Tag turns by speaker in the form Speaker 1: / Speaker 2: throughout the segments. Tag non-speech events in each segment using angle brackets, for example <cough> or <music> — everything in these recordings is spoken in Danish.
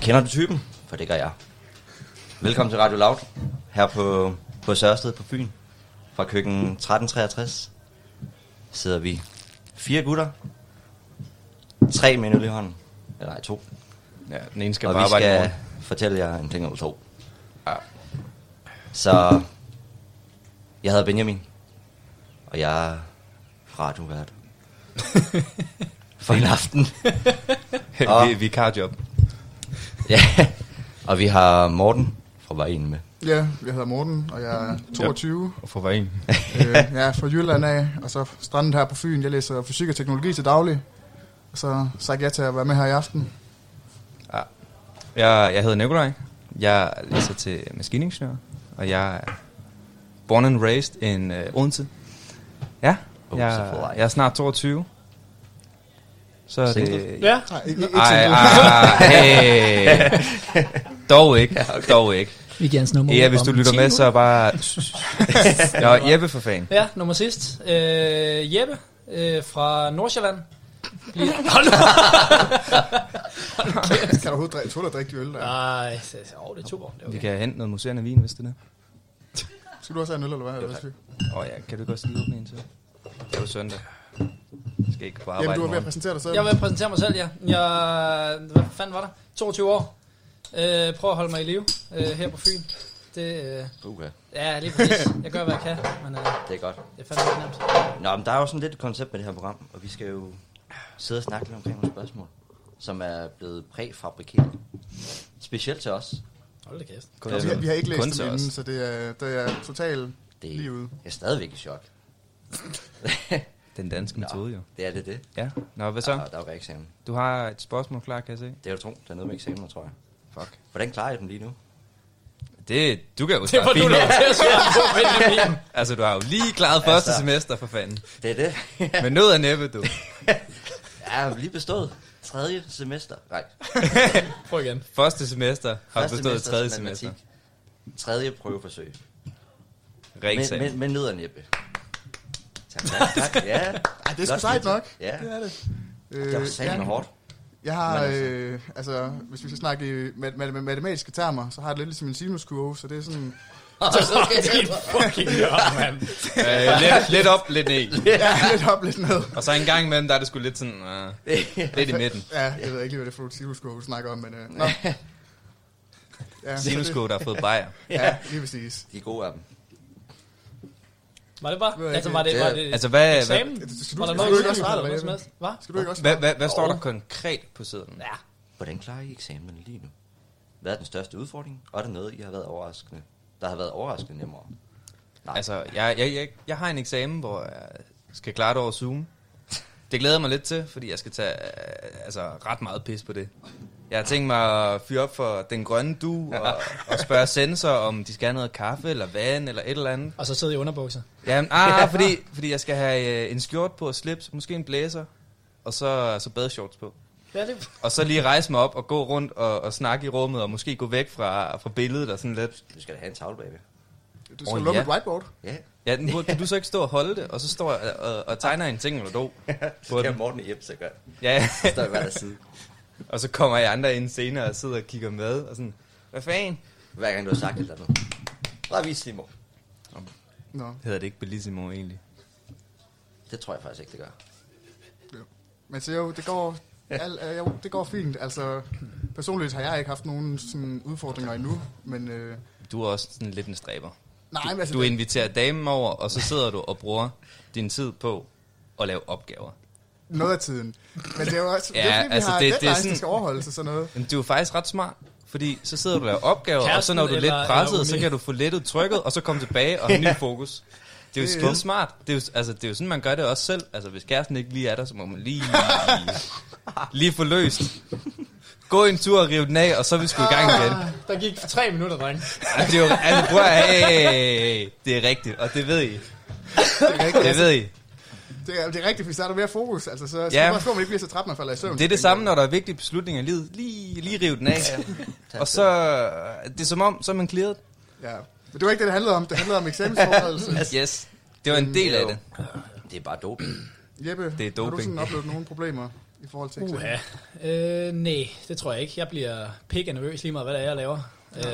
Speaker 1: Kender du typen? For det gør jeg. Velkommen til Radio Loud, her på, på Sørsted på Fyn. Fra køkken 1363 sidder vi fire gutter, tre med en øl i hånden, eller nej, to.
Speaker 2: Ja, den ene skal
Speaker 1: og
Speaker 2: bare
Speaker 1: vi
Speaker 2: arbejde i
Speaker 1: skal
Speaker 2: morgen.
Speaker 1: fortælle jer en ting eller to.
Speaker 2: Ja.
Speaker 1: Så jeg hedder Benjamin, og jeg er
Speaker 2: <laughs>
Speaker 1: radiovært for en aften.
Speaker 2: Vi, vi har job.
Speaker 1: Ja, og vi har Morten fra Vejen med.
Speaker 3: Ja, jeg hedder Morten, og jeg er 22.
Speaker 2: Og for hver
Speaker 1: <laughs>
Speaker 2: en.
Speaker 3: øh, jeg er fra Jylland af, og så strandet her på Fyn. Jeg læser fysik og teknologi til daglig. Og så sagde jeg til at være med her i aften.
Speaker 2: Ja. Jeg, jeg hedder Nikolaj. Jeg læser til maskiningeniør. Og jeg er born and raised in uh, Odense. Ja,
Speaker 1: Oh, så
Speaker 2: jeg,
Speaker 1: får jeg.
Speaker 2: jeg er snart 22. Så er
Speaker 1: Single?
Speaker 2: det...
Speaker 4: Ja.
Speaker 3: Nej, ikke, ikke
Speaker 2: Ej,
Speaker 3: sådan
Speaker 2: ej,
Speaker 3: noget.
Speaker 2: ej, hey.
Speaker 1: <laughs>
Speaker 2: Dog ikke, dog ikke.
Speaker 4: Weekends nummer.
Speaker 2: Ja, hvis du lytter med, så bare... <laughs> Jeg er Jeppe for fan.
Speaker 4: Ja, nummer sidst. Øh, Jeppe øh, fra Nordsjælland. Lige- Hold nu.
Speaker 3: <laughs> Kan du overhovedet drikke, tåle at drikke de øl der?
Speaker 4: Nej, så- så- åh, det er super. Det er
Speaker 2: Vi
Speaker 4: okay.
Speaker 2: kan hente noget museerne vin, hvis det er det.
Speaker 3: Skal du også have en øl, eller hvad? Eller hvad?
Speaker 2: Åh oh, ja, kan du godt stille åbne en til? Det er jo søndag. Jeg skal ikke på arbejde
Speaker 3: Jamen, du er ved at
Speaker 2: morgen.
Speaker 3: præsentere dig selv.
Speaker 4: Jeg vil præsentere mig selv, ja. Jeg, hvad fanden var der? 22 år. Øh, prøv at holde mig i live øh, her på Fyn. Det, øh,
Speaker 1: Okay.
Speaker 4: ja, lige præcis. Jeg gør, hvad jeg kan, men øh,
Speaker 1: Det er godt.
Speaker 4: det er fandme ikke nemt.
Speaker 1: Nå, men der er jo sådan lidt et koncept med det her program, og vi skal jo sidde og snakke lidt omkring nogle spørgsmål, som er blevet præfabrikeret. Specielt til os.
Speaker 4: Hold da kæft.
Speaker 2: Kun
Speaker 3: Og vi,
Speaker 2: til-
Speaker 3: har, vi har ikke læst
Speaker 2: kun
Speaker 3: dem
Speaker 2: til
Speaker 3: inden,
Speaker 2: os.
Speaker 3: så det er, det er totalt
Speaker 1: Det
Speaker 3: lige ude.
Speaker 1: jeg er stadigvæk i chok.
Speaker 2: Den danske metode, jo.
Speaker 1: Det er det, det.
Speaker 2: Ja. Nå, hvad
Speaker 1: Der,
Speaker 2: så?
Speaker 1: der er jo eksamen.
Speaker 2: Du har et spørgsmål klar, kan jeg se?
Speaker 1: Det er jo tungt. Der er noget med eksamener, tror jeg.
Speaker 2: Fuck.
Speaker 1: Hvordan klarer I dem lige nu?
Speaker 2: Det, du kan jo
Speaker 4: Det var
Speaker 2: svare
Speaker 4: du
Speaker 2: fint.
Speaker 4: nødt til at svare på,
Speaker 2: <laughs>
Speaker 4: Benjamin.
Speaker 2: Altså, du har jo lige klaret første
Speaker 1: Altså.
Speaker 2: semester, for fanden.
Speaker 1: Det er det.
Speaker 2: Men noget er næppe, du.
Speaker 1: jeg har lige bestået tredje semester.
Speaker 2: <laughs>
Speaker 1: Nej,
Speaker 4: Prøv igen.
Speaker 2: Første semester har du
Speaker 1: første
Speaker 2: bestået
Speaker 1: semesters
Speaker 2: tredje
Speaker 1: matematik.
Speaker 2: semester.
Speaker 1: Tredje prøveforsøg. Men,
Speaker 2: Rigtig
Speaker 1: men, men ned og næppe. Tak,
Speaker 2: <laughs>
Speaker 1: tak, tak. Ja.
Speaker 3: Ej, det er sgu
Speaker 1: Flot,
Speaker 3: sejt
Speaker 1: Peter.
Speaker 3: nok.
Speaker 1: Ja.
Speaker 3: Det er det.
Speaker 1: Det var satme hårdt.
Speaker 3: Øh, Jeg har,
Speaker 1: Men altså-
Speaker 3: øh, altså, hvis vi skal snakke i mat- mat- mat- matematiske termer, så har jeg det lidt ligesom en sinuskurve, så det er
Speaker 4: <laughs>
Speaker 3: sådan,
Speaker 4: Din fucking lørdag, mand.
Speaker 2: øh, lidt, lidt op, lidt ned.
Speaker 3: <laughs> ja, lidt op, lidt ned.
Speaker 2: Og så en
Speaker 3: <laughs>
Speaker 2: gang imellem, der er det sgu lidt sådan... Øh, lidt i midten.
Speaker 3: Ja, jeg ved ikke lige, hvad det er for en sinuskurve, du snakker om, men øh, nå. <laughs> Ja, så det-
Speaker 2: Sinusko, der har fået bajer.
Speaker 3: <laughs> Ja, lige præcis.
Speaker 1: De er gode af dem.
Speaker 4: Var det bare? Altså, var det, var det
Speaker 2: Altså, hvad, hvad,
Speaker 4: eksamen?
Speaker 3: Skal du-
Speaker 4: Var der
Speaker 3: skal
Speaker 4: noget
Speaker 3: du
Speaker 4: eksamen
Speaker 3: ikke også svare,
Speaker 4: eller noget
Speaker 3: eller
Speaker 4: som
Speaker 3: hvad?
Speaker 4: helst? Hvad?
Speaker 3: Skal du ikke også?
Speaker 2: hvad, hvad, hvad står
Speaker 4: Jo.
Speaker 2: der konkret på siden?
Speaker 4: Ja,
Speaker 1: Hvordan klarer I eksamen lige nu? Hvad er den største udfordring? Og er der noget, I har været overraskende? Der har været overraskende nemmere. Nej.
Speaker 2: Altså, jeg, jeg, jeg, jeg har en eksamen, hvor jeg skal klare det over Zoom. Det glæder jeg mig lidt til, fordi jeg skal tage øh, altså, ret meget pis på det. Jeg har tænkt mig at fyre op for den grønne du, og, og spørge sensor, om de skal have noget kaffe, eller vand, eller et eller andet.
Speaker 4: og så sidde i underbukser.
Speaker 2: Jamen,
Speaker 3: <laughs>
Speaker 2: ah, fordi, fordi jeg skal have øh, en skjort på og slips, måske en blæser, og så, så badeshorts på.
Speaker 4: Ja, det
Speaker 2: Og så lige rejse mig op og gå rundt og, og snakke i rummet, og måske gå væk fra, fra billedet og sådan lidt.
Speaker 1: Du skal da have en tavle bagved.
Speaker 3: Du skal
Speaker 2: Åh,
Speaker 3: lukke
Speaker 2: ja.
Speaker 3: et whiteboard.
Speaker 1: Ja,
Speaker 2: Ja, den burde, kan du så ikke stå og holde det, og så står jeg og, og tegner en ting eller
Speaker 1: <laughs>
Speaker 2: to.
Speaker 1: det kan Morten hjem så gør.
Speaker 2: Ja,
Speaker 1: Så står jeg hver der side.
Speaker 2: <laughs> og så kommer jeg andre ind senere og sidder og kigger med, og sådan, hvad fanden?
Speaker 1: Hver gang du har sagt et eller andet. Bare vis lige, mor.
Speaker 3: Nå,
Speaker 2: Hedder det ikke Bellissimo egentlig?
Speaker 1: Det tror jeg faktisk ikke, det gør.
Speaker 3: men så jo, det går, al, øh, jo, det går fint. Altså, personligt har jeg ikke haft nogen sådan, udfordringer endnu, men... Øh,
Speaker 2: Du er også sådan lidt en stræber.
Speaker 3: nej, men altså,
Speaker 2: Du
Speaker 3: det-
Speaker 2: inviterer damen over, og så sidder du og bruger din tid på at lave opgaver.
Speaker 3: noget af tiden. Men det er jo også, ja, det
Speaker 2: Ja,
Speaker 3: er, fordi,
Speaker 2: altså,
Speaker 3: vi har
Speaker 2: det- det er
Speaker 3: det, deadlines,
Speaker 2: sådan-
Speaker 3: der skal overholdes og sådan noget.
Speaker 2: Men du er faktisk ret smart, fordi så sidder du og laver opgaver, og så
Speaker 4: Kæresten
Speaker 2: når du er lidt
Speaker 4: eller- eller
Speaker 2: presset,
Speaker 4: uni.
Speaker 2: så kan du få lettet trykket, og så komme tilbage og have ny fokus. Det er jo
Speaker 3: Det-
Speaker 2: skide smart. Det er jo, altså, det er jo sådan, man gør det også selv. Altså, hvis kæresten ikke lige er der, så må man lige, lige få løst. Gå en tur og rive den af, og så er vi sgu i gang igen.
Speaker 4: Ah, Der gik tre minutter, dreng.
Speaker 2: Ej, det er jo, altså, prøv at, hey, det er rigtigt, og det ved I. Det ved I.
Speaker 3: Det er, det er rigtigt, fordi så er der mere fokus. Altså, så skal
Speaker 2: Ja.
Speaker 3: man passe på, at man ikke bliver så træt, man falder i søvn.
Speaker 2: Det er det samme, når der er vigtige beslutninger i livet. Lige, lige rive den af. Og så, det er som om, så er man clearet.
Speaker 3: Ja. Men det var ikke det, det handlede om. Det handlede om eksamensforberedelse.
Speaker 2: <laughs> Yes, det var en del af det.
Speaker 1: Det er bare doping.
Speaker 3: Jeppe,
Speaker 2: Mm, Det er
Speaker 3: har du
Speaker 2: doping.
Speaker 3: sådan oplevet nogle problemer? i forhold til eksamen?
Speaker 4: Uha. Øh, nej, det tror jeg ikke. Jeg bliver pikke nervøs lige meget, hvad det er, jeg laver.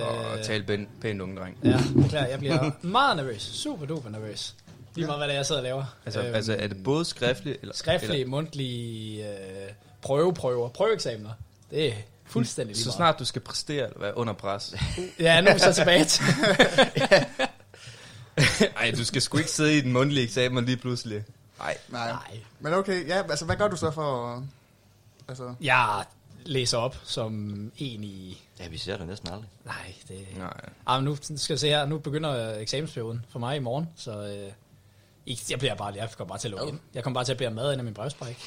Speaker 2: Og tale pænt, pænt unge dreng.
Speaker 4: ja, beklager. Jeg bliver meget nervøs. Super duper nervøs. Lige meget, hvad det er, jeg sidder og laver. Øhm,
Speaker 2: Altså, altså er det både skriftligt eller...
Speaker 4: skriftlige,
Speaker 2: eller-
Speaker 4: mundtlige øh, prøveprøver, prøveeksamener. Det er fuldstændig lige
Speaker 2: Så
Speaker 4: meget.
Speaker 2: snart du skal præstere eller være under pres.
Speaker 4: <laughs> Ja, nu er vi så tilbage
Speaker 2: <laughs>
Speaker 4: til.
Speaker 2: Nej, du skal sgu ikke sidde i den mundtlige eksamen og lige pludselig. Nej.
Speaker 3: Nej.
Speaker 4: Nej.
Speaker 3: Men okay, ja, altså hvad gør du så for... at- Altså,
Speaker 4: Jeg læser op som en i...
Speaker 1: Ja, vi ser det næsten aldrig.
Speaker 4: Nej, det...
Speaker 2: Nej.
Speaker 4: Ah, men nu skal jeg se her. Nu begynder øh, eksamensperioden for mig i morgen, så... Øh, ikke- jeg bliver bare, jeg kommer bare til at lukke ind. Jeg kommer bare til at bære mad ind af min brevspræk.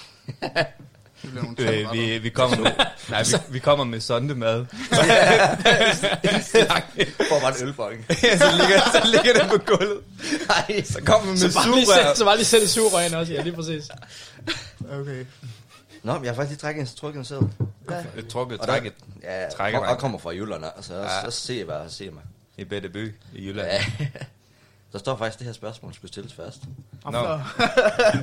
Speaker 3: det bliver nogle
Speaker 2: Øh,
Speaker 3: tandretter.
Speaker 2: vi, vi kommer nu. Nej, vi, <laughs> vi kommer med sondemad. <laughs>
Speaker 1: Får bare en ølbong.
Speaker 2: <laughs> så, ligger, så ligger det på gulvet.
Speaker 1: Nej,
Speaker 2: Så kommer vi med
Speaker 4: Så bare lige
Speaker 2: sugerør.
Speaker 4: sæt, så bare lige sæt i sugerøren også, ja, lige præcis.
Speaker 3: Okay.
Speaker 1: Nå, men jeg har faktisk lige trækket en trukket selv.
Speaker 2: Jeg trukket
Speaker 1: Og der-
Speaker 2: trækket
Speaker 1: Ja,
Speaker 2: Trækker
Speaker 1: trækker
Speaker 2: mig.
Speaker 1: jeg kommer fra Jylland, altså, så,
Speaker 2: Ja.
Speaker 1: ja. så ser jeg, hvad jeg ser mig.
Speaker 2: i Betteby i Jylland.
Speaker 1: Ja. <laughs> Der står faktisk, det her spørgsmål skulle stilles først.
Speaker 2: <laughs> Nå.
Speaker 4: Det,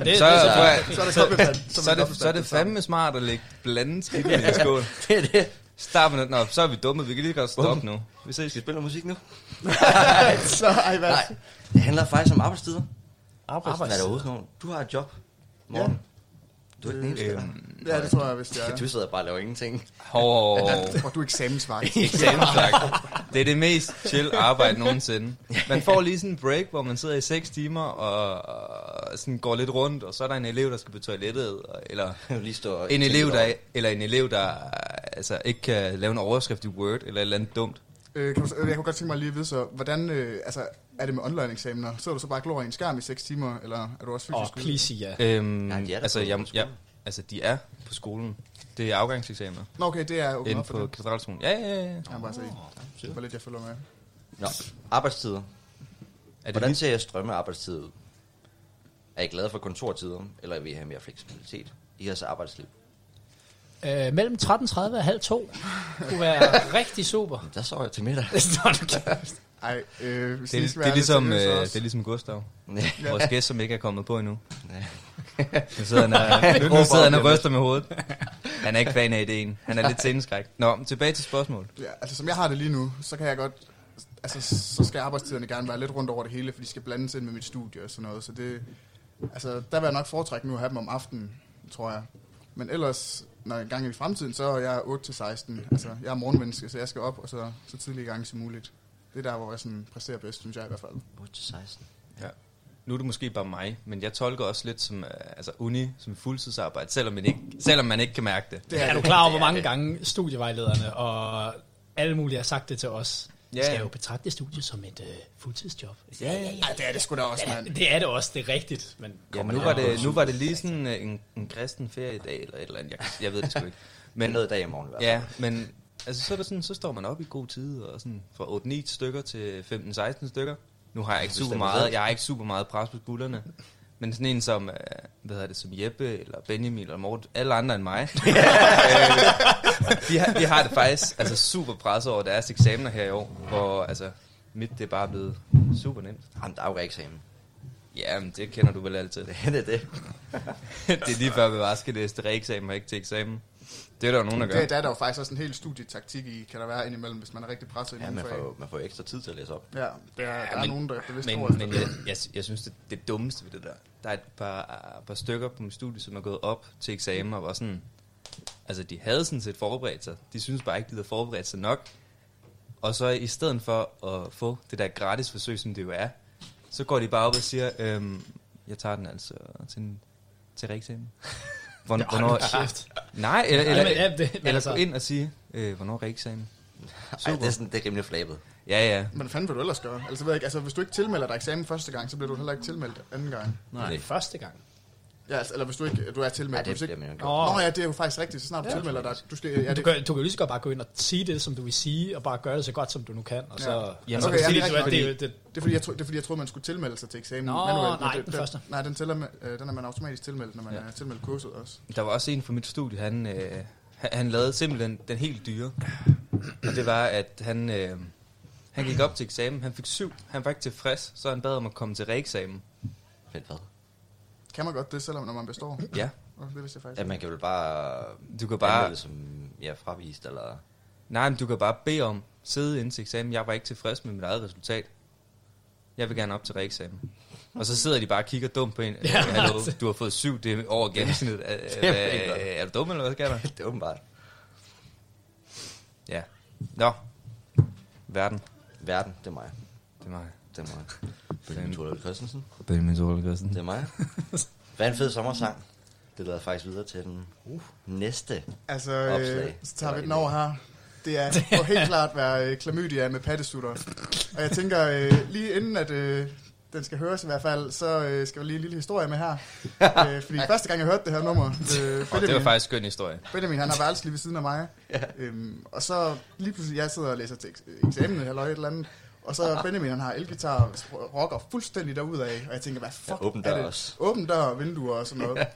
Speaker 4: det,
Speaker 2: Så,
Speaker 4: er så,
Speaker 2: så,
Speaker 3: Så er det kobbepand.
Speaker 2: så, er det, så er det fandme smart at lægge blandet skidt i en skål.
Speaker 1: Det er det.
Speaker 2: Start med den. Nå, så er vi dumme. Vi kan lige godt stoppe nu.
Speaker 1: Vi ses. Skal vi spille noget musik nu?
Speaker 3: Så, ej, hvad?
Speaker 1: Nej, det handler faktisk om arbejdstider. Hvad er
Speaker 4: arbejds.
Speaker 1: der overhovedet nogen? Du har et job. Morgen. Du er ikke den eneste. der.
Speaker 2: Øhm,
Speaker 3: Ja, det tror jeg, hvis det er.
Speaker 1: <laughs> Du sidder bare og laver ingenting.
Speaker 2: hår,
Speaker 3: <laughs> Og du er
Speaker 2: <laughs>
Speaker 1: <laughs>
Speaker 3: eksamensvagt.
Speaker 2: eksamensvagt. Det er det mest chill arbejde
Speaker 1: <laughs>
Speaker 2: nogensinde. Man får lige sådan en break, hvor man sidder i 6 timer og, og sådan går lidt rundt, og så er der en elev, der skal på toilettet, og- eller
Speaker 1: Du lige står og
Speaker 2: en
Speaker 1: tænker
Speaker 2: elev, der,
Speaker 1: over-
Speaker 2: eller en elev, der altså, ikke kan lave en overskrift i Word, eller et eller andet dumt.
Speaker 3: Øh, kan du, så- øh, jeg kunne godt tænke mig lige at vide, så hvordan øh, altså, er det med online-eksamener? Sidder du så bare og glor i en skærm i 6 timer, eller er du også
Speaker 4: Åh,
Speaker 3: fysisk? ude?
Speaker 4: please sig ja.
Speaker 2: Øhm,
Speaker 1: Nej, de er da
Speaker 2: altså,
Speaker 1: på
Speaker 2: jeg, jeg,
Speaker 1: skolen.
Speaker 2: altså, de er på skolen. Det er afgangseksamener
Speaker 3: Nå, okay, det er åbnet
Speaker 2: inde
Speaker 3: op for
Speaker 2: på
Speaker 3: det.
Speaker 2: katedralskolen. Ja, ja, ja.
Speaker 3: Jeg bare se. Det var lidt, jeg følger med.
Speaker 1: Nå, arbejdstider.
Speaker 2: Er det
Speaker 1: Hvordan
Speaker 2: vildt?
Speaker 1: ser jeg strømme arbejdstid ud? Er I glade for kontortider, eller vil I have mere fleksibilitet i jeres arbejdsliv?
Speaker 4: Øh, mellem 13.30 og halv to kunne være rigtig super.
Speaker 1: Der sover jeg til middag.
Speaker 4: <laughs> Nå, du kan-
Speaker 3: Ej, øh, hvis
Speaker 2: det,
Speaker 3: I
Speaker 2: er,
Speaker 3: skal
Speaker 2: det,
Speaker 3: være
Speaker 2: er ligesom, øh,
Speaker 3: lidt seriøse
Speaker 2: det
Speaker 3: også.
Speaker 2: er ligesom Gustav,
Speaker 1: Nej.
Speaker 2: vores gæst, som ikke er kommet på endnu.
Speaker 1: Ja.
Speaker 2: <laughs> Nu
Speaker 4: <laughs>
Speaker 2: sidder han, og- nu, nu
Speaker 1: Råber
Speaker 2: sidder han og
Speaker 1: op,
Speaker 2: ryster med hovedet. Han er ikke fan af ideen. Han er lidt tændeskræk. Nå, men tilbage til spørgsmålet.
Speaker 3: Ja, altså som jeg har det lige nu, så kan jeg godt... Altså, så skal arbejdstiderne gerne være lidt rundt over det hele, for de skal blandes ind med mit studie og sådan noget. Så det... Altså, der vil jeg nok foretrække nu at have dem om aftenen, tror jeg. Men ellers, når jeg gang i fremtiden, så er jeg 8-16. Altså, jeg er morgenmenneske, så jeg skal op, og så, så tidlig i gang som muligt. Det er der, hvor jeg sådan præsterer bedst, synes jeg i hvert fald.
Speaker 1: 16.
Speaker 2: Nu er det måske bare mig, men jeg tolker også lidt som øh, altså uni, som fuldtidsarbejde, selvom man ikke, selvom man ikke kan mærke <laughs> det.
Speaker 3: Det
Speaker 4: Er
Speaker 3: er
Speaker 4: du
Speaker 3: det.
Speaker 4: klar over, hvor mange gange studievejlederne og alle mulige har sagt det til os?
Speaker 2: Ja,
Speaker 4: Ja. Skal
Speaker 2: ja.
Speaker 4: jo betragte studiet som et øh, fuldtidsjob.
Speaker 3: Ej, det er det sgu da også, mand.
Speaker 4: Det er det også, det er rigtigt. Men
Speaker 2: Ja,
Speaker 4: kommer
Speaker 2: nu
Speaker 4: det
Speaker 2: var
Speaker 4: an på-
Speaker 2: det, nu var det lige sådan øh, en, en kristen feriedag eller et eller andet. Jeg, jeg ved det sgu ikke.
Speaker 1: Men
Speaker 2: Men,
Speaker 1: noget dag i morgen i hvert fald.
Speaker 2: ja, men altså, så, er det sådan, så står man op i god tid, og sådan fra 8-9 stykker til 15-16 stykker. Nu har jeg ikke super
Speaker 1: Fuldstændig
Speaker 2: meget,
Speaker 1: rigtigt.
Speaker 2: jeg har ikke super meget pres på skuldrene. Men sådan en som, øh, hvad hedder det, som Jeppe, eller Benjamin, eller Morten, alle andre end
Speaker 1: <laughs>
Speaker 2: mig, øh, de, har, de har det faktisk altså, super presset over deres eksamener her i år, hvor altså, mit det er bare blevet super nemt.
Speaker 1: Jamen, der er jo eksamen.
Speaker 2: Jamen, det kender du vel
Speaker 1: <laughs>
Speaker 2: altid.
Speaker 1: Det er
Speaker 2: <laughs>
Speaker 1: det.
Speaker 2: det er lige før, vi bare skal læse til reeksamen og ikke til eksamen. Det er der jo nogen, der gør.
Speaker 3: Det, der er der jo faktisk også en hel studietaktik i, kan der være indimellem, hvis man er rigtig presset i
Speaker 1: Ja,
Speaker 3: nogle
Speaker 1: man får,
Speaker 3: fag.
Speaker 1: jo- man får jo ekstra tid til at læse op.
Speaker 3: Ja, der, ja, der er
Speaker 2: men-
Speaker 3: nogen, der bevidst tror
Speaker 2: Men,
Speaker 3: efter
Speaker 2: men
Speaker 3: det.
Speaker 2: jeg, jeg, jeg synes, det, det dummeste ved det der, der er et par, par stykker på mit studie, som er gået op til eksamen og var sådan... Altså, de havde sådan set forberedt sig. De synes bare ikke, de havde forberedt sig nok. Og så i stedet for at få det der gratis forsøg, som det jo er, så går de bare op og siger, øhm, jeg tager den altså til, til
Speaker 1: <laughs>
Speaker 2: reeksamen. Hvorn-
Speaker 4: Hold nu kæft.
Speaker 2: Nej, eller,
Speaker 4: Ej,
Speaker 2: eller,
Speaker 4: men ja,
Speaker 2: eller,
Speaker 4: det- men
Speaker 2: eller
Speaker 4: altså-
Speaker 2: gå ind og sige, øh, hvornår er reeksamen?
Speaker 1: Ej, det er, sådan, det er rimelig flabet.
Speaker 2: Ja, ja.
Speaker 3: Men hvad fanden vil du ellers gøre? Altså, ved jeg ikke, altså, hvis du ikke tilmelder dig eksamen første gang, så bliver du heller ikke tilmeldt anden gang.
Speaker 1: Nej.
Speaker 4: Første gang. Ja,
Speaker 3: Ja, altså, eller hvis du ikke du er tilmeldt.
Speaker 1: Ja,
Speaker 3: men
Speaker 1: det
Speaker 3: hvis
Speaker 1: bliver
Speaker 3: ikke...
Speaker 1: man jo ikke.
Speaker 4: Nå.
Speaker 3: Nå ja, det er jo faktisk rigtigt. Så snart du
Speaker 4: Ja.
Speaker 3: tilmelder dig, du skal... Ja,
Speaker 4: du,
Speaker 3: det...
Speaker 4: kan, du kan jo lige så godt bare gå ind og sige det, som du vil sige, og bare gøre det så godt, som du nu kan. Og så,
Speaker 3: Ja.
Speaker 4: ja.
Speaker 2: Jamen,
Speaker 4: så
Speaker 3: okay, ja,
Speaker 4: sige,
Speaker 3: det er
Speaker 4: du er-
Speaker 3: rigtigt,
Speaker 4: det, det,
Speaker 3: Det er, fordi jeg tro, det er fordi, jeg troede, man skulle tilmelde sig til eksamen.
Speaker 4: Nå,
Speaker 3: manuelt, men
Speaker 4: nej,
Speaker 3: det,
Speaker 4: den
Speaker 3: det-
Speaker 4: første.
Speaker 3: Nej, den, tæller med, øh, den er man automatisk tilmeldt, når man
Speaker 2: Ja.
Speaker 3: ja. er tilmeldt kurset også.
Speaker 2: Der var også en fra mit studie, han, øh, han, han lavede simpelthen den helt dyre. Og det var, at han, øh, han gik op til eksamen, han fik syv, han var ikke tilfreds, så han bad om at komme til reeksamen.
Speaker 1: Fedt hvad?
Speaker 3: Kan man godt det, selvom når man består?
Speaker 2: Ja,
Speaker 3: Nå, Det vidste jeg faktisk.
Speaker 1: Ja, man kan vel bare...
Speaker 2: Du kan bare-
Speaker 1: anmelde Det som, ja, fravist, eller...
Speaker 2: Nej, men du kan bare bede om sidde inden til eksamen. Jeg var ikke tilfreds med mit eget resultat. Jeg vil gerne op til reeksamen. Og så sidder de bare og kigger dumt på
Speaker 1: <laughs>
Speaker 2: en.
Speaker 4: Ja,
Speaker 2: Ja, Hallo,
Speaker 4: altså.
Speaker 2: du har fået syv, det er over gennemsnittet. Er,
Speaker 1: er
Speaker 2: er,
Speaker 1: fint nok.
Speaker 2: er, er du dum, eller hvad sker der?
Speaker 1: <laughs> Det er åbenbart.
Speaker 2: Ja. Nå. Verden.
Speaker 1: Verden, det er mig.
Speaker 2: Det er mig.
Speaker 1: Det er mig. Benjamin Thorlund Christensen.
Speaker 2: Benjamin Solberg
Speaker 1: Det
Speaker 2: Christensen.
Speaker 1: er mig. Hvad en fed sommersang. Det lader faktisk videre til den uh, næste.
Speaker 3: Altså, øh,
Speaker 1: Opslag.
Speaker 3: så tager vi den over her. Det er må helt klart være øh, klamydia med pattesutter. Og jeg tænker, øh, lige inden at øh, den skal høres i hvert fald, så øh, skal vi lige en lille historie med her. øh, fordi første gang jeg hørte det her nummer, øh,
Speaker 2: Og det var
Speaker 3: Benjamin,
Speaker 2: faktisk en skøn historie.
Speaker 3: Benjamin han har værelse lige ved siden af mig. øhm, og så lige pludselig, jeg sidder og læser til eks- eksamen eller et eller andet. Og så Benjamin, han har elgitar og rocker fuldstændig af, Og jeg tænker, hvad fuck
Speaker 1: Ja, åben
Speaker 3: er
Speaker 1: dør
Speaker 3: det?
Speaker 1: også.
Speaker 3: Åben dør og vinduer og sådan noget.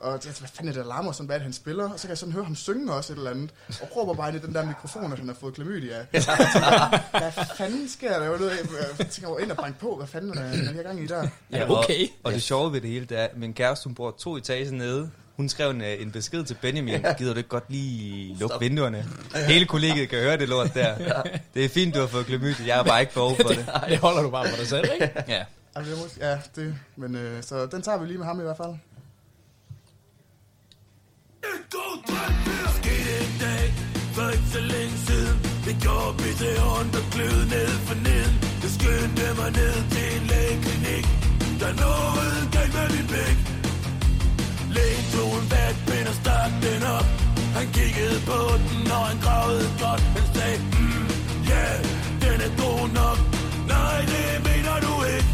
Speaker 3: Og jeg tænkte, hvad fanden er det, der larmer sådan, hvad er det, han spiller? Og så kan jeg sådan høre ham synge også et eller andet. Og råber bare ind i den der mikrofon, at han har fået klamydia. Jeg tænker, Hvad fanden sker der? Jeg, ved, jeg tænker, jeg var ind og banke på, hvad fanden er det, jeg gang i der?
Speaker 4: Ja, okay.
Speaker 2: Og, og det sjove ved det hele, det er, at min kæreste, hun bor to etager nede. Hun skrev en, øh, en besked til Benjamin. Gider du ikke godt lige lukke
Speaker 1: Stop.
Speaker 2: vinduerne? Hele kollegiet kan høre det lort der. Det er fint, du har fået klemyte. Jeg er bare ikke behov for det.
Speaker 4: <laughs> Det holder du bare for dig selv, ikke? <laughs>
Speaker 2: Ja.
Speaker 3: Altså, jeg må, ja, det, men øh, så den tager vi lige med ham i hvert fald.
Speaker 5: skete en dag For ikke så længe siden Det gjorde mit i hånd og klød ned for neden Jeg skyndte mig ned til en lægeklinik Der nåede en gang med min bæk Lægen tog en vatpind og stak den op Han kiggede på den, og han gravede godt Han sagde, mm, yeah, den er god nok Nej, det mener du ikke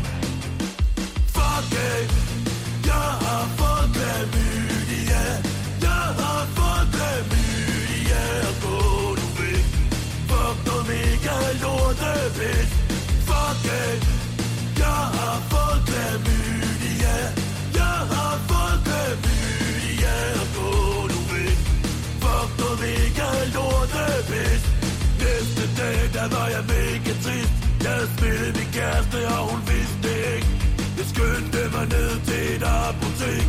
Speaker 5: Fuck it, jeg har fået klamydia Jeg har fået klamydia Og gå nu væk Fuck noget mega lorte væk Fuck it, jeg har fået klamydia Jeg har fået klamydia Og gå nu væk Fuck noget mega lorte væk Næste dag, der var jeg mega trist Jeg havde spillet min kæreste, og hun vidste det ikke Jeg skyndte mig ned til et apotek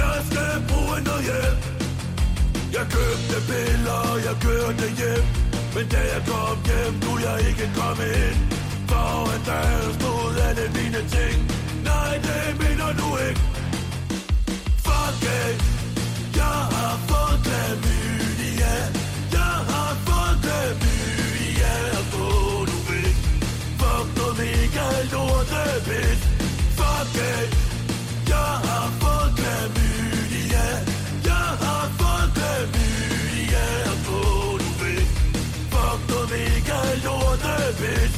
Speaker 5: Jeg skal bruge noget hjælp Jeg købte piller, og jeg kørte hjem Men da jeg kom hjem, kunne jeg ikke komme ind Foran døren stod alle mine ting Nej, det mener du ikke Fuck it. Jeg har fået klamydia. Jeg har fået klamydia. Og gå nu væk. Fuck noget mega lortevæk. Fuck it. Jeg har fået klamydia. Jeg har fået klamydia. Og gå nu væk. Fuck noget mega lortevæk.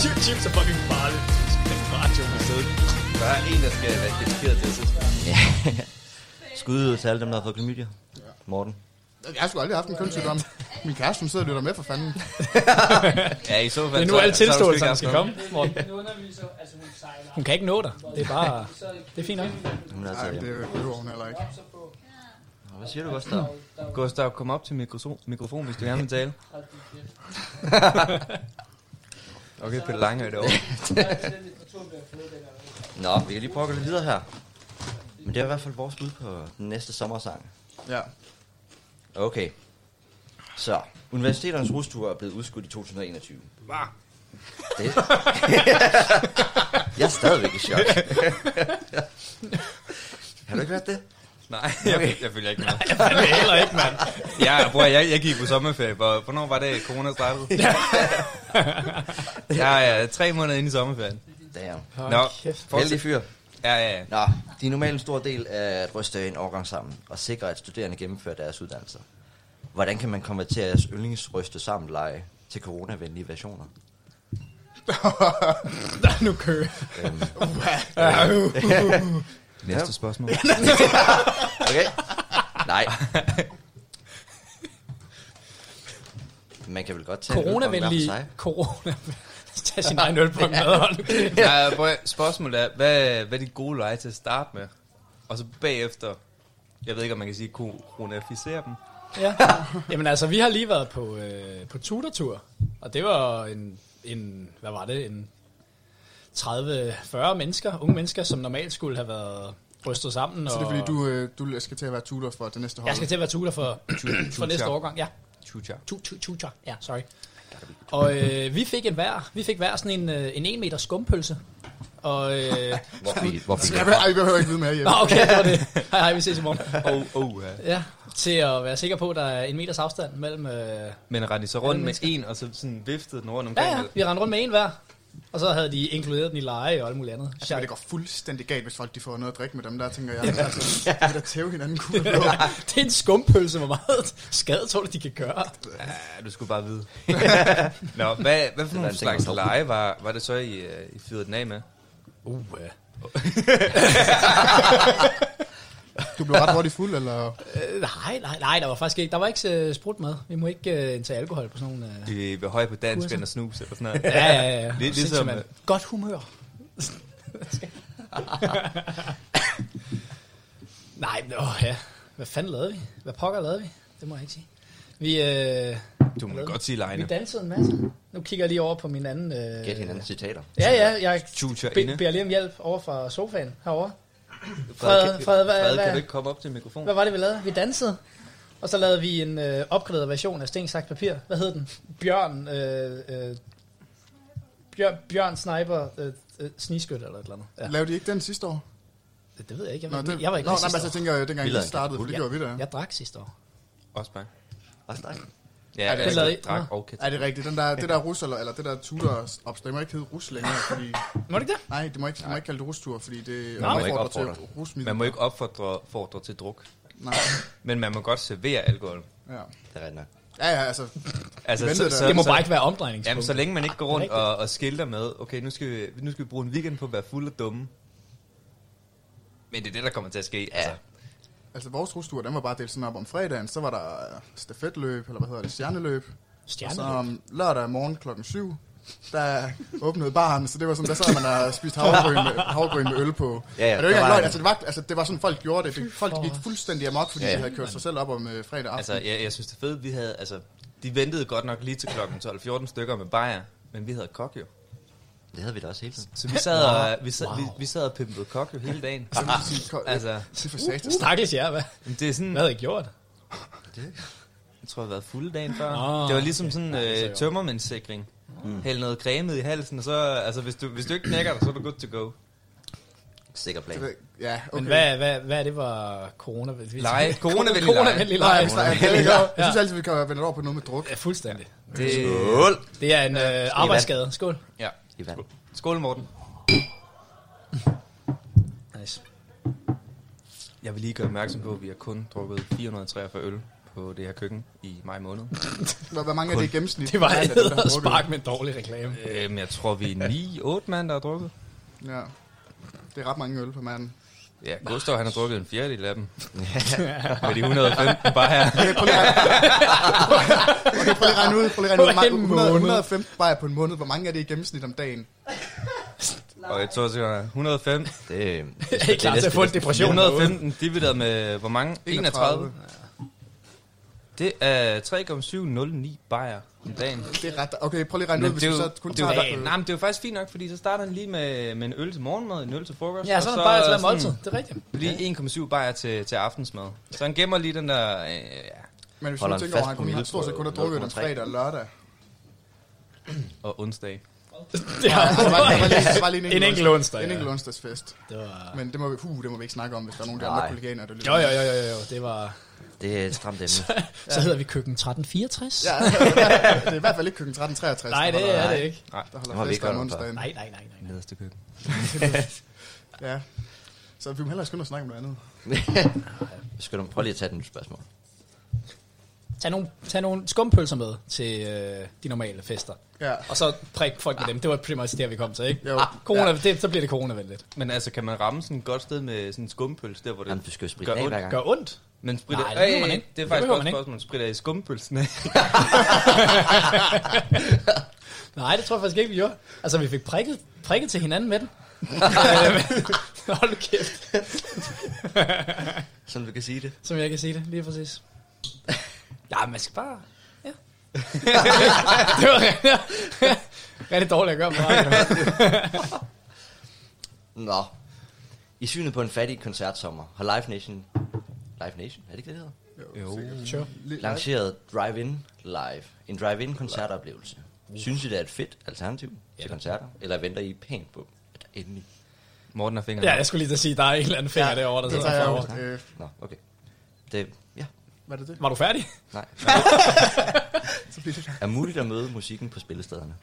Speaker 6: Chip- Chips er fucking farligt. Radio med sæde.
Speaker 2: Der er en, der skal være dedikeret til det.
Speaker 1: <laughs> Skud ud til alle dem, der har fået klamydia. Morten.
Speaker 3: Jeg har sgu aldrig haft en kønssygdom. Min kæreste, hun sidder og lytter med for fanden.
Speaker 2: <laughs> Ja, i så fald.
Speaker 4: Det er nu
Speaker 2: så-
Speaker 4: alle
Speaker 2: så er du
Speaker 4: tilståelserne
Speaker 2: sikkert
Speaker 4: skal
Speaker 2: også
Speaker 4: komme. Morten.
Speaker 7: Nu underviser, altså hun sejler.
Speaker 4: Hun kan ikke nå dig. Det er bare... Det er fint nok.
Speaker 1: Hun er
Speaker 3: Nej,
Speaker 1: altid
Speaker 3: det
Speaker 1: hjemme.
Speaker 3: behøver hun heller ikke.
Speaker 1: Hvad siger du, Gustav?
Speaker 2: kommet. Gustav, kom op til mikroso- mikrofon, hvis du gerne vil
Speaker 4: <laughs>
Speaker 2: tale. <laughs> Okay, Pelle Lange er det over.
Speaker 1: <laughs> Nå, vi kan lige prøve at gå lidt videre her. Men det er i hvert fald vores bud på den næste sommersang.
Speaker 3: Ja.
Speaker 1: Okay. Så, universiteternes rustur er blevet udskudt i 2021. Hvad? Det. <laughs> jeg er stadigvæk i
Speaker 2: <laughs>
Speaker 1: chok. har du ikke hørt det?
Speaker 2: Nej, jeg, jeg følger ikke med.
Speaker 1: <laughs>
Speaker 4: Det er heller ikke, mand.
Speaker 2: Ja, bror, jeg, jeg gik på sommerferie. Hvor, hvornår var det, corona startede? jeg er tre måneder inde i sommerferien.
Speaker 1: Damn.
Speaker 2: Nå,
Speaker 4: kæft.
Speaker 1: Heldig
Speaker 2: fortsæt.
Speaker 1: fyr.
Speaker 2: Ja, ja, ja.
Speaker 1: Nå, de er normalt en stor del af at ryste en årgang sammen og sikre, at studerende gennemfører deres uddannelser. Hvordan kan man konvertere jeres yndlingsryste sammen lege til coronavenlige versioner?
Speaker 4: Der er nu kø.
Speaker 1: Øhm,
Speaker 2: <laughs> Næste <laughs> spørgsmål.
Speaker 1: Okay. Nej. Man kan vel godt tage en øl om hver for
Speaker 4: Coronavenlige.
Speaker 1: sig.
Speaker 4: Corona. <laughs> Tag sin egen ølpunkt med og hold kæft.
Speaker 2: <laughs> Ja, prøv, at- spørgsmålet er, hvad, hvad er dit gode leje til at starte med? Og så bagefter, jeg ved ikke, om man kan sige, koronafisere dem.
Speaker 4: Ja. Jamen altså, vi har lige været på, øh, på tutortur, og det var en, en hvad var det, en 30-40 mennesker, unge mennesker, som normalt skulle have været rystet sammen.
Speaker 3: Så det er
Speaker 4: og
Speaker 3: fordi, du, øh, du skal til at være tutor for det næste hold.
Speaker 4: Jeg skal til at være tutor for, <clears throat> <clears throat> for næste
Speaker 2: tutor.
Speaker 4: årgang, ja.
Speaker 2: Chucha.
Speaker 4: Tu- tu- Tutor, ja, sorry. Og øh, vi fik en hver, vi fik hver sådan en, øh, en 1 meter skumpølse. Og, øh,
Speaker 1: Hvor fik, hvor fik
Speaker 3: Ja, men, ej, vi behøver ikke vide mere
Speaker 4: nå,
Speaker 3: hjemme.
Speaker 4: okay, det var det. Hej, hej, vi ses i morgen.
Speaker 2: Oh, oh, ja.
Speaker 4: Ja, til at være sikker på, at der er en meters afstand mellem... Øh,
Speaker 2: Men rendte I så rundt med en, og så sådan viftede den rundt
Speaker 4: Ja,
Speaker 2: omkring?
Speaker 4: ja, vi rendte rundt med en hver. Og så havde de inkluderet den i leje og alt muligt andet.
Speaker 3: Altså, men det går fuldstændig galt, hvis folk de får noget at drikke med dem der, tænker jeg. Altså, de vil da tæve hinanden
Speaker 4: <laughs>
Speaker 3: kugle på.
Speaker 4: det er en skumpølse, hvor meget <laughs> skade tror du, de kan gøre.
Speaker 2: Ja, du skulle bare
Speaker 1: <laughs>
Speaker 2: vide. <laughs> Nå, hvad, hvad for
Speaker 1: var en
Speaker 2: nogle
Speaker 1: ting,
Speaker 2: slags
Speaker 1: man dog.
Speaker 2: leje var, var det så, I, øh, I fyrede den af med?
Speaker 4: Uh,
Speaker 2: <laughs>
Speaker 4: ja.
Speaker 3: Du blev ret hurtigt fuld, eller?
Speaker 4: øh, nej, nej, nej, der var faktisk ikke, der var ikke øh, sprut med. Vi må ikke øh, indtage alkohol på sådan nogle... Øh,
Speaker 2: I var høj på dansk,
Speaker 4: Kurser.
Speaker 2: og snus eller sådan noget?
Speaker 4: ja, ja, ja. ja.
Speaker 2: Lidt
Speaker 4: Sindssygt,
Speaker 2: ligesom,
Speaker 4: mand.
Speaker 2: øh,
Speaker 4: Godt humør.
Speaker 2: <laughs>
Speaker 4: nej, men åh, ja. Hvad fanden lavede vi? Hvad pokker lavede vi? Det må jeg ikke sige. Vi, øh,
Speaker 2: Du må godt sige
Speaker 4: vi
Speaker 2: lejene.
Speaker 4: dansede en masse. Nu kigger jeg lige over på min anden... Øh,
Speaker 1: gæt hinanden citater.
Speaker 4: Ja, ja, jeg
Speaker 2: Chucha
Speaker 4: be-
Speaker 2: inde.
Speaker 4: beder lige om hjælp over fra sofaen herovre.
Speaker 2: Frederik,
Speaker 4: Frederik, Frederik, hvad-
Speaker 2: Frederik,
Speaker 4: hvad-
Speaker 2: kan du ikke komme op til mikrofonen?
Speaker 4: Hvad var det, vi lavede? Vi dansede, og så lavede vi en øh, opgraderet version af Sten, Saks, Papir. Hvad hed den? Bjørn, øh, øh, Bjørn, Bjørn Sniper, øh, øh, Sniskytte eller et eller andet. Ja.
Speaker 3: Lavede de ikke den sidste år?
Speaker 4: Det ved jeg ikke. Jeg,
Speaker 3: Nå,
Speaker 4: var,
Speaker 3: det,
Speaker 4: jeg var ikke
Speaker 3: Nå,
Speaker 4: med
Speaker 3: nej, men altså,
Speaker 4: sidste
Speaker 3: jeg tænker, øh, dengang
Speaker 1: Vi
Speaker 3: vi
Speaker 1: lavede en
Speaker 3: startede, for
Speaker 1: katapult.
Speaker 3: det gjorde vi da.
Speaker 4: år. Jeg drak sidste år.
Speaker 2: Også bare.
Speaker 1: Også dig.
Speaker 2: Ja,
Speaker 3: det
Speaker 2: jeg
Speaker 4: lavede I?
Speaker 2: drak
Speaker 4: Nå.
Speaker 2: og kat.
Speaker 3: Er det er rigtigt? Den der, det der rus, eller, eller det der tutor ops, det må ikke hedde rus længere, fordi...
Speaker 4: Må du ikke det?
Speaker 3: Nej, det må ikke, du må ikke kalde det rustur, fordi det
Speaker 1: Man må ikke
Speaker 3: opfordrer til
Speaker 1: opfordre.
Speaker 3: rusmiddel.
Speaker 2: Man må ikke opfordre fordre til druk,
Speaker 3: Nej,
Speaker 2: <laughs> men man må godt servere alkohol.
Speaker 3: ja.
Speaker 1: Det er rigtigt nok.
Speaker 3: Ja, ja, altså,
Speaker 2: Altså,
Speaker 3: Ventede der.
Speaker 4: Det må
Speaker 2: så,
Speaker 4: bare ikke være
Speaker 2: Jamen,
Speaker 4: omdrejningspunkt.
Speaker 2: så længe man ikke går
Speaker 4: Ah, det
Speaker 2: rundt
Speaker 4: er rigtigt.
Speaker 2: og, og skilter med, okay, nu skal, vi, nu skal vi bruge en weekend på at være fuld og dumme. Men det er det, der kommer til at ske. Ja. Altså,
Speaker 3: altså vores rustur, den var bare delt sådan op om fredagen, så var der øh, stafetløb, eller hvad hedder det, stjerneløb. Og så
Speaker 4: Stjerne.
Speaker 3: om lørdag morgen klokken 7, der åbnede baren, så det var sådan, der sad man og spiste havregryn med, havregryn med øl på.
Speaker 1: Ja, ja, der
Speaker 3: og det var ikke
Speaker 1: var
Speaker 3: engang løgn,
Speaker 1: en-
Speaker 3: altså det, var, altså det var sådan, folk gjorde det. det folk
Speaker 4: for-
Speaker 3: gik fuldstændig amok, fordi
Speaker 1: Ja,
Speaker 3: ja,
Speaker 1: ja.
Speaker 3: ja. de havde kørt sig selv op om øh, fredag aften.
Speaker 2: altså jeg, jeg synes, det er fedt, vi havde, altså, de ventede godt nok lige til klokken 12-14 stykker med bajer, men vi havde kok jo.
Speaker 1: Det havde vi da også hele tiden.
Speaker 2: Så vi sad og, vi sad, vi, vi sad og pimpede kok jo hele dagen.
Speaker 3: <laughs> Så det vil sige, ko-
Speaker 2: altså,
Speaker 3: det er for satan.
Speaker 4: Stakkels jer, hvad?
Speaker 2: Men Det er sådan,
Speaker 4: Hvad havde I gjort?
Speaker 2: jeg tror, jeg har været fuld dagen før.
Speaker 4: Nå,
Speaker 2: det var ligesom sådan
Speaker 4: det er
Speaker 2: øh,
Speaker 4: så
Speaker 2: tømmermændssikring. Mm. Hæld noget creme i halsen, og så, altså, hvis du, hvis du ikke knækker dig, så er du good to go.
Speaker 1: Sikker plan.
Speaker 3: Det ved- Ja, okay.
Speaker 4: Men hvad, hvad, hvad er det var corona?
Speaker 2: Lege. Coronavenlig lege.
Speaker 4: Coronavenlig
Speaker 3: Nej,
Speaker 4: leje.
Speaker 3: jeg, jeg, jeg, jeg, jeg synes altid, vi kan vende over på noget med druk.
Speaker 4: Ja, fuldstændig.
Speaker 2: Det,
Speaker 4: Det er en øh, arbejdsskade. Skål.
Speaker 2: ja.
Speaker 1: I vand.
Speaker 2: Skål, Morten.
Speaker 4: Nice.
Speaker 2: Jeg vil lige gøre opmærksom på, at vi har kun drukket 443 øl på det her køkken i maj
Speaker 3: <laughs>
Speaker 2: måned.
Speaker 3: Hvor, hvor mange er det i gennemsnit?
Speaker 4: Det var
Speaker 3: Hvad er
Speaker 4: æder
Speaker 3: der har
Speaker 4: og
Speaker 3: drukket?
Speaker 4: spark med en dårlig reklame.
Speaker 2: Øhm, jeg tror, vi er 9-8 mand, der har drukket.
Speaker 3: Ja. Det er ret mange øl på
Speaker 2: <laughs>
Speaker 3: manden.
Speaker 2: Ja, Gustav han har drukket en fjerdedel af dem. Med de 115 bare her.
Speaker 3: Okay, prøv lige at okay, prøv lige at regne ud. Prøv lige at
Speaker 4: På en
Speaker 3: regne ud.
Speaker 4: måned.
Speaker 3: 100, 115 bajer på en måned. Hvor mange er det i gennemsnit om dagen?
Speaker 2: Og jeg tror, det er 105.
Speaker 1: Det,
Speaker 4: Jeg er ikke klar til at få en depression.
Speaker 2: 115 divideret med, hvor mange? 31.
Speaker 3: 31.
Speaker 2: Det er 3,709 bajer om dagen.
Speaker 3: Det er ret... Okay, prøv lige at regne ud,
Speaker 2: Men
Speaker 3: hvis
Speaker 2: det er jo,
Speaker 3: vi så kun
Speaker 2: det er
Speaker 3: tager...
Speaker 2: jo, nej, men det er jo faktisk fint nok, fordi så starter han lige med, med en øl til morgenmad, en øl til frokost.
Speaker 4: Ja,
Speaker 2: og
Speaker 4: så er der bare til at
Speaker 2: sådan-
Speaker 4: måltid. Det er rigtigt.
Speaker 2: Lige 1,7 bajer til, til aftensmad. Så han gemmer lige den der... Øh, ja.
Speaker 3: Men hvis
Speaker 1: Holder
Speaker 3: du
Speaker 1: en
Speaker 3: tænker over,
Speaker 1: fast
Speaker 3: han kun har
Speaker 1: promille
Speaker 3: stort set
Speaker 1: på
Speaker 3: kun har drukket den
Speaker 1: 0,3.
Speaker 3: fredag og lørdag.
Speaker 4: <laughs>
Speaker 2: og onsdag.
Speaker 4: Det har
Speaker 3: Altså, der var, der var lige, der var lige
Speaker 4: En enkelt onsdag,
Speaker 3: En
Speaker 4: ja.
Speaker 3: enkelt onsdagsfest.
Speaker 4: Det var...
Speaker 3: Men det må, vi, uh, det må vi ikke snakke om, hvis der er nogen der andre
Speaker 1: Nej.
Speaker 3: kollegaer, der lytter.
Speaker 4: Jo, jo, jo, jo, jo, det var...
Speaker 1: Det er et stramt emne.
Speaker 4: <laughs> Så hedder vi køkken <laughs> 1364.
Speaker 3: Ja, <laughs> det er i hvert fald ikke køkken 1363.
Speaker 4: Nej, det er det ikke.
Speaker 3: Der
Speaker 1: Det må
Speaker 3: holder
Speaker 1: vi
Speaker 3: fest
Speaker 1: ikke
Speaker 3: om
Speaker 1: holde om for.
Speaker 3: onsdagen.
Speaker 4: Nej, nej, nej, nej.
Speaker 2: Nederste køkken.
Speaker 3: <laughs> Ja. Så vi må hellere skynde os at snakke om noget andet.
Speaker 1: <laughs> Skal du prøve lige at tage den spørgsmål?
Speaker 4: Tag nogle, tag nogle skumpølser med til øh, de normale fester.
Speaker 3: Ja.
Speaker 4: Og så prik folk med dem. Det var pretty much det, vi kom til, ikke? Ah,
Speaker 3: Jo.
Speaker 4: Corona, det, så bliver det coronavenligt.
Speaker 2: Men altså, kan man ramme sådan et godt sted med sådan en skumpølse, der hvor det
Speaker 1: Jamen, du skal jo spritte
Speaker 2: gør
Speaker 1: den af
Speaker 2: ondt?
Speaker 1: hver gang.
Speaker 4: Gør ondt.
Speaker 2: Men spritter...
Speaker 4: Nej, det behøver man
Speaker 2: Øh,
Speaker 4: ikke.
Speaker 2: Det er
Speaker 4: Det
Speaker 2: faktisk
Speaker 4: behøver
Speaker 2: også
Speaker 4: man ikke.
Speaker 2: et spørgsmål, man spritter i skumpølsen af.
Speaker 4: <laughs> Nej, det tror jeg faktisk ikke, vi gjorde. Altså, vi fik prikket, prikket til hinanden med den. Øhm, Hold nu kæft,
Speaker 1: Som du kan sige det.
Speaker 4: som jeg kan sige det, lige præcis. Ja, man skal bare... Ja. det var rigtig, rigtig dårligt at gøre på radioen.
Speaker 1: <laughs> Nå. I synet på en fattig koncertsommer har Live Nation... Live Nation? Er det ikke det, det hedder?
Speaker 4: Sure.
Speaker 1: lanceret Drive-In Live. En drive-in koncertoplevelse. Synes I, det er et fedt alternativ ja. til koncerter? Eller venter I pænt på, at der endelig...
Speaker 2: Morten har fingrene.
Speaker 4: Ja, jeg skulle lige til at sige, der er en eller anden finger ja, derovre, der
Speaker 3: det
Speaker 4: sidder
Speaker 3: tager jeg
Speaker 4: derovre.
Speaker 3: jo. Øh,
Speaker 1: Nå, okay. Det, ja,
Speaker 3: hvad er det det?
Speaker 4: Var du færdig?
Speaker 3: <laughs>
Speaker 1: nej. <laughs>
Speaker 4: <laughs>
Speaker 3: Så bliver det
Speaker 1: Er muligt at møde musikken på spillestederne?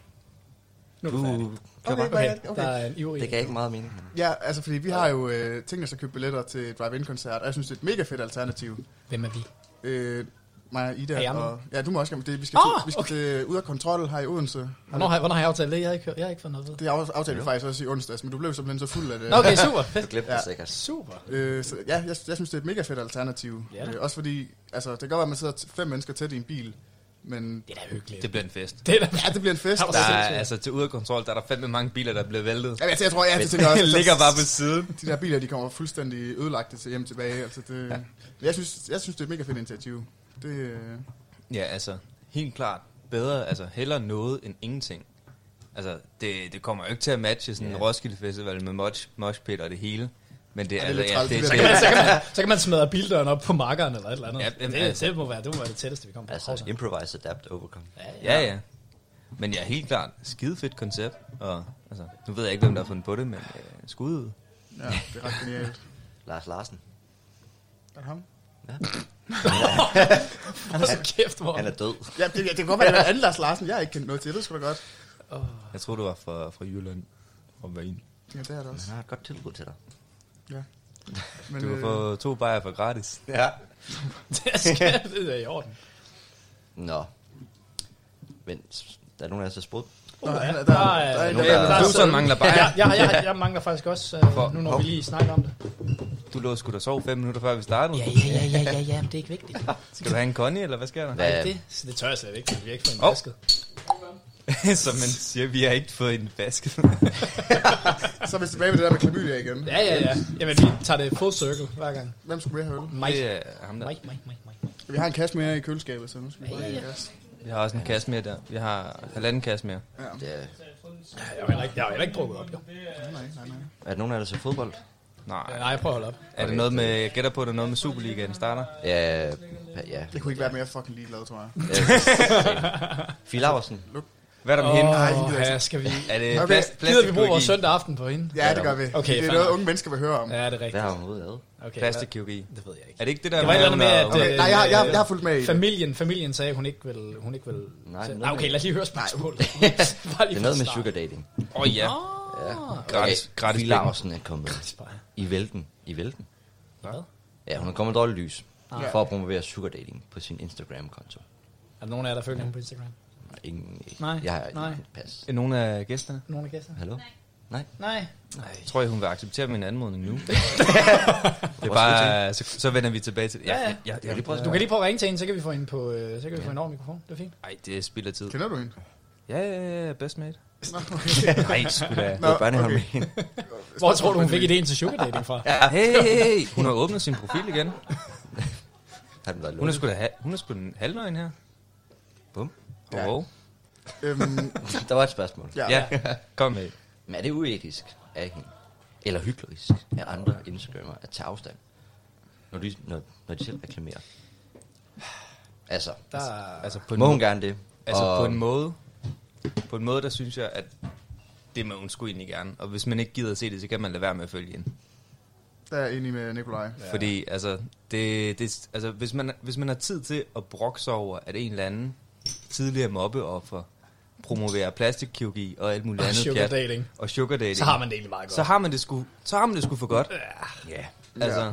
Speaker 4: Nu er
Speaker 1: Du
Speaker 4: du færdig.
Speaker 1: kører bare.
Speaker 3: Okay,
Speaker 4: Okay, der er en ivrig.
Speaker 1: Det gav ikke meget mening.
Speaker 3: Ja, altså fordi vi har jo øh, tænkt os at købe billetter til drive-in-koncert, og jeg synes, det er et mega fedt alternativ.
Speaker 4: Hvem er vi?
Speaker 3: Øh, mig og Ida
Speaker 4: Er jeg med?
Speaker 3: og... Ja, du må også gerne, det, vi skal,
Speaker 4: Ah,
Speaker 3: vi skal øh, okay. ud af kontrol her i Odense.
Speaker 4: Hvornår har, hvornår har jeg aftalt det? Jeg har ikke, hørt- jeg har ikke fået noget ved.
Speaker 3: Det af- aftalte vi faktisk også i onsdags, men du blev simpelthen så fuld af det.
Speaker 4: Nå, Okay, super.
Speaker 1: Du
Speaker 4: Fedt.
Speaker 1: glemte det
Speaker 3: Ja.
Speaker 1: sikkert.
Speaker 4: Super.
Speaker 3: Øh, så, ja, jeg, jeg synes, det er et mega fedt alternativ.
Speaker 4: Ja da.
Speaker 3: Øh, også fordi, altså, det kan godt være, at man sidder t- fem mennesker tæt i en bil, men
Speaker 4: Det er da hyggeligt.
Speaker 2: Det bliver en fest.
Speaker 4: det er da...
Speaker 3: ja, det bliver en fest.
Speaker 4: Der
Speaker 2: Der
Speaker 3: Ja,
Speaker 2: er, altså til ude af kontrol, der er der fandme mange biler, der bliver væltet.
Speaker 3: men altså, jeg tror, jeg, jeg tænker også,
Speaker 2: <laughs>
Speaker 1: <laughs>
Speaker 2: Den ligger bare ved
Speaker 3: at
Speaker 2: siden.
Speaker 3: <laughs> de der biler, de kommer fuldstændig ødelagte til hjem tilbage. Altså, det, ja. jeg, synes, jeg synes, det er et mega fedt initiativ. Det, øh,
Speaker 2: Ja, altså, helt klart. Bedre, altså, heller noget end ingenting. Altså, det, det kommer jo ikke til at matche sådan en Roskilde Festival med mosh, moshpit og det hele. Men det,
Speaker 3: det
Speaker 2: er
Speaker 3: er
Speaker 2: altså,
Speaker 3: lidt
Speaker 2: ja,
Speaker 3: træls,
Speaker 2: det,
Speaker 3: det
Speaker 2: det,
Speaker 3: der.
Speaker 4: så, kan man, så kan man smadre bildøren op på markeren eller et eller andet.
Speaker 2: Ja,
Speaker 4: Ja,
Speaker 2: jamen,
Speaker 4: det,
Speaker 2: altså-
Speaker 4: det, må være, det må være
Speaker 3: <laughs>
Speaker 4: det tætteste, vi kommer på.
Speaker 1: Altså,
Speaker 4: Hovsa.
Speaker 1: improvise, adapt, overcome.
Speaker 2: <laughs> ja, ja. Men ja, helt klart, skide fedt koncept. Og, altså, nu ved jeg ikke, hvem der har fundet på det, men øh, skud ud.
Speaker 3: ja, det er ret genialt.
Speaker 1: Lars Larsen.
Speaker 3: Er det ham?
Speaker 4: <laughs> Han er så kæft, hvor...
Speaker 1: Han er død.
Speaker 3: Ja, det, ja, det kan godt være, det er anden Lars Larsen. Jeg har ikke kendt noget til, det skulle da godt.
Speaker 2: <laughs> Jeg tror, du var fra, fra Jylland og Vagen.
Speaker 3: Ja, det er det også.
Speaker 1: Han har et godt tilbud til dig.
Speaker 3: Ja. Men,
Speaker 4: øh,
Speaker 2: Du kan <laughs> få to bajer for gratis.
Speaker 1: Ja.
Speaker 4: Det er skæft, det er i orden.
Speaker 1: Nå. Men s- der er nogen af os, der spurgte.
Speaker 3: Nå,
Speaker 4: Åh, ja,
Speaker 3: der-
Speaker 4: der,
Speaker 3: der-
Speaker 4: er-
Speaker 3: der er en,
Speaker 4: der-
Speaker 1: der-
Speaker 4: der-
Speaker 2: Produceren
Speaker 4: der-
Speaker 2: mangler
Speaker 4: Ja,
Speaker 2: bare.
Speaker 4: jeg, jeg, jeg, jeg mangler faktisk også, øh, nu når vi lige snakker om det.
Speaker 2: Du lå sgu da sove fem minutter, før vi startede.
Speaker 4: Ja, ja, ja, ja, ja, ja, men det er ikke vigtigt.
Speaker 2: <laughs> Skal du have en konje, eller hvad sker der?
Speaker 1: Hvad,
Speaker 4: Det, så det tør jeg slet ikke, for vi har ikke fået en
Speaker 2: Hov. <laughs>
Speaker 4: vasket.
Speaker 2: Som man siger, vi har ikke fået en vasket.
Speaker 3: Så er vi tilbage ved det der med klamydia igen.
Speaker 4: Ja, ja, ja. Jamen, vi tager det full circle hver gang.
Speaker 3: Hvem skulle mere have øl?
Speaker 4: Mike,
Speaker 2: Det er ham der.
Speaker 4: Mike, Mike, Mike, Mike.
Speaker 3: Vi har en kasse mere i køleskabet, så nu skal vi bare have en kasse.
Speaker 2: <laughs> Vi har også en kasse mere der. Vi har halvanden kasse mere.
Speaker 1: det er,
Speaker 4: Jeg har heller ikke, jeg har heller ikke drukket op, jo.
Speaker 3: Nej, nej, nej.
Speaker 1: er der nogen af jer, der ser fodbold?
Speaker 2: Nej.
Speaker 4: Nej, jeg prøver at holde op.
Speaker 2: Er det noget med, jeg gætter på, at det er noget med Superligaen starter?
Speaker 1: Ja, ja.
Speaker 3: Jeg kunne ikke være mere fucking ligeglad, tror jeg.
Speaker 1: Fie Laversen.
Speaker 2: Hvad er der med hende?
Speaker 3: Ej, det gider
Speaker 4: Åh,
Speaker 3: jeg
Speaker 4: ja, skal vi...
Speaker 2: Er det
Speaker 3: Okay.
Speaker 2: plast,
Speaker 4: Gider vi bruge
Speaker 2: plastikkirurgi?
Speaker 4: vores søndag aften på hende?
Speaker 3: Ja, det gør vi.
Speaker 4: Okay,
Speaker 3: det er
Speaker 4: fair
Speaker 3: noget,
Speaker 4: nok.
Speaker 3: unge mennesker vil høre om.
Speaker 4: Ja, det er
Speaker 1: Hvad
Speaker 4: rigtigt.
Speaker 1: har hun ude af?
Speaker 4: Okay,
Speaker 2: Plastikkirurgi.
Speaker 4: hvad- Det ved jeg ikke.
Speaker 2: Er det ikke det der
Speaker 4: Det var et eller andet med, at... øh,
Speaker 2: at...
Speaker 3: Okay, nej, jeg, har- jeg, har- jeg har fulgt med i det.
Speaker 4: Familien, familien sagde, hun ikke vil... Hun ikke vil
Speaker 1: Nej,
Speaker 4: nej,
Speaker 1: noget
Speaker 4: nej, okay,
Speaker 1: med-
Speaker 4: lad os lige høre
Speaker 1: <laughs>
Speaker 4: spørgsmålet.
Speaker 1: Det er noget med sugar dating.
Speaker 2: Åh oh, ja,
Speaker 1: Ja.
Speaker 2: gratis. Gratis penge.
Speaker 1: Fie Laversen er kommet i vælten. I vælten.
Speaker 4: Hvad?
Speaker 1: Ja, hun er kommet dårligt lys for at promovere sugar dating på sin Instagram-konto.
Speaker 4: Er der nogen af jer, der følger hende på Instagram?
Speaker 1: Og Ingen,
Speaker 4: Nej,
Speaker 1: jeg har
Speaker 4: nej.
Speaker 1: ikke pas.
Speaker 2: Er Øh, Nogle af gæsterne.
Speaker 4: Nogen af gæsterne?
Speaker 1: Hallo? Nej.
Speaker 4: Nej.
Speaker 2: Tror jeg, hun vil acceptere min anmodning
Speaker 4: <laughs>
Speaker 2: nu? det
Speaker 1: Vores
Speaker 2: er bare... Så, så vender vi tilbage til det. Ja,
Speaker 4: Ja,
Speaker 2: ja.
Speaker 4: ja.
Speaker 2: ja, ja.
Speaker 1: lige prøve at
Speaker 4: Du kan lige prøve at ringe til hende, så kan vi få hende på... øh, Så kan vi få hende over mikrofon. Det er fint.
Speaker 2: Ej, det er spild af tid.
Speaker 3: Kender du hende?
Speaker 2: Ja, ja, ja, best mate.
Speaker 3: Nå, okay.
Speaker 2: Nej, sgu da.
Speaker 1: Det er børnehaven med
Speaker 4: <laughs>
Speaker 1: hende.
Speaker 4: Hvor tror du, hun fik idéen til sugar dating fra?
Speaker 2: Hey, hey, hey. Hun har åbnet sin profil igen.
Speaker 1: <laughs> Har den
Speaker 2: Hun er
Speaker 1: været lukket?
Speaker 2: sgu da, ha- hun er sgu da en halvnøgen her.
Speaker 1: Bum.
Speaker 2: Ja. Oh,
Speaker 3: Øhm,
Speaker 1: <laughs> Der var et spørgsmål.
Speaker 3: ja.
Speaker 2: ja. <laughs> kom med.
Speaker 1: Men er det uetisk af hende? Eller hyklerisk af andre Instagrammer at tage afstand? Når de, når, når de selv reklamerer. Altså,
Speaker 4: Der...
Speaker 2: Altså på en,
Speaker 1: må hun gerne det?
Speaker 2: altså
Speaker 1: og,
Speaker 2: på en måde, på en måde, der synes jeg, at det må hun sgu egentlig gerne. Og hvis man ikke gider at se det, så kan man lade være med at følge hende.
Speaker 3: Der er jeg enig med Nikolaj.
Speaker 2: Ja. Fordi altså, det, det, altså hvis, man, hvis man har tid til at brokke sig over, at en eller anden tidligere mobbeoffer promoverer plastikkirurgi og alt muligt
Speaker 4: Og
Speaker 2: andet
Speaker 4: sugar
Speaker 2: pjat,
Speaker 4: dating.
Speaker 2: og sugar dating,
Speaker 4: Så har man det egentlig meget godt.
Speaker 2: så har man det sgu, så har man det sgu for godt. Ja. Altså,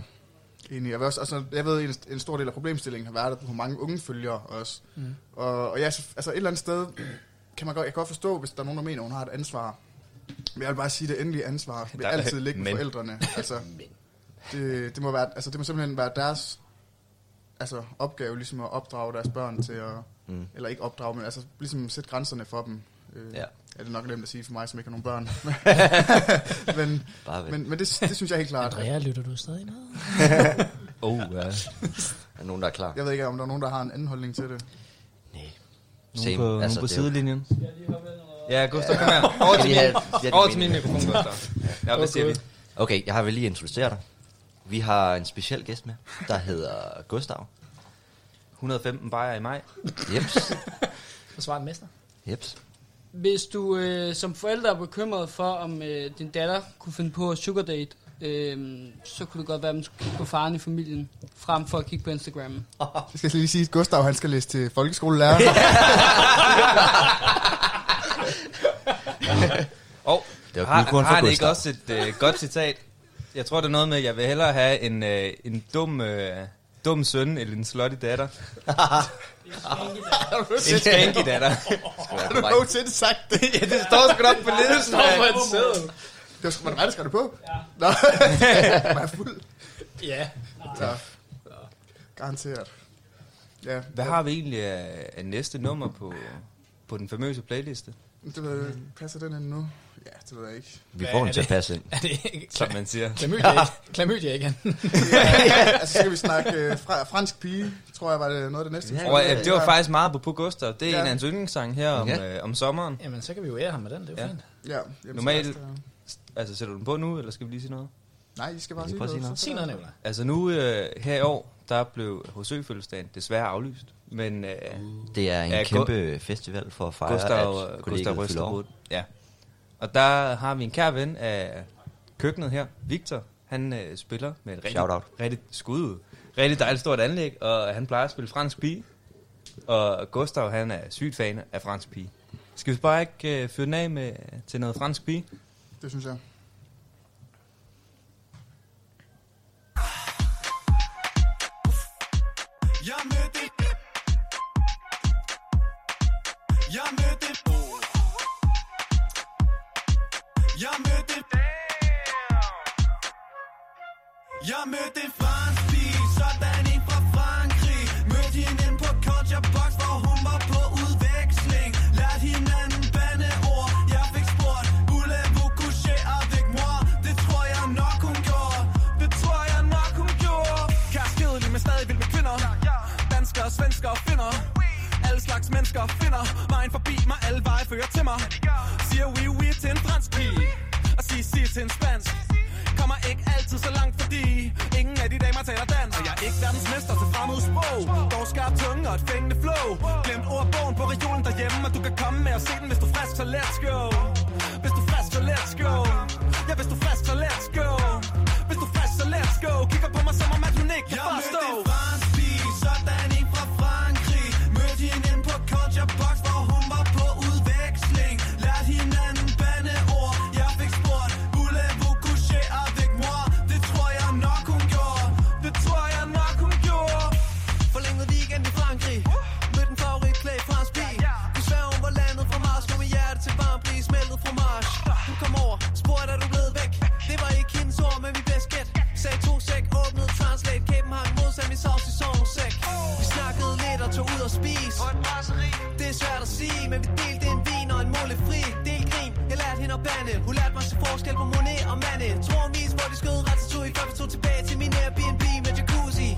Speaker 3: Ja. Enig. Jeg, vil også, altså, jeg ved, en, en stor del af problemstillingen har været, at du har mange unge følgere også. Mm. Og, og ja, så- altså et eller andet sted kan man godt, jeg kan godt forstå, hvis der er nogen, der mener, at hun har et ansvar. Men jeg vil bare sige, at det endelige ansvar vil
Speaker 2: Der-
Speaker 3: altid ligge på
Speaker 2: men.
Speaker 1: <laughs>
Speaker 3: forældrene. Altså, det, det, må være, altså, det må simpelthen være deres altså, opgave ligesom at opdrage deres børn til at, mm. eller ikke opdrage, men altså ligesom sætte grænserne for dem. Øh,
Speaker 1: Ja.
Speaker 3: ja. Er det nok nemt at sige for mig, som ikke har nogen
Speaker 1: <laughs>
Speaker 3: børn. men
Speaker 1: Bare vent.
Speaker 3: men, men det, det synes jeg helt klart.
Speaker 4: Andrea, lytter du stadig med?
Speaker 1: Oh, ja. <laughs> Er der nogen, der er klar?
Speaker 3: <laughs> Jeg ved ikke, om der er nogen, der har en anden holdning til det.
Speaker 1: Nej.
Speaker 2: Nogen på, altså, nogen på
Speaker 1: det er jo-
Speaker 2: sidelinjen. Ja, Gustav, kom her. Over
Speaker 1: Skal
Speaker 2: til
Speaker 1: vi have-
Speaker 2: min,
Speaker 1: ja, det
Speaker 2: over
Speaker 1: er
Speaker 2: til
Speaker 1: min.
Speaker 2: min mikrofon,
Speaker 1: <laughs>
Speaker 2: Gustav. Ja, hvad siger vi?
Speaker 1: Okay, jeg har vel lige introduceret dig. Vi har en speciel gæst med, der hedder Gustav.
Speaker 2: 115 bajer i maj.
Speaker 1: Jeps,
Speaker 4: Forsvar en mester.
Speaker 1: jeps.
Speaker 8: Hvis du øh, som forælder er bekymret for, om øh, din datter kunne finde på at sugar date, øh, så kunne det godt være, at man skulle kigge på faren i familien, frem for at kigge på Instagram.
Speaker 3: Det skal jeg lige sige, at Gustav han skal læse til folkeskolelærer.
Speaker 1: <laughs>
Speaker 2: Og
Speaker 1: Det var
Speaker 2: har,
Speaker 1: guldkorn for
Speaker 2: har han ikke
Speaker 1: Gustav.
Speaker 2: også et øh, godt citat? Jeg tror, det er noget med, at jeg vil hellere have en, øh, en dum, øh, dum søn eller en slutty
Speaker 4: <laughs>
Speaker 2: datter. en skanky
Speaker 4: <laughs>
Speaker 2: datter. <laughs>
Speaker 1: Har du
Speaker 3: til det sagt det?
Speaker 2: ja, det står sgu nok på ledelsen. mand.
Speaker 3: Det var sgu, var det rigtigt, skrev det på? <laughs> Ja. Nå, var jeg fuld?
Speaker 4: Ja.
Speaker 3: Så. Garanteret. Ja,
Speaker 2: Hvad har vi egentlig af, af næste nummer på, på den famøse playliste?
Speaker 3: det ved jeg, ikke. passer den ind nu? Ja, det ved jeg ikke.
Speaker 1: Vi
Speaker 4: Hvad
Speaker 1: får
Speaker 4: er
Speaker 1: den til at
Speaker 4: det?
Speaker 1: passe ind.
Speaker 4: Er det ikke?
Speaker 2: Som man siger. <laughs>
Speaker 4: Klamydia, klamydia igen.
Speaker 3: Altså, så skal vi snakke øh, fra, fransk pige, tror jeg, var det noget af det næste.
Speaker 1: Ja,
Speaker 2: Og, øh, det var faktisk meget på Gustav. Det er
Speaker 3: Ja.
Speaker 2: en af hans yndlingssange her om,
Speaker 1: Ja.
Speaker 2: øh, om sommeren.
Speaker 4: Jamen, så kan vi jo ære ham med den, det er jo
Speaker 2: Ja.
Speaker 4: ja. fint.
Speaker 3: Ja, jamen, så
Speaker 2: Normalt-
Speaker 3: resten er-
Speaker 2: Altså, sætter du den på nu, eller skal vi lige sige noget?
Speaker 3: Nej, I skal bare
Speaker 1: Vi
Speaker 3: sige
Speaker 1: prøver at sige
Speaker 3: noget.
Speaker 1: noget.
Speaker 3: så-
Speaker 4: Sig noget, Nicolaj.
Speaker 2: Altså nu, øh, her i år, der blev Hosø-fødselsdagen desværre aflyst. Men øh,
Speaker 1: Det er en
Speaker 2: Ja,
Speaker 1: ja,
Speaker 2: Gu-
Speaker 1: kæmpe festival for at fejre,
Speaker 2: Gustav,
Speaker 1: at
Speaker 2: Gustav
Speaker 1: kollegiet
Speaker 2: ryster
Speaker 1: fylder år.
Speaker 2: hovedet. Ja. Og der har vi en kær ven af køkkenet her, Victor. Han øh, spiller med et
Speaker 1: Shoutout.
Speaker 2: rigtig, rigtig skud ud. Rigtig dejligt stort anlæg, og han plejer at spille fransk pige. Og Gustav, han er sygt fan af fransk pige. Skal vi bare ikke øh, fyre den af med, til noget fransk pige?
Speaker 3: Det synes jeg.
Speaker 9: Jeg mødte et Jeg mødte et bord Jeg mødte et Jeg mødte en fransk pige Sådan en fra Frankrig Mødte hende inde på Culture Box Hvor hun var på udveksling Lærte hinanden bandeord Jeg fik spurgt Voulez-vous coucher avec moi? Det tror jeg nok hun gjorde Det tror jeg nok hun gjorde Kære skedelig, men stadig vild med kvinder Danskere, svensker og finner Alle slags mennesker finder Vejen forbi mig, alle veje fører til mig Siger oui oui til en fransk pige Og sig sig til en spansk Kommer ikke altid så langt, fordi Ingen af de damer taler dansk Og jeg er ikke verdensmester til fremmed sprog Dog skarp tunge og et fængende flow Glemt ordbogen på regionen derhjemme Og du kan komme med og se den, hvis du er frisk, så let's go Hvis du er frisk, så let's go Ja, hvis du er frisk, så let's go Hvis du er frisk, så let's go Kigger på mig som om, at hun ikke kan forstå Jeg mødte en fransk pige, sådan en fra Frankrig Mødte hende inde på Culture Box, hvor hun var på udveksling Lærte hinanden bandeord Jeg fik spurgt, voulez-vous coucher avec moi? Det tror jeg nok, hun gjorde Det tror jeg nok, hun gjorde Forlænget weekend i Frankrig Mødte en favoritklædt fransk pige Desværre hun var landet fra Mars Nu er hjerte til barn blive smeltet fra Mars Hun kom over, spurgte er du blevet væk Det var ikke hendes ord, men vi bedst gæt Sagde to sæk, åbnede translate København modsat min sovs i sovens sæk Vi snakkede lidt og tog ud og spise Det er svært at sige, men vi delte en vin og en mulle fri Del grin, jeg lærte hende at bande Hun lærte mig til forskel på Monet og Mande Tror mis, hvor de skød ratatouille Før vi tog tilbage til min Airbnb med jacuzzi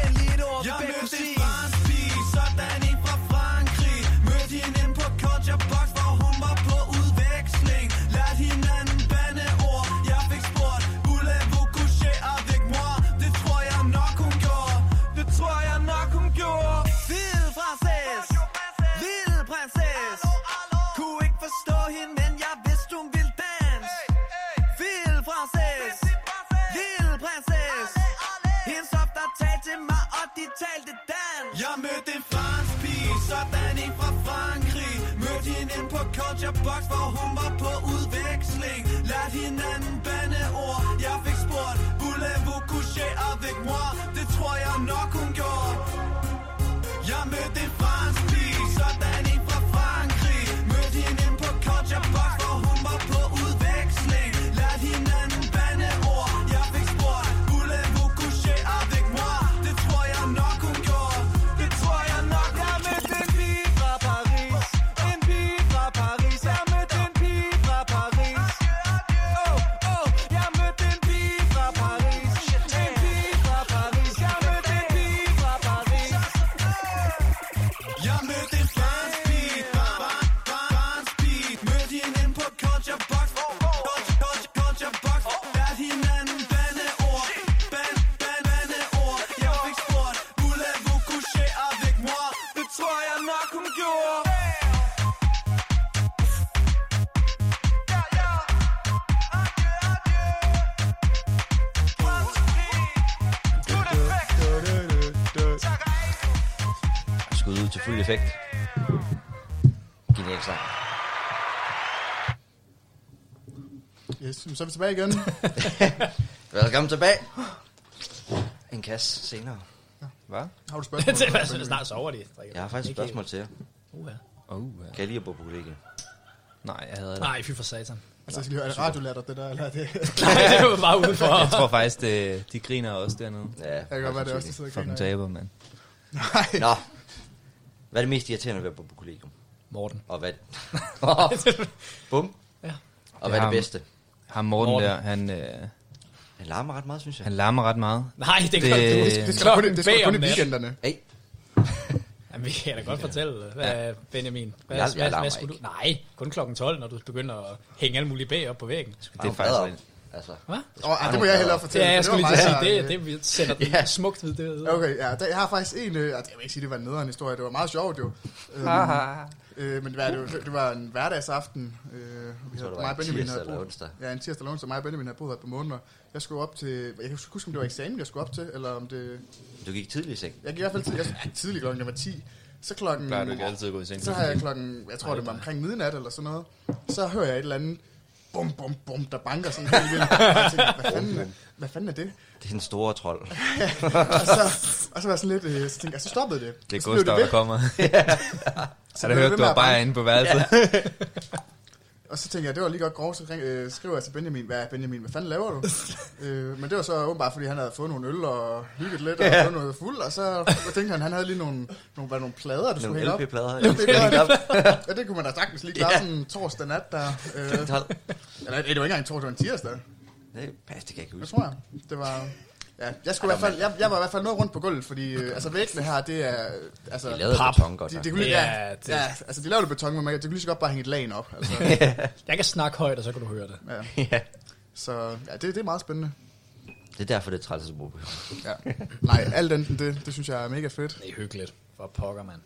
Speaker 9: Endelig et år, vi begge kunne sige fransk pige, sådan en fra Frankrig Mødte hende inde på Culture Box, hvor hun var på udveksling Lærte hinanden bandeord, jeg fik spurgt Voulez-vous coucher avec moi? Det tror jeg nok hun gjorde Det tror jeg nok hun gjorde Vild franses, vild prinsesse Kunne ikke forstå hende, men jeg vidste hun ville danse Vild franses, vild prinsesse hendes hofter talte til mig, og de talte dans. Jeg mødte en fransk pige, sådan en fra Frankrig. Mødte hende ind på Culture Box, hvor hun var på udveksling. Lærte hinanden bandeord, jeg fik spurgt. Voulez-vous coucher avec moi? Det tror jeg nok, hun gjorde. Jeg mødte en fransk pige, sådan en fra Frankrig Mødte hende inde på Culture Box, hvor hun var på udveksling Lærte hinanden bandeord, jeg fik spurgt Voulez-vous coucher avec moi? Det tror jeg nok hun gjorde Det tror jeg nok Jeg mødte en pige fra Paris En pige fra Paris Oh,
Speaker 1: lille effekt. Genial sang.
Speaker 3: Yes, så er vi tilbage igen.
Speaker 1: Velkommen tilbage. En kasse senere.
Speaker 2: Hvad?
Speaker 3: Har du
Speaker 4: <laughs>
Speaker 3: spørgsmål?
Speaker 4: det er altså, snart sover de. drikker.
Speaker 1: Jeg har faktisk et
Speaker 4: Ikke-
Speaker 1: spørgsmål til jer.
Speaker 4: Uha.
Speaker 2: Oh, ja.
Speaker 1: Kan jeg lige at bo på kollegiet?
Speaker 2: Nej, jeg havde det.
Speaker 4: Nej, <laughs> fy for satan.
Speaker 3: Altså, jeg skal lige høre, er det radiolatter, det der, eller er det...
Speaker 4: <laughs> Nej, det var bare udenfor.
Speaker 2: Jeg tror faktisk, det, de griner også dernede.
Speaker 1: Ja, altså,
Speaker 3: Jeg kan godt være, det er også, der sidder og
Speaker 2: Fucking
Speaker 3: griner.
Speaker 2: taber, mand.
Speaker 3: Nej,
Speaker 1: Nå. Hvad er det mest irriterende ved at bo på kollegium?
Speaker 4: Morten.
Speaker 2: <laughs>
Speaker 1: Og hvad... Bum.
Speaker 4: Ja.
Speaker 1: Og hvad er det
Speaker 2: Ham.
Speaker 1: bedste?
Speaker 2: Ham Morten,
Speaker 4: Morten.
Speaker 2: Morten. der, han, øh,
Speaker 1: Han larmer ret meget, synes jeg.
Speaker 2: han larmer ret meget.
Speaker 4: Nej, det kan
Speaker 2: Det-
Speaker 4: det...
Speaker 3: det, det skal
Speaker 4: Klokken
Speaker 3: kun, det skal
Speaker 4: bag
Speaker 3: kun
Speaker 4: om
Speaker 3: i
Speaker 4: natten.
Speaker 3: weekenderne.
Speaker 1: Hey,
Speaker 4: Jamen, vi kan da godt fortælle, hvad ja. Benjamin. Hvad,
Speaker 1: Jeg- jeg
Speaker 4: hvad,
Speaker 1: larmer
Speaker 4: hvad skulle du? Nej, kun klokken 12, når du begynder at hænge alle mulige bag op på væggen.
Speaker 2: Det er faktisk... lidt-
Speaker 1: Altså,
Speaker 4: Hvad?
Speaker 3: Åh, oh, det må jeg hellere fortælle.
Speaker 4: Ja, jeg
Speaker 3: for
Speaker 4: skulle
Speaker 3: det
Speaker 4: lige til
Speaker 3: var
Speaker 4: at
Speaker 3: mig,
Speaker 4: sige,
Speaker 3: der-
Speaker 4: det, det vi sender den Altså,
Speaker 1: Ja.
Speaker 4: smukt ved det.
Speaker 3: Okay, ja, der, jeg har faktisk en, øh, altså, jeg vil ikke sige, det var en nederen historie, det var meget sjovt jo. Øhm, øh, men hvad, det, var, det var en hverdagsaften, øh, og vi
Speaker 1: tror, det var
Speaker 3: havde, mig
Speaker 1: en
Speaker 3: og Benjamin
Speaker 1: tirsdag
Speaker 3: havde
Speaker 1: eller
Speaker 3: boet-
Speaker 1: onsdag.
Speaker 3: Ja, en tirsdag eller onsdag, mig og Benjamin havde boet her på måneder. Jeg skulle op til, jeg kan ikke huske, om det var eksamen, jeg skulle op til, eller om det,
Speaker 1: du gik tidlig i seng.
Speaker 3: jeg gik i hvert fald til, jeg, ja, tidlig klokken, jeg var 10, så klokken,
Speaker 2: Plejer du ikke altid at gå i seng?
Speaker 3: så har jeg klokken, jeg tror det var omkring midnat eller sådan noget, så hører jeg et eller andet, bum, bum, bum, der banker sådan helt vildt. Og jeg tænker, hvad fanden, hvad fanden er det?
Speaker 1: Det er den store
Speaker 3: <laughs>
Speaker 1: trold.
Speaker 3: Og så, og så var jeg sådan lidt, øh, så tænkte jeg, så stoppede det.
Speaker 2: Det er
Speaker 3: Og så blev
Speaker 2: Gustav,
Speaker 3: ved.
Speaker 2: der
Speaker 3: <laughs>
Speaker 2: kommer.
Speaker 3: Så
Speaker 2: Har du
Speaker 3: blev
Speaker 2: hørt, du var
Speaker 3: ved med at banke.
Speaker 2: bare inde på værelset? <laughs>
Speaker 3: Og så tænkte jeg, det var lige godt grov, så ring, øh, skriver jeg til Benjamin, hvad Benjamin, hvad
Speaker 2: <laughs>
Speaker 3: fanden laver du? øh, men det var så åbenbart, fordi han havde fået nogle øl og hygget lidt og yeah. fået noget fuld, og så tænkte han, han havde lige nogle, nogle, hvad, nogle plader, du skulle
Speaker 1: Nogle
Speaker 3: hælde op.
Speaker 1: LP-plader.
Speaker 3: Ja, det gør
Speaker 1: op.
Speaker 3: Ja, det kunne man da sagtens lige klare
Speaker 1: Ja.
Speaker 3: yeah. sådan en torsdag nat der. Øh, eller nej, det var ikke engang en torsdag, det var en tirsdag,
Speaker 1: Det pas, det kan jeg ikke
Speaker 3: det
Speaker 1: huske.
Speaker 3: tror jeg. Det var... Ja, jeg, skulle i hvert fald, jeg, jeg var i hvert fald noget rundt på gulvet, fordi øh, altså væggene her, det er... øh, Altså,
Speaker 1: De lavede
Speaker 4: Pap.
Speaker 1: beton godt.
Speaker 3: de,
Speaker 1: nok.
Speaker 3: de kunne lige,
Speaker 4: Ja,
Speaker 3: ja,
Speaker 4: det-
Speaker 3: ja, altså de lavede det beton, men man kan- de kunne lige så godt bare hænge et lag op.
Speaker 1: <laughs>
Speaker 3: Altså,
Speaker 4: <laughs> Jeg kan snakke højt, og så kan du høre det.
Speaker 3: ja.
Speaker 1: Ja.
Speaker 3: Så ja, det, det er meget spændende.
Speaker 1: Det er derfor, det er træls at bo på.
Speaker 3: Ja. Nej, alt enten det, det synes jeg er mega fedt.
Speaker 4: Det er hyggeligt. For pokker, mand.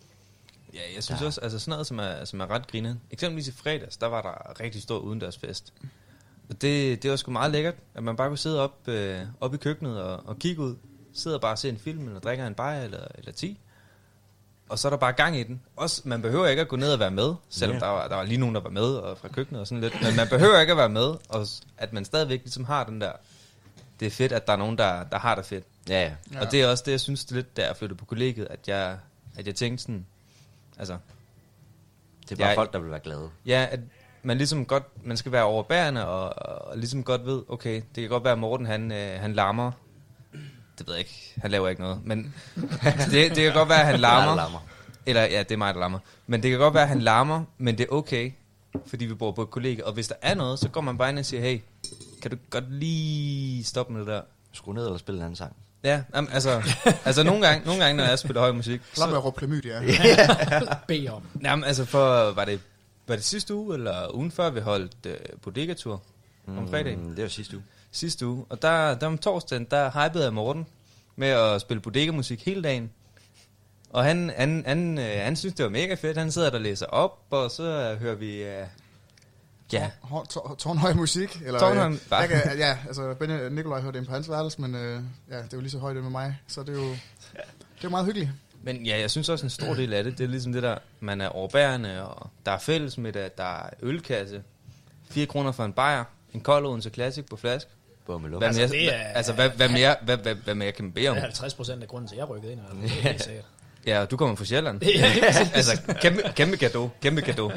Speaker 2: Ja, jeg synes også, altså sådan noget, som er, som er ret grinet. Eksempelvis i fredags, der var der rigtig stor udendørsfest. Og det, det var sgu meget lækkert, at man bare kunne sidde op, øh, op i køkkenet og, og kigge ud. Sidder bare og ser en film, eller drikker en bajer, eller, eller ti. Og så er der bare gang i den. Også, man behøver ikke at gå ned og være med, selvom der, var, der var lige nogen, der var med og fra køkkenet og sådan lidt. Men man behøver ikke at være med, og s- at man stadigvæk ligesom har den der... Det er fedt, at der er nogen, der, der har det fedt.
Speaker 1: Ja, ja.
Speaker 3: Ja.
Speaker 2: Ja. Og det er også det, jeg synes det er lidt, da jeg flyttede på kollegiet, at jeg, at jeg tænkte sådan, altså,
Speaker 1: Det er bare
Speaker 2: Jeg-
Speaker 1: folk, der vil være glade.
Speaker 2: ja, at man ligesom godt, man skal være overbærende, og, og ligesom godt ved, okay, det kan godt være, at Morten, han, øh, han larmer, det ved jeg ikke, han laver ikke noget, men <laughs> det, det kan godt være,
Speaker 1: <laughs>
Speaker 2: at han
Speaker 1: Der
Speaker 2: larmer,
Speaker 1: larmer.
Speaker 2: eller ja, det er mig, der larmer, men det kan godt være, at han larmer, men det er okay, fordi vi bor på et kollegie, og hvis der er noget, så går man bare ind og siger, hey, kan du godt lige stoppe med det der?
Speaker 1: Skru ned eller spille en anden sang.
Speaker 2: Ja, jamen, altså, altså nogle, gange, nogle gange, når jeg spiller høj musik,
Speaker 3: Slap med at råbe klamydia.
Speaker 1: <laughs>
Speaker 3: Ja.
Speaker 4: <laughs> Bed om.
Speaker 2: Jamen, altså for, var det, var det sidste uge, eller ugen før, vi holdt øh, bodegatur om fredagen?
Speaker 1: Mm, det var sidste uge.
Speaker 2: Sidste uge. Og der, der om torsdagen, der hypede jeg Morten med at spille bodegamusik hele dagen. Og han, han, han, øh, han synes, det var mega fedt. Han sidder der og læser op, og så øh, hører vi... Øh, ja,
Speaker 3: Hår- tår- Tårnhøj musik. Eller,
Speaker 2: Tårnhøj-
Speaker 3: øh, jeg kan, ja, altså Benny, Nikolaj hørte det på hans værelse, men øh, ja, det er jo lige så højt det med mig, så det er jo det er meget hyggeligt.
Speaker 2: Men ja, jeg synes også, en stor del af det, det er ligesom det der, man er overbærende, og der er fælles med det, der er ølkasse, 4 kroner for en bajer, en kold Odense Classic på flask.
Speaker 1: Bum,
Speaker 2: Hvad
Speaker 1: altså,
Speaker 2: mere, altså,
Speaker 4: det er-
Speaker 2: altså hvad, hvad, mere, hvad, hvad, hvad mere kan man bede
Speaker 4: Det
Speaker 2: om?
Speaker 4: er 50 procent af grunden til, at jeg rykkede ind. i hvert fald. Det er helt sikkert.
Speaker 2: Ja, og du kommer fra
Speaker 4: <laughs>
Speaker 2: Sjælland.
Speaker 4: Ja, lige
Speaker 2: <laughs> altså, kæmpe, kæmpe gave, kæmpe gave.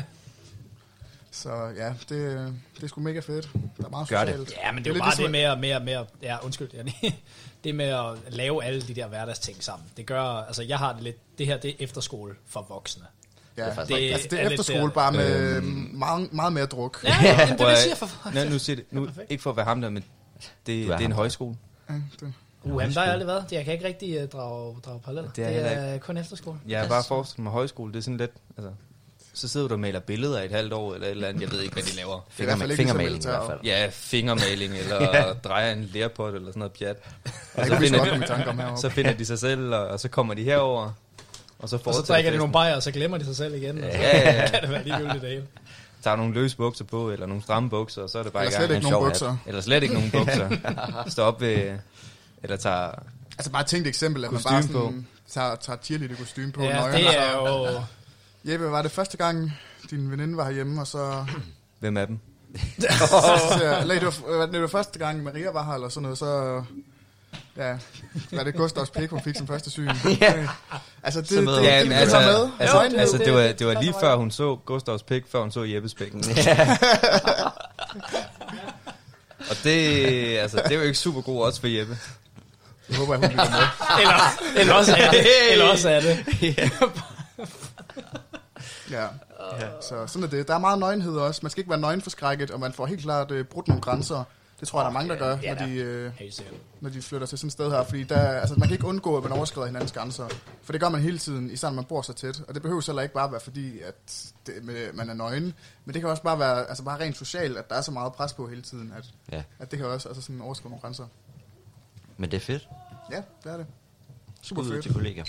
Speaker 3: Så ja, det, det er sgu mega fedt. Der er meget
Speaker 1: Gør det.
Speaker 3: socialt.
Speaker 4: Ja, men det er jo
Speaker 3: lidt
Speaker 4: bare
Speaker 3: ligesom-
Speaker 4: det med at, med at, med at, ja, undskyld, Janne. <laughs> det med at lave alle de der hverdagsting sammen. Det gør, altså jeg har det lidt, det her det er efterskole for voksne.
Speaker 3: Ja, det,
Speaker 1: det
Speaker 3: det, altså, det er
Speaker 4: er lidt
Speaker 3: efterskole
Speaker 4: der. Øhm,
Speaker 3: bare med
Speaker 1: Øhm.
Speaker 3: øh, meget, meget mere druk.
Speaker 4: Ja, ja, jamen, det er
Speaker 2: Prøv
Speaker 4: det, jeg
Speaker 2: at-
Speaker 4: siger for fuck.
Speaker 2: Nå, nu siger det, nu, ikke for at være ham der, men det,
Speaker 1: Du
Speaker 2: det
Speaker 1: er
Speaker 2: er en
Speaker 1: ham.
Speaker 2: højskole.
Speaker 3: Ja, det.
Speaker 4: Uh, jamen, der har jeg aldrig været. Jeg kan ikke rigtig uh, drage, drage paralleller.
Speaker 2: Øhm. Det er
Speaker 4: det
Speaker 2: heller
Speaker 4: er kun efterskole.
Speaker 2: Jeg har bare forestillet mig højskole, det er sådan lidt, altså, så sidder du og maler billeder i et halvt år, eller et eller andet, jeg ved ikke, hvad de laver.
Speaker 3: i hvert
Speaker 1: fingerma-
Speaker 3: fald ikke ligesom
Speaker 1: fingermaling i hvert fald.
Speaker 2: Ja, <laughs> fingermaling, eller ja. drejer en lærpot, eller sådan noget pjat. Og
Speaker 3: Jeg
Speaker 2: så
Speaker 3: kan lige så
Speaker 2: finder,
Speaker 3: godt komme i tanke om heroppe.
Speaker 2: så finder de sig selv, og, og så kommer de herover og så
Speaker 4: Og så
Speaker 2: fortsætter
Speaker 4: drikker de
Speaker 2: festen.
Speaker 4: nogle bajer, og så glemmer de sig selv igen. Ja,
Speaker 2: Ja, ja, <laughs> ja.
Speaker 4: <laughs> kan det være ligegyldigt det hele.
Speaker 2: Tager nogle løse bukser på, eller nogle stramme bukser, og så er det bare
Speaker 3: Eller
Speaker 2: i gang.
Speaker 3: slet
Speaker 1: en
Speaker 3: ikke
Speaker 1: sjov hat.
Speaker 3: nogen bukser.
Speaker 2: Eller slet ikke
Speaker 3: <laughs>
Speaker 2: nogen bukser. Står op ved, eller tager
Speaker 3: Altså bare et tænkt eksempel, at man
Speaker 2: Kostume
Speaker 3: bare sådan... tager, tager cheerleader kostume på.
Speaker 4: Ja,
Speaker 3: nøgen,
Speaker 4: det er
Speaker 3: og så-
Speaker 4: jo...
Speaker 3: Jeppe, var det første gang, din veninde var herhjemme, og så...
Speaker 2: Hvem
Speaker 3: <laughs>
Speaker 2: af dem?
Speaker 3: så <laughs> eller, det, var, var det var øh, første gang, Maria var her, eller sådan noget, så... Ja, var det Gustavs pik, hun fik sin første syn. ja. Altså, det,
Speaker 1: Så med.
Speaker 3: det, det,
Speaker 1: Ja,
Speaker 3: det,
Speaker 1: men
Speaker 3: det
Speaker 1: altså-
Speaker 3: altså, med.
Speaker 2: Altså,
Speaker 3: Nøgenhed.
Speaker 2: altså det, var,
Speaker 4: det-
Speaker 2: det var lige
Speaker 4: det-
Speaker 2: før hun så Gustavs pik, før hun så Jeppes pik.
Speaker 3: <laughs>
Speaker 2: Og det, altså, det var jo ikke super god også for Jeppe.
Speaker 3: Jeg håber, at hun lytter med.
Speaker 4: Eller, <laughs> eller også er det. Eller også er
Speaker 2: <laughs>
Speaker 4: det. <laughs>
Speaker 3: Ja. ja. Så sådan er det. Der er meget nøgenhed også. Man skal ikke være nøgenforskrækket, og man får helt klart øh, brudt nogle grænser. Det tror jeg, der er mange, der gør,
Speaker 4: ja,
Speaker 3: når de, øh,
Speaker 4: Helt sikkert.
Speaker 3: når de flytter til sådan et sted her. Fordi der, altså, man kan ikke undgå, at man overskrider hinandens grænser. For det gør man hele tiden, især når man bor så tæt. Og det behøver heller ikke bare være fordi, at det, med, man er nøgen. Men det kan også bare være altså, bare rent socialt, at der er så meget pres på hele tiden, at,
Speaker 1: Ja,
Speaker 3: at det kan også altså, sådan overskride nogle grænser.
Speaker 1: men det er fedt.
Speaker 3: Ja, det er det. Super
Speaker 1: Ud
Speaker 3: fedt.
Speaker 1: til kollegaer.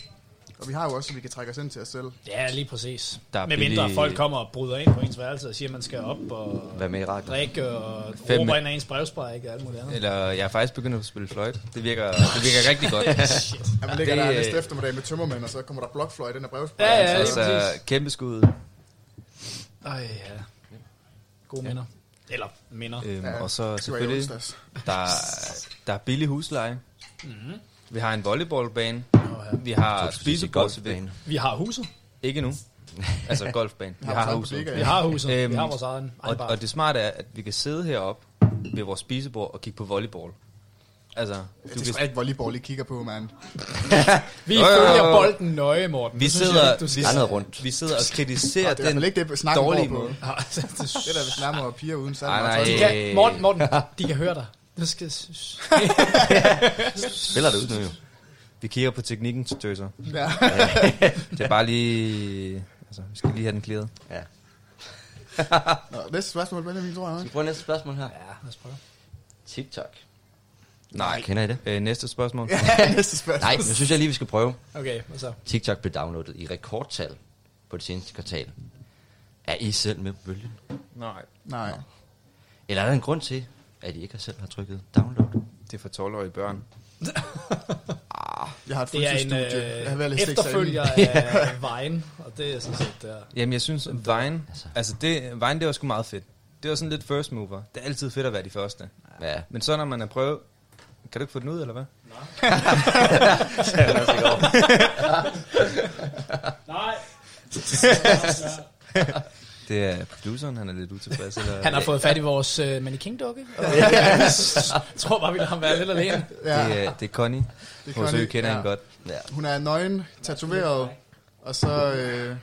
Speaker 3: Og vi har jo også, at vi kan trække os ind til os selv.
Speaker 4: Ja, lige præcis.
Speaker 1: Der er
Speaker 4: Med mindre
Speaker 1: billig-
Speaker 4: folk kommer og bryder ind på ens værelse og siger, at man skal op og
Speaker 1: Vær med i radioen.
Speaker 4: drikke og
Speaker 2: Fem-
Speaker 4: råber ind af ens brevsprække og alt muligt andet.
Speaker 2: Eller jeg er faktisk begyndt at spille fløjt. Det virker, det virker rigtig godt.
Speaker 3: At man ligger
Speaker 2: Det-
Speaker 3: der næste eftermiddag med tømmermænd, og så kommer der blokfløj i den her brevsprøjt.
Speaker 4: Ja, ja, lige
Speaker 2: altså,
Speaker 4: præcis.
Speaker 2: kæmpe skud.
Speaker 4: Ej, ja. Gode minder. Eller minder.
Speaker 2: Øhm,
Speaker 3: Ja,
Speaker 2: og så
Speaker 3: Det var i
Speaker 2: selvfølgelig,
Speaker 3: onsdags.
Speaker 2: der, er- der er billig husleje. Mm-hmm.
Speaker 4: Mhm.
Speaker 2: Vi har en volleyballbane. Vi har spisebordbane.
Speaker 1: golfbane.
Speaker 4: Vi har huset.
Speaker 2: Ikke nu. Altså golfbane. Vi har
Speaker 3: vores
Speaker 2: huset.
Speaker 3: egen
Speaker 4: Vi
Speaker 3: bodega.
Speaker 4: har huset. Øhm,
Speaker 2: Øhm,
Speaker 4: vi har vores egen,
Speaker 2: Og,
Speaker 4: egen bar.
Speaker 2: og det smarte er, at vi kan sidde heroppe ved vores spisebord og kigge på volleyball. Altså, du
Speaker 3: Det er
Speaker 2: kan,
Speaker 3: sgu da ikke volleyball, I kigger på, mand.
Speaker 4: <laughs> vi
Speaker 2: Jo, jo, jo, jo.
Speaker 4: følger bolden nøje, Morten.
Speaker 2: vi
Speaker 4: Det synes
Speaker 2: sidder,
Speaker 4: jeg ikke, du
Speaker 2: vi,
Speaker 4: skal-
Speaker 1: Der er noget rundt.
Speaker 2: vi sidder og
Speaker 3: Ja,
Speaker 2: kritiserer
Speaker 3: det er i hvert
Speaker 2: den
Speaker 3: fald ikke det, snakken
Speaker 2: dårlige
Speaker 3: går på.
Speaker 2: måde.
Speaker 3: Det er da vist nærmere piger uden særlig
Speaker 2: Ej,
Speaker 3: meget
Speaker 2: nej.
Speaker 3: tøj.
Speaker 4: De kan, Morten, Morten, de kan høre dig. Du skal...
Speaker 1: Spiller det ud nu jo.
Speaker 2: Vi kigger på teknikken til tøser.
Speaker 3: Ja.
Speaker 2: <laughs> Det er bare lige... Altså, vi skal lige have den klaret.
Speaker 1: Ja.
Speaker 3: Nå, Næste spørgsmål, Benjamin, tror jeg.
Speaker 1: Skal
Speaker 3: ikke?
Speaker 1: vi prøve næste spørgsmål her?
Speaker 4: Ja, lad os prøve.
Speaker 1: TikTok.
Speaker 2: Nej.
Speaker 1: Kender I det?
Speaker 2: Øh, næste
Speaker 4: <laughs>
Speaker 1: <laughs>
Speaker 2: spørgsmål.
Speaker 3: Næste spørgsmål.
Speaker 1: Nej, nu synes jeg lige, vi skal prøve.
Speaker 4: Okay, hvad så?
Speaker 1: TikTok blev downloadet i rekordtal på det seneste kvartal. Er I selv med på bølgen?
Speaker 2: Nej.
Speaker 3: Nej.
Speaker 1: Eller er der en grund til, at I ikke selv har trykket download?
Speaker 2: Det er for 12-årige børn.
Speaker 3: Jeg har et
Speaker 4: Det er en
Speaker 3: fuldtidsstudie. Jeg har været
Speaker 4: øh,
Speaker 3: lidt seks <laughs>
Speaker 4: efterfølger af øh, Vejen, og det er sådan set der.
Speaker 2: Jamen, jeg synes, at Vine, altså det, Vine, det var sgu meget fedt. Det var sådan lidt first mover. Det er altid fedt at være de første.
Speaker 1: Ja.
Speaker 2: Men så når man er prøvet... Kan du ikke få den ud, eller hvad? <laughs>
Speaker 4: Nej.
Speaker 2: <laughs> Det er produceren, han er lidt utilfreds. Eller...
Speaker 4: Han har fået fat i vores øh, mannequin-dukke. og- <laughs> Jeg tror bare, vi lader ham være lidt alene.
Speaker 3: Ja,
Speaker 2: Det, er, det er Connie. Det er Connie.
Speaker 3: Connie,
Speaker 2: Connie. kender ja.
Speaker 3: ja.
Speaker 2: hende godt.
Speaker 1: ja.
Speaker 3: hun er nøgen, tatoveret, og så, øh,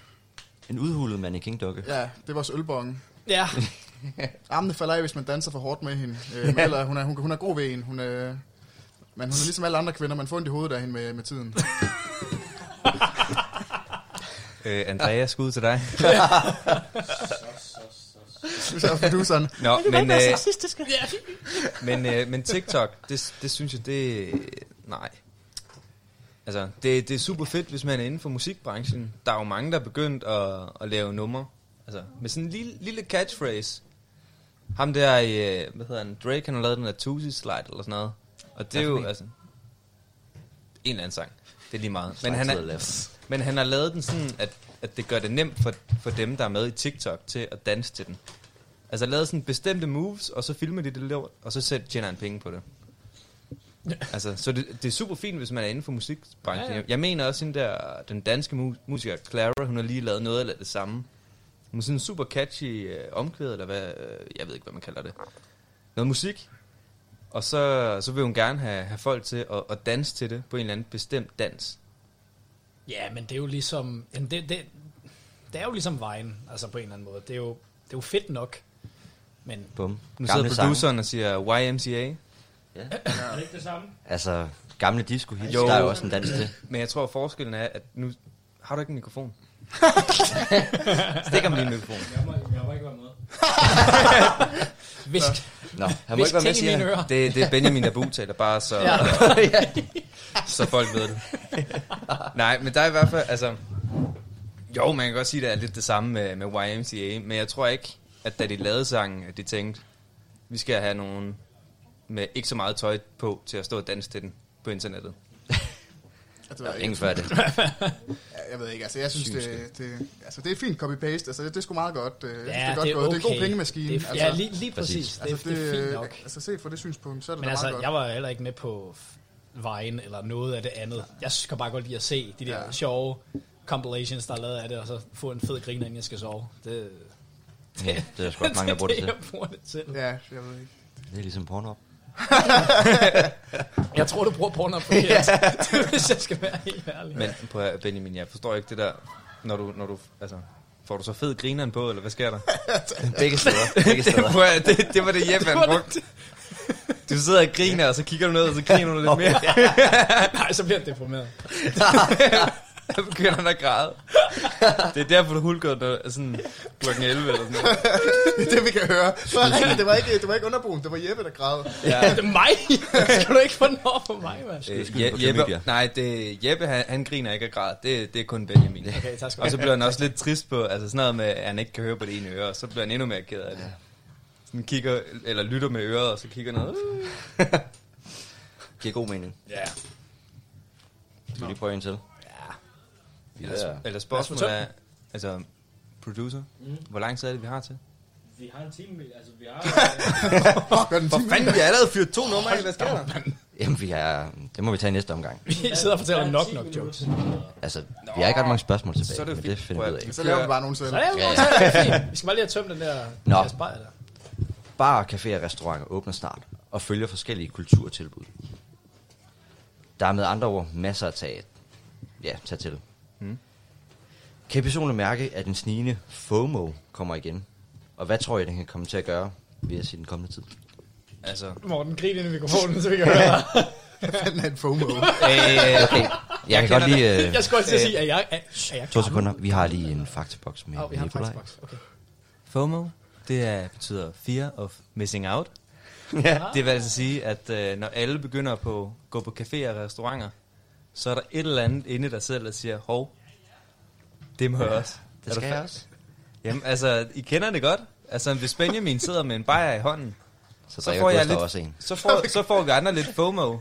Speaker 1: En udhulet mannequin-dukke. Ja.
Speaker 3: ja, det er vores ølbong.
Speaker 4: Ja,
Speaker 3: <laughs> Armene falder af, hvis man danser for hårdt med hende. Øh, men ellers, hun, er, hun, hun er god ved en. Hun er, men hun er ligesom alle andre kvinder, man får ondt i hovedet af hende med, med
Speaker 4: <laughs>
Speaker 3: tiden.
Speaker 2: Øh, Andrea, skud til
Speaker 3: <laughs>
Speaker 2: dig.
Speaker 3: Så er produceren,
Speaker 2: Nå, men, øh, men, øh, men TikTok, det, det synes jeg, det nej. Altså, det, det er super fedt, hvis man er inden for musikbranchen. Der er jo mange, der er begyndt at, at lave numre. Altså, med sådan en lille, lille catchphrase. Ham der, i, øh, hvad hedder han, Drake, han har lavet den der Tusi Slide eller sådan noget. Og det er jo, altså, en eller anden sang. Det er lige meget. Men han,
Speaker 1: Slide
Speaker 2: er,
Speaker 1: left.
Speaker 2: men han har lavet den sådan, at, at det gør det nemt for, for dem, der er med i TikTok, til at danse til den. Altså lavet sådan bestemte moves, og så filmer de det lort, og så sæt- tjener han penge på det. Altså, så det, det er super fint, hvis man er inden for musikbranchen.
Speaker 4: Ja,
Speaker 2: Ja,
Speaker 4: ja.
Speaker 2: ja. Jeg mener også, hende der, den danske mu- musiker Clara, hun har lige lavet noget af det samme. Hun er sådan en super catchy øh, omkvæd, eller hvad, øh, jeg ved ikke, hvad man kalder det. Noget musik. Og så, så vil hun gerne have, have folk til at, at danse til det på en eller anden bestemt dans.
Speaker 4: ja men det er jo ligesom... Jamen det, det, det er jo ligesom Vejen, altså på en eller anden måde. Det er jo, det er jo fedt nok. Men
Speaker 1: Bum.
Speaker 2: Nu
Speaker 1: Gamle
Speaker 2: sidder produceren
Speaker 1: sange.
Speaker 2: og siger YMCA.
Speaker 1: Altså, gamle disco hits,
Speaker 2: Jo.
Speaker 1: Altså, der er jo også en dans til.
Speaker 2: Men jeg tror, forskellen er, at nu... Har du ikke en
Speaker 1: <laughs>
Speaker 2: mikrofon? Stik ham lige en mikrofon.
Speaker 4: <laughs> visk,
Speaker 1: Nå, han må
Speaker 4: visk
Speaker 1: ikke være med,
Speaker 4: ting i
Speaker 1: siger
Speaker 4: mine
Speaker 1: han.
Speaker 4: ører.
Speaker 2: Det, det er Benjamin Abu taler bare, så, ja. <laughs> så folk ved det. Nej, men der er i hvert fald, altså... Jo, man kan godt sige, at det er lidt det samme med, med YMCA, men jeg tror ikke, at da de lavede sangen, at de tænkte, vi skal have nogen
Speaker 1: <laughs>
Speaker 2: med ikke så meget tøj på til at stå og danse til den på internettet.
Speaker 3: Altså,
Speaker 1: Jeg
Speaker 3: jeg,
Speaker 1: er
Speaker 3: ved
Speaker 1: ingen før det.
Speaker 3: ikke,
Speaker 1: <laughs>
Speaker 3: jeg, jeg ved ikke, altså jeg synes, det, det, altså, det er fint copy-paste, altså det, det er sgu meget godt. Øh, ja, det er godt gået. Det er en god pengemaskine.
Speaker 4: Det er,
Speaker 3: altså,
Speaker 4: ja, lige, lige præcis.
Speaker 1: Præcis.
Speaker 4: præcis. Det, det, er fint nok.
Speaker 3: Altså set fra det synspunkt, så er det
Speaker 4: Men
Speaker 3: da
Speaker 4: altså,
Speaker 3: meget godt.
Speaker 4: jeg var heller ikke med på f- vejen eller noget af det andet. Jeg skal bare godt lide at se de der
Speaker 3: Ja.
Speaker 4: ja. sjove compilations, der er lavet af det, og så få en fed grin, inden jeg skal sove. Det,
Speaker 1: Ja, det er der sgu ikke mange, der bruger det til.
Speaker 4: jeg bruger <laughs> det til.
Speaker 3: Ja, jeg ved ikke.
Speaker 1: Det er ligesom porno.
Speaker 4: <laughs> Jeg tror, du bruger porno
Speaker 1: <laughs>
Speaker 4: forkert, <laughs> hvis jeg skal være helt ærlig. <laughs>
Speaker 2: Men på Benjamin, jeg forstår ikke det der, når du, når du, altså, får du så fed grineren på, eller hvad sker der?
Speaker 1: <laughs> Begge steder. Begge
Speaker 2: det, <laughs>
Speaker 1: steder.
Speaker 2: prøv, at- det, det var det Jeppe, han brugte. Du sidder og griner, og så kigger du ned, og så griner du lidt mere.
Speaker 4: <laughs> Nej, så bliver jeg deprimeret.
Speaker 2: <laughs>
Speaker 4: <laughs>
Speaker 2: Så begynder han at græde. Det er derfor, du hulker når, sådan klokken 11 eller sådan noget.
Speaker 3: Det er <laughs> det, vi kan høre. Det var, rigtigt, <laughs> det var ikke, det var ikke underboen, det var Jeppe, der græd.
Speaker 4: Ja. Det er
Speaker 3: <laughs>
Speaker 4: mig! skal du ikke få den over på mig, mand?
Speaker 1: Skyld- skyld
Speaker 2: Øh,
Speaker 1: på
Speaker 2: Je-
Speaker 1: klamydia.
Speaker 2: Jeppe, nej, det, Jeppe han, han griner ikke og græder. Det, det er kun Benjamin.
Speaker 4: Okay, tak skal du
Speaker 2: Og
Speaker 4: have.
Speaker 2: så bliver han også lidt trist på, altså sådan noget med, at han ikke kan høre på det ene øre, og så bliver han endnu mere ked af det. Sådan kigger, eller lytter med øret, og så kigger ned.
Speaker 1: Giver god
Speaker 2: <laughs>
Speaker 1: mening.
Speaker 4: Ja.
Speaker 1: Skal vi lige prøve en til? Ja.
Speaker 2: Eller, eller spørgsmålet er, altså, producer, mm. hvor lang tid er det, vi har til?
Speaker 5: Vi har en time, altså vi har...
Speaker 3: Fuck, hvad er den time?
Speaker 2: Fanden, vi har allerede fyret to numre af, hvad sker der?
Speaker 1: Jamen, vi er, det må vi tage i næste omgang.
Speaker 4: <laughs> Vi sidder og fortæller
Speaker 5: Ja,
Speaker 4: nok
Speaker 5: 10
Speaker 4: nok
Speaker 5: minutter.
Speaker 4: jokes.
Speaker 1: Altså, vi har ikke ret mange spørgsmål tilbage,
Speaker 2: Så er det jo
Speaker 1: men det
Speaker 2: fint.
Speaker 1: finder vi
Speaker 2: Prøv
Speaker 1: ud
Speaker 2: at-
Speaker 1: af.
Speaker 3: Så laver vi bare nogen selv.
Speaker 4: Så er det,
Speaker 1: Ja,
Speaker 4: ja,
Speaker 1: ja.
Speaker 4: ja. Vi skal bare lige have tømt den der
Speaker 1: Nå.
Speaker 4: Nå. bajer der.
Speaker 1: Bar, caféer og restauranter åbner snart og følger forskellige kulturtilbud. Der er med andre ord masser at tage, ja, tage til. Mm.
Speaker 4: Hmm.
Speaker 1: Kan I personligt mærke, at den snigende FOMO kommer igen? Og hvad tror I, den kan komme til at gøre ved at se den
Speaker 4: <laughs>
Speaker 1: kommende tid?
Speaker 2: Altså,
Speaker 4: Morten, grin ind i mikrofonen, så vi
Speaker 2: <laughs>
Speaker 4: kan høre. <laughs>
Speaker 3: Fanden er en FOMO.
Speaker 2: øh,
Speaker 1: Okay, jeg kan godt
Speaker 2: kender
Speaker 1: lige... Øh,
Speaker 4: Jeg skulle også til at sige, at jeg er, er jeg
Speaker 1: to sekunder. Vi har lige en faktaboks med
Speaker 4: Åh, oh, vi har en
Speaker 1: Nikolaj.
Speaker 4: faxbox. Okay.
Speaker 2: FOMO, det er, betyder fear of missing out. ja. Det vil altså sige, at øh, når alle begynder på gå på caféer og restauranter, så er der et eller andet inde i dig selv, der siger, hov, det må jeg også. Er
Speaker 1: Det
Speaker 2: du
Speaker 1: skal jeg
Speaker 2: fa-
Speaker 1: også.
Speaker 2: Jamen, altså, I kender det godt. Altså, hvis Benjamin sidder med en bajer i hånden,
Speaker 1: Så,
Speaker 2: så
Speaker 1: drikker
Speaker 2: får, jeg
Speaker 1: Gustav
Speaker 2: lidt,
Speaker 1: også en.
Speaker 2: så, får, så får vi andre lidt FOMO.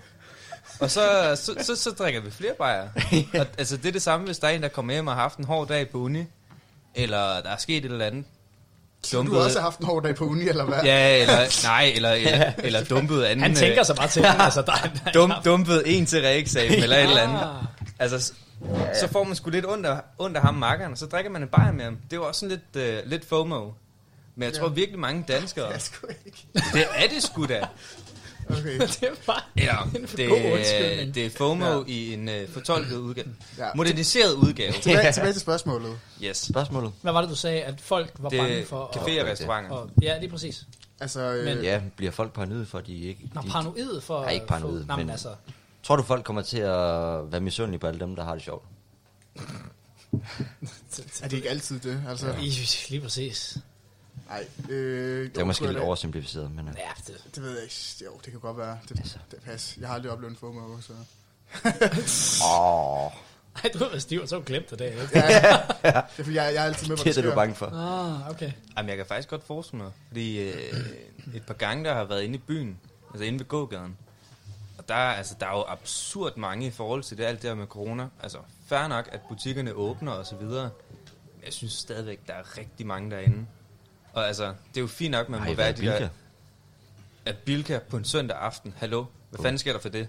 Speaker 2: Og så, så, så, så drikker vi flere
Speaker 1: <laughs>
Speaker 2: bajer. Og, altså, det er det samme, hvis der er en, der kommer hjem og har haft en hård dag på uni, eller der er sket et eller andet.
Speaker 3: Du har også haft en hård dag på uni, eller hvad?
Speaker 2: Ja,
Speaker 3: <laughs>
Speaker 2: eller, nej, eller, eller, eller dumpet anden.
Speaker 4: Han tænker sig bare
Speaker 2: <laughs>
Speaker 4: til, altså, der er,
Speaker 2: øh, Dum, dumpet en til reeksamen, eller et eller
Speaker 4: Ah.
Speaker 2: andet. Altså, s- så får man sgu lidt ondt af, ondt af ham makkeren, og så drikker man en bajer med ham. Det er jo også sådan lidt, øh, lidt FOMO. Men jeg tror virkelig mange danskere,
Speaker 3: <laughs> Jeg sgu ikke.
Speaker 2: det er det sgu da.
Speaker 3: Okay.
Speaker 4: <laughs> det er bare...
Speaker 2: Ja, det,
Speaker 4: god undskyldning.
Speaker 2: øh, det er FOMO ja. i en øh, fortolket udgave.
Speaker 3: Ja.
Speaker 2: Ja. Moderniseret udgave.
Speaker 3: Tilbage, tilbage til spørgsmålet.
Speaker 2: Yes.
Speaker 1: Spørgsmålet?
Speaker 4: Hvad var det, du sagde, at folk var
Speaker 2: Det
Speaker 4: bange
Speaker 2: er
Speaker 4: for? at-
Speaker 2: caféer og restauranter.
Speaker 4: og, ja, lige præcis.
Speaker 3: Altså, øh,
Speaker 4: Men-
Speaker 1: Ja, bliver folk paranoid for, at de ikke...
Speaker 4: Nå,
Speaker 1: de,
Speaker 4: paranoid for...
Speaker 1: Nej, ikke paranoid,
Speaker 4: for, nej, men
Speaker 1: men-
Speaker 4: altså...
Speaker 1: Tror du, folk kommer til at være misundelige på alle dem, der har det sjovt?
Speaker 3: er det ikke altid det? Altså,
Speaker 4: I, lige præcis.
Speaker 3: nej. Øh,
Speaker 1: Det er måske lidt oversimplificeret, men... øh, Altså.
Speaker 4: Ja, det,
Speaker 3: Det ved jeg ikke. Jo, det kan godt være. Det, det pas. Jeg har aldrig oplevet en FOMO, så...
Speaker 1: Åh,
Speaker 4: <laughs> ej, du var stiv, og så glemt det dag.
Speaker 1: <laughs>
Speaker 3: Ja, det er, fordi jeg, jeg er altid med, hvor
Speaker 1: det er det, du
Speaker 3: sker.
Speaker 1: er bange for.
Speaker 4: Ah, okay.
Speaker 2: Jamen, jeg kan faktisk godt forestille mig, fordi øh, et par gange, der har været inde i byen, altså inde ved gågaden, og der, er- altså, der er jo absurd mange i forhold til det, alt det her med corona. Altså, fair nok, at butikkerne åbner og så videre, men jeg synes stadigvæk, der er rigtig mange derinde. Og altså, det er jo fint nok, man
Speaker 1: Ej,
Speaker 2: må
Speaker 1: hvad
Speaker 2: være
Speaker 1: er
Speaker 2: i de der,
Speaker 1: Bilka?
Speaker 2: at Bilka på en søndag aften, hallo, hvad fanden sker der for det?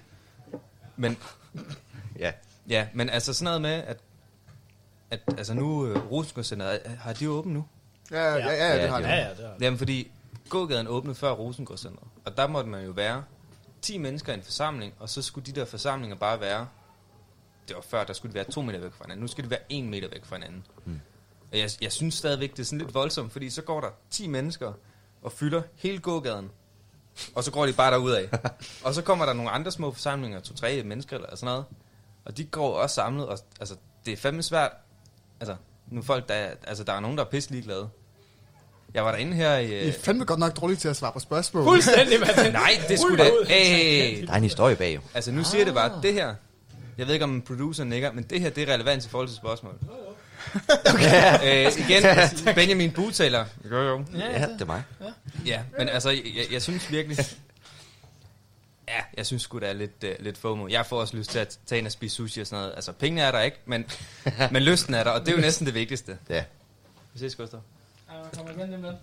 Speaker 2: Men
Speaker 1: Ja.
Speaker 2: Ja, men altså sådan noget med, at, at altså nu øh, Rosengårdscenteret, øh, har de åbent nu?
Speaker 3: Ja, ja, ja, ja, det har
Speaker 1: Ja,
Speaker 3: det.
Speaker 4: Ja, ja, det var...
Speaker 2: Jamen fordi gågaden åbnede før Rosengårdscenteret, og der måtte man jo være 10 mennesker i en forsamling, og så skulle de der forsamlinger bare være, det var før, der skulle de være 2 meter væk fra hinanden, nu skal de være 1 meter væk fra hinanden. Mm. Og jeg, jeg synes stadigvæk, det er sådan lidt voldsomt, fordi så går der 10 mennesker og fylder hele gågaden, og så går de bare derudad. og så kommer der nogle andre små forsamlinger, to-tre mennesker eller sådan noget, og de går også samlet, og altså, det er fandme svært. Altså, nu er folk, der, er- altså, der er nogen, der er pisse ligeglade. Jeg var derinde her i... øh,
Speaker 3: I er fandme godt nok dårlige til at svare på spørgsmål.
Speaker 4: Fuldstændig,
Speaker 1: <laughs>
Speaker 3: <laughs>
Speaker 4: mand.
Speaker 2: Nej, det skulle
Speaker 4: Ruller
Speaker 2: da...
Speaker 4: ud.
Speaker 2: Hey,
Speaker 1: Der er en historie bag, jo.
Speaker 2: altså, nu siger jeg det bare, det her... Jeg ved ikke, om producer nikker, men det her, det er relevant i forhold til spørgsmålet. Okay. øh, igen, Benjamin Butaler. Jo, jo.
Speaker 1: Ja, det er mig.
Speaker 2: Ja, men altså, jeg, jeg synes virkelig... Ja, jeg synes sgu, der er lidt, øh, lidt FOMO. Jeg får også lyst til at tage ind og spise sushi og sådan noget. Altså, pengene er der ikke, men, men lysten er der, og det er jo næsten det vigtigste.
Speaker 1: Ja.
Speaker 2: Vi ses, Gustav.
Speaker 8: Ej, jeg kommer igen lidt.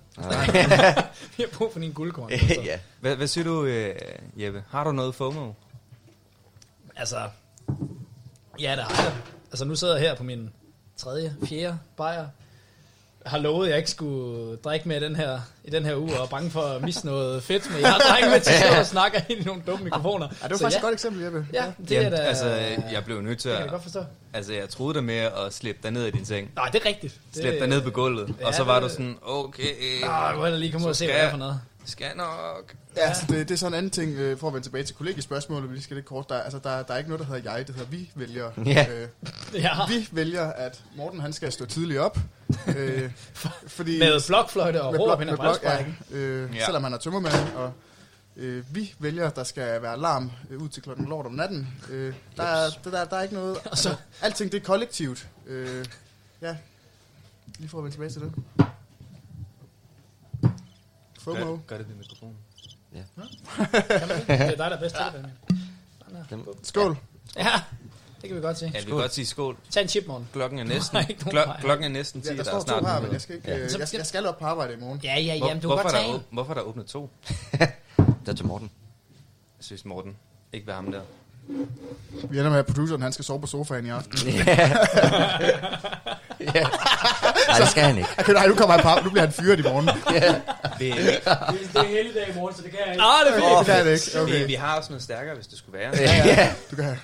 Speaker 4: <laughs> Vi har brug for din guldkorn.
Speaker 1: Ah. <laughs> ja.
Speaker 2: Hvad, hvad siger du, øh, Jeppe? Har du noget FOMO?
Speaker 4: Altså, ja, der har jeg. Altså, nu sidder jeg her på min tredje, fjerde bajer. Jeg har lovet, at jeg ikke skulle drikke med den her, i den her uge, og er bange for at misse noget fedt, men jeg har drenge med til at stå og snakke ind i nogle dumme mikrofoner.
Speaker 3: Ja, det var Ah, faktisk
Speaker 4: ja,
Speaker 3: et godt eksempel, Jeppe.
Speaker 4: Ja, det er da...
Speaker 2: altså, jeg blev nødt til
Speaker 4: det kan jeg
Speaker 2: at...
Speaker 4: godt forstå.
Speaker 2: Altså, jeg troede dig med at slippe dig ned i din seng.
Speaker 4: Nej, det er rigtigt. Det,
Speaker 2: Slæb dig ned på gulvet.
Speaker 4: ja,
Speaker 2: og så var
Speaker 4: det-
Speaker 2: du sådan, okay,
Speaker 4: Nå, jeg må hellere lige komme ud og
Speaker 2: Så
Speaker 4: se, hvad det
Speaker 2: skal
Speaker 4: er
Speaker 2: jeg-
Speaker 4: for noget.
Speaker 2: skal jeg nok...
Speaker 3: Ja, altså det, det er sådan en anden ting, øh, for at vende tilbage til kollegiespørgsmålet, vi lige skal lidt kort. Der, er- altså, der, der er ikke noget, der hedder jeg, det hedder vi vælger.
Speaker 1: Ja.
Speaker 3: Øh,
Speaker 4: <laughs> Ja,
Speaker 3: vi vælger, at Morten han skal stå tidligt op.
Speaker 4: <laughs>
Speaker 3: Øh, fordi
Speaker 4: med blokfløjte og råb
Speaker 3: blok-
Speaker 4: hen ad
Speaker 3: blok- ja,
Speaker 4: brætsprækken.
Speaker 3: øh,
Speaker 2: Ja.
Speaker 3: ja. Selvom han er tømmermand, og øh, vi vælger, der skal være larm øh, ud til klokken lort om natten. Øh, der, er, der, der, der er ikke
Speaker 4: <laughs>
Speaker 3: noget... Altså, alting det er kollektivt. Øh, ja, lige for at vende tilbage til det. FOMO.
Speaker 2: Gør, gør det ved mikrofonen.
Speaker 4: Kan man det? Det er dig, der er bedst til det, Benjamin.
Speaker 3: Skål.
Speaker 4: Ja, det kan vi godt se.
Speaker 2: Ja, vi kan godt sige skål.
Speaker 4: Tag en chip, morgen.
Speaker 2: Klokken er næsten,
Speaker 4: Der er ikke nogen
Speaker 2: klok-
Speaker 4: vej.
Speaker 2: klokken er næsten 10,
Speaker 3: Ja, der
Speaker 2: er
Speaker 3: står
Speaker 2: snart
Speaker 3: to her, men
Speaker 2: nyheder.
Speaker 3: jeg skal, ikke, øh, jeg, jeg skal op på arbejde i morgen.
Speaker 4: Ja, ja,
Speaker 2: Hvor,
Speaker 4: jamen, du kan
Speaker 2: hvorfor,
Speaker 4: godt
Speaker 2: er
Speaker 4: tage
Speaker 2: der,
Speaker 4: en.
Speaker 2: åb- hvorfor er der åbnet to?
Speaker 1: Der til Morten.
Speaker 2: Jeg synes Morten. Ikke ved ham der.
Speaker 3: Vi ender med, at produceren han skal sove på sofaen i aften. <laughs>
Speaker 1: Nej, det skal han ikke.
Speaker 3: Okay, nej, nu kommer han på arbejde. Nu bliver han fyret i morgen.
Speaker 8: Det er helligdag i morgen, så det kan jeg ikke.
Speaker 4: Ah, det er
Speaker 3: Det kan det ikke.
Speaker 2: Okay. Vi,
Speaker 3: Okay.
Speaker 2: vi har også noget stærkere, hvis det skulle være.
Speaker 3: Du kan, man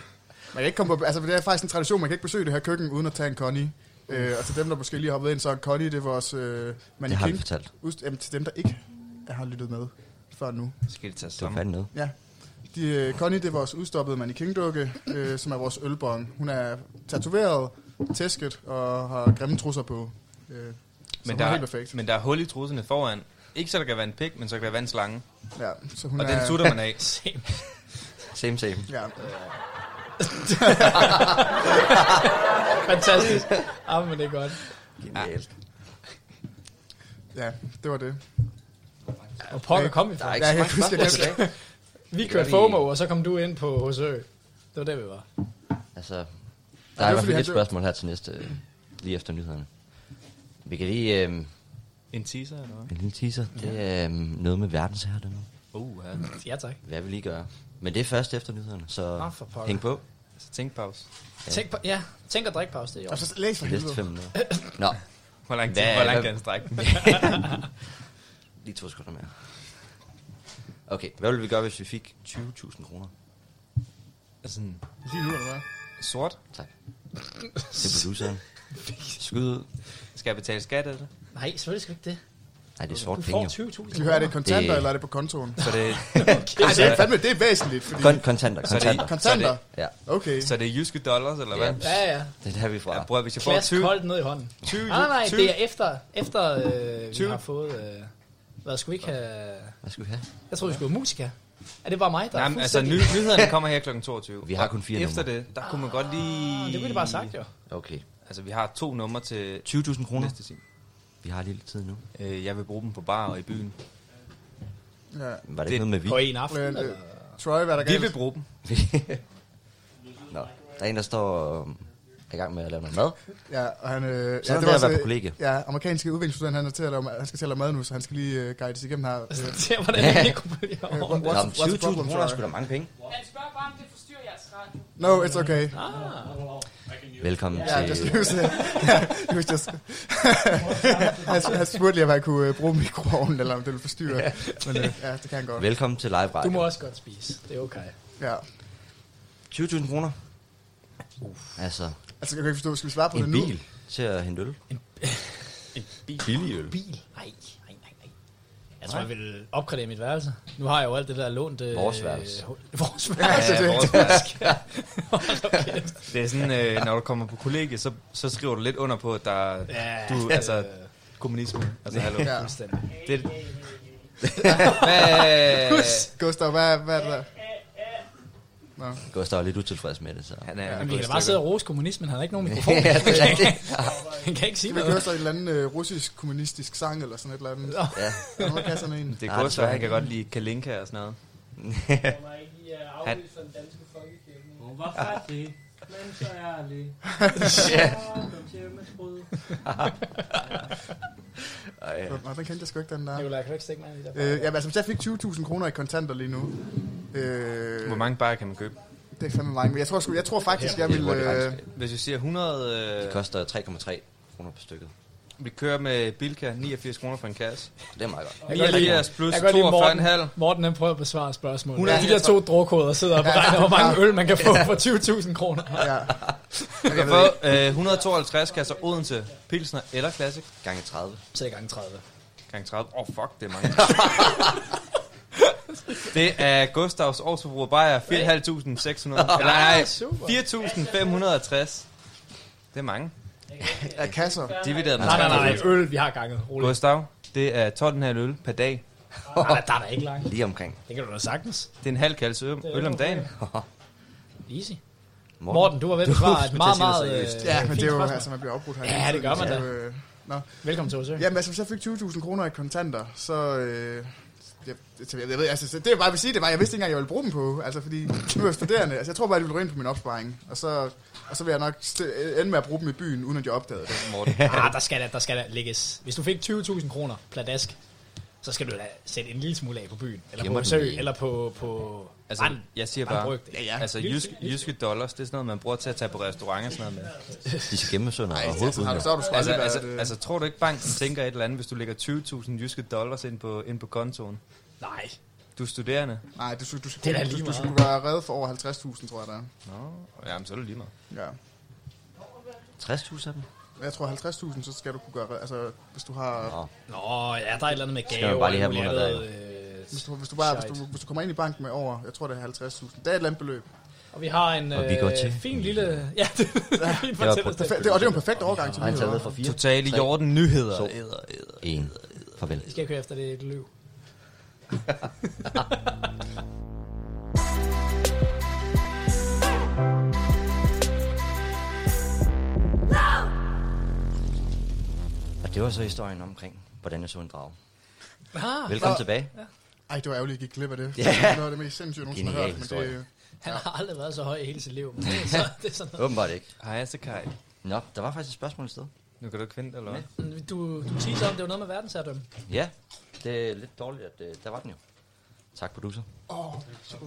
Speaker 3: kan ikke komme på, altså, det er faktisk en tradition, man kan ikke besøge det her køkken uden at tage en Connie. Øh, og til dem, der måske lige har hoppet ind, så er en Connie, det er vores øh,
Speaker 1: Det har vi
Speaker 3: mannequin.
Speaker 1: fortalt.
Speaker 3: Udst- Jamen, til dem, der ikke har lyttet med før nu.
Speaker 2: Skal det tage
Speaker 1: Det var
Speaker 2: sammen?
Speaker 1: fandme noget.
Speaker 3: Ja. De, øh, Connie, det er vores udstoppede mannequin-dukke, øh, som er vores ølbong. Hun er tatoveret, tæsket og har grimme trusser på. Øh, så
Speaker 2: Men
Speaker 3: hun er helt
Speaker 2: der,
Speaker 3: perfekt.
Speaker 2: men der er hul i trusserne foran. Ikke så der kan være en pik, men så kan der være en slange.
Speaker 3: ja, så hun
Speaker 2: Og den
Speaker 3: er,
Speaker 2: sutter
Speaker 3: <laughs>
Speaker 2: man af.
Speaker 1: Same, same.
Speaker 3: ja,
Speaker 4: <laughs>
Speaker 2: Øh.
Speaker 4: Fantastisk. Ah, men det er godt.
Speaker 1: Genialt.
Speaker 3: ja, det var det.
Speaker 4: Og pokker kom vi
Speaker 1: Der er
Speaker 4: fra.
Speaker 1: ikke
Speaker 3: Ja,
Speaker 1: så
Speaker 3: jeg
Speaker 1: mange
Speaker 3: husker
Speaker 1: spørgsmål
Speaker 3: det.
Speaker 1: tilbage.
Speaker 4: <laughs> Vi kørte FOMO, og så kom du ind på Hosø. Det var der, vi var.
Speaker 1: Altså, der
Speaker 3: det
Speaker 1: er
Speaker 3: er
Speaker 1: i hvert
Speaker 3: fordi,
Speaker 1: fald
Speaker 3: han
Speaker 1: et
Speaker 3: dør.
Speaker 1: spørgsmål her til næste, øh, lige efter nyhederne. Vi kan lige... Øh,
Speaker 2: En teaser, eller hvad?
Speaker 1: en lille teaser. Det er øh, noget med verdensherredømme.
Speaker 2: Uh, ja.
Speaker 4: Ja, tak.
Speaker 1: Hvad vi lige gør. Men det er først efter nyhederne, så
Speaker 4: Nå, for pokker.
Speaker 1: hæng på.
Speaker 2: Så tænk pause.
Speaker 4: Tænk på, ja, tænk at drikke pause det i år.
Speaker 3: Og så læs for
Speaker 1: De næste
Speaker 3: helvede.
Speaker 1: fem minutter.
Speaker 3: <clears throat> <coughs>
Speaker 1: Nå,
Speaker 2: Hvor lang tid,
Speaker 1: Hvad-
Speaker 2: hvor lang
Speaker 1: hvad-
Speaker 2: kan den strække? den?
Speaker 1: <laughs> lige to sekunder mere. Okay, hvad ville vi gøre, hvis vi fik 20.000 kroner?
Speaker 2: Altså, sådan
Speaker 3: Lige nu, eller hvad?
Speaker 2: sort.
Speaker 1: Tak. Det er produceren. Skyd ud.
Speaker 2: Skal jeg betale skat af det?
Speaker 4: Nej, selvfølgelig skal du ikke det.
Speaker 1: Nej, det er sort
Speaker 4: Du
Speaker 1: penge.
Speaker 4: får
Speaker 1: jo.
Speaker 4: 20.000
Speaker 3: Skal vi høre, er det
Speaker 4: kroner.
Speaker 3: kontanter,
Speaker 1: Det-
Speaker 3: det... eller er det på kontoen? <laughs>
Speaker 2: Så det, <laughs>
Speaker 3: Nej, det er fandme, det er væsentligt, fordi...
Speaker 1: Kon- kontanter,
Speaker 2: så det,
Speaker 1: kontanter.
Speaker 2: så det,
Speaker 3: kontanter?
Speaker 1: Ja,
Speaker 3: Okay.
Speaker 2: så det er jyske dollars, eller hvad?
Speaker 4: Ja, ja.
Speaker 1: det er der, vi er fra.
Speaker 2: Ja, bror, hvis jeg får
Speaker 4: Klask
Speaker 2: 20,
Speaker 4: koldt ned i hånden.
Speaker 2: 20,
Speaker 4: Nej, nej, nej,
Speaker 2: 20,
Speaker 4: det er efter, efter øh, vi
Speaker 2: 20.
Speaker 4: har fået... Øh, hvad skulle vi ikke have...
Speaker 1: Hvad skal vi have?
Speaker 4: Jeg troede, vi skulle have musika. Er det bare mig, der
Speaker 2: Nej,
Speaker 4: er
Speaker 2: men altså, ny,
Speaker 4: fuldstændig-
Speaker 2: nyhederne kommer her kl. 22.
Speaker 3: <laughs>
Speaker 1: <laughs> Vi har kun fire
Speaker 2: Efter det, der kunne man godt lige...
Speaker 4: Ah, Det kunne de bare have sagt, jo.
Speaker 1: Okay.
Speaker 2: Altså, vi har to numre til
Speaker 1: 20.000 kroner.
Speaker 2: næste time.
Speaker 1: Vi har lidt tid nu.
Speaker 2: Øh, jeg vil bruge dem på bar og i byen.
Speaker 3: Ja.
Speaker 1: Var det,
Speaker 2: Det-
Speaker 1: ikke noget med vi?
Speaker 4: På en aften,
Speaker 3: Men,
Speaker 4: eller?
Speaker 3: øh, Troy, hvad er der
Speaker 2: Vi vil
Speaker 3: galt?
Speaker 2: bruge dem.
Speaker 1: <laughs> Nå, der er en, der står øh, er i gang med at lave noget mad.
Speaker 3: Ja, og han... Øh, ja, det
Speaker 1: der
Speaker 3: var
Speaker 1: at være
Speaker 3: også,
Speaker 1: på kollegie.
Speaker 3: Ja, amerikanske udviklingsstudent, han, er til at lave, han skal til at lave mad nu, så han skal lige øh, guides igennem
Speaker 4: <laughs>
Speaker 3: her. Øh,
Speaker 4: Der, hvordan vi ikke kunne blive over.
Speaker 3: what's,
Speaker 1: Nå, men
Speaker 3: what's the
Speaker 1: 20.000
Speaker 3: problem,
Speaker 1: kroner er sgu
Speaker 3: Troy?
Speaker 1: da mange penge.
Speaker 10: Han spørger bare, om det forstyrrer jeres radio.
Speaker 3: No, it's okay.
Speaker 4: Ah.
Speaker 1: Velkommen
Speaker 3: Ja, det
Speaker 1: til...
Speaker 3: skal vi se. <laughs> It was just... <laughs> han, han spurgte lige, om han kunne øh, bruge mikroovnen, eller om det ville forstyrre. Men øh, ja, det kan han godt.
Speaker 1: Velkommen til live
Speaker 4: Du
Speaker 1: radio.
Speaker 4: må også godt spise. Det er okay.
Speaker 3: Ja.
Speaker 1: 20.000 kroner. Altså,
Speaker 3: Altså, jeg kan ikke forstå, skal vi svare på det
Speaker 1: en
Speaker 3: nu?
Speaker 1: bil til at hente øl.
Speaker 3: <laughs>
Speaker 4: Bil? Nej, nej, nej, nej. Jeg tror, jeg vil opgradere mit værelse. Nu har jeg jo alt det der lånt... Øh,
Speaker 1: Vores værelse.
Speaker 4: hul- <laughs> vores
Speaker 3: Ja,
Speaker 4: værelse.
Speaker 3: så det,
Speaker 4: <laughs>
Speaker 2: vores Det er sådan, øh, når du kommer på kollegie, så, så skriver du lidt under på, at der er
Speaker 4: Ja,
Speaker 2: Du, altså, kommunisme. Altså, hallo.
Speaker 3: ja.
Speaker 4: fuldstændig.
Speaker 2: Det,
Speaker 4: <laughs>
Speaker 2: hvad,
Speaker 3: Gustav, hvad, hvad er det der?
Speaker 1: Gustav er lidt utilfreds med det, så...
Speaker 2: han er,
Speaker 4: Men
Speaker 2: han
Speaker 4: vi kan da
Speaker 2: er gået
Speaker 4: bare
Speaker 2: i
Speaker 4: sidde og
Speaker 2: stykker.
Speaker 4: rose kommunismen. Han har ikke nogen mikrofon. <laughs> Han kan ikke sige
Speaker 3: Skal vi
Speaker 4: noget.
Speaker 3: høre så en eller anden øh, russisk kommunistisk sang eller sådan et eller andet?
Speaker 1: Ja.
Speaker 3: <laughs>
Speaker 1: Ah,
Speaker 3: Ja, nu kan sådan en.
Speaker 2: det
Speaker 1: Nej,
Speaker 2: er godt, så
Speaker 1: desværre
Speaker 2: han
Speaker 1: ikke.
Speaker 4: <laughs>
Speaker 2: kan godt lide Kalinka og sådan noget.
Speaker 5: Hun var ikke i uh, afvist fra den danske folkekirke. Hun var fattig, men så ærlig.
Speaker 3: Shit.
Speaker 1: Ej.
Speaker 3: Nå, den kendte jeg sgu ikke, den der.
Speaker 4: Nicolaj, kan du ikke stikke mig i det der?
Speaker 3: Øh, jamen, altså, hvis jeg fik 20.000 kroner i kontanter lige nu, øh,
Speaker 2: Hvor mange bajer kan man købe?
Speaker 3: det er fandme mange, men jeg tror, sgu, jeg tror faktisk, jeg vil... Øh,
Speaker 2: Hvis vi siger 100...
Speaker 1: Det
Speaker 2: Øh,
Speaker 1: koster 3,3 kroner per stykket.
Speaker 2: vi kører med Bilka, 89 kroner for en kasse.
Speaker 1: Det er meget godt.
Speaker 4: Jeg kan godt lide-
Speaker 2: 89 plus
Speaker 4: jeg kan godt lide Morten.
Speaker 2: 42,5.
Speaker 4: Morten han prøver at besvare spørgsmålet.
Speaker 3: Ja.
Speaker 4: Ja, de der to drogkoder sidder og beregner, hvor mange øl man kan få for 20.000 kroner.
Speaker 3: ja.
Speaker 2: Du kan få øh, 152 kasser Odense, Pilsner eller Classic.
Speaker 1: Gange 30.
Speaker 4: Så er gang 30.
Speaker 2: Gang 30. Åh, oh, fuck, det er mange. det er Gustavs årsforbrug af bajer, 4.500, 600. Eller nej,
Speaker 4: Ah, super.
Speaker 2: 4.560. Det er mange.
Speaker 3: Af kasser.
Speaker 2: Divideret med
Speaker 4: Nej, nej,
Speaker 2: 30.
Speaker 4: nej, øl, vi har ganget. Rolig.
Speaker 2: Gustav, det er 12,5 øl per dag.
Speaker 4: Nej, nej, der er da ikke langt.
Speaker 1: Lige omkring.
Speaker 4: Det kan du da sagtens.
Speaker 2: Det er en halv kasse øl, øl om dagen.
Speaker 4: Easy.
Speaker 1: Morten.
Speaker 4: Morten, du var ved at
Speaker 3: <laughs>
Speaker 4: besvare et
Speaker 1: skulle
Speaker 4: meget,
Speaker 1: til at sige
Speaker 4: meget
Speaker 1: noget
Speaker 4: øh,
Speaker 1: seriøst.
Speaker 3: Ja, men
Speaker 4: fint
Speaker 3: det er jo,
Speaker 4: spørgsmål.
Speaker 3: altså, man bliver afbrudt her.
Speaker 4: Ja,
Speaker 3: hele tiden,
Speaker 4: det gør man
Speaker 3: så,
Speaker 4: da.
Speaker 3: øh, Nå.
Speaker 4: Velkommen til Osø.
Speaker 3: Jamen, altså, hvis jeg fik 20.000 kroner i kontanter, så... Øh, jeg, jeg, jeg ved, altså, så det jeg bare vil sige, det var, jeg vidste ikke engang, jeg ville bruge dem på, altså, fordi nu er jeg studerende, altså, jeg tror bare, det ville ryge ind på min opsparing, og så, og så vil jeg nok st- ende med at bruge dem i byen, uden at jeg opdagede det.
Speaker 4: <laughs> Ah, der skal da, der skal da lægges. Hvis du fik 20.000 kroner pladask, så skal du da sætte en lille smule af på byen. Eller
Speaker 1: Gemmer
Speaker 4: på
Speaker 1: den
Speaker 4: Osø,
Speaker 1: lige.
Speaker 4: eller på... på
Speaker 2: Altså,
Speaker 4: Brand.
Speaker 2: jeg siger
Speaker 4: Bare
Speaker 2: bare,
Speaker 4: bryg det. Ja, ja.
Speaker 2: altså, jyske, jyske dollars, det er sådan noget, man bruger til at tage på restaurant og sådan noget med.
Speaker 1: De skal gemme sønder og
Speaker 3: Altså, har du,
Speaker 1: hovedbudene.
Speaker 3: så har du sgu
Speaker 2: Altså,
Speaker 3: aldrig
Speaker 2: altså,
Speaker 3: været... øh,
Speaker 2: altså, tror du ikke, banken tænker et eller andet, hvis du lægger 20.000 jyske dollars ind på, ind på kontoen?
Speaker 4: Nej.
Speaker 2: Du er studerende.
Speaker 3: Nej, du, skulle- du, skulle,
Speaker 4: Det er da
Speaker 3: du,
Speaker 4: lige
Speaker 3: du
Speaker 4: meget.
Speaker 3: skulle være reddet for over 50.000, tror jeg, der er.
Speaker 2: Nå, jamen, så er det lige meget.
Speaker 3: Ja.
Speaker 1: 60.000 af dem?
Speaker 3: Jeg tror 50.000, så skal du kunne gøre... Altså, hvis du har...
Speaker 4: Nå, ja, der er et eller andet med gave.
Speaker 1: man bare lige
Speaker 4: og
Speaker 1: have
Speaker 4: alt
Speaker 1: dem under
Speaker 4: muligt andet,
Speaker 3: Hvis
Speaker 4: øh,
Speaker 3: du, hvis du, bare, hvis
Speaker 4: Shit.
Speaker 3: du, hvis du kommer ind i banken med over, jeg tror, det er 50.000. Det er et eller andet beløb.
Speaker 4: Og vi har en
Speaker 1: Og vi går til.
Speaker 4: øh, fin lille... Ja, <laughs> det er en fin
Speaker 1: på-
Speaker 4: fortællested.
Speaker 3: Perfekt, det, og det er jo en perfekt overgang til
Speaker 1: Har han taget med
Speaker 3: nyheder.
Speaker 1: for 4?
Speaker 2: Totale jorden nyheder.
Speaker 1: to, en. Farvel.
Speaker 4: Skal jeg køre efter det løb?
Speaker 1: Og det var så historien omkring, hvordan jeg så en
Speaker 3: <laughs>
Speaker 1: drage.
Speaker 4: Ah,
Speaker 1: Velkommen
Speaker 3: så-
Speaker 1: tilbage.
Speaker 3: Ej, det var ærgerligt, at jeg gik glip af det.
Speaker 1: Ja.
Speaker 3: Det er noget af det mest sindssyge, jeg nogensinde har
Speaker 1: Genial
Speaker 3: hørt. Men
Speaker 1: historie.
Speaker 3: det,
Speaker 4: han har aldrig været så høj i hele sit
Speaker 1: <laughs>
Speaker 4: liv. Men det er, så, det er sådan
Speaker 1: Åbenbart ikke.
Speaker 2: Hej, Asakai.
Speaker 1: Nå, der var faktisk et spørgsmål et sted.
Speaker 2: Nu kan du ikke finde det, eller hvad?
Speaker 4: noget. Du, du teaser om, det var noget med verdensherredømme.
Speaker 1: Ja, det er lidt dårligt, at øh, der var den jo. Tak, producer.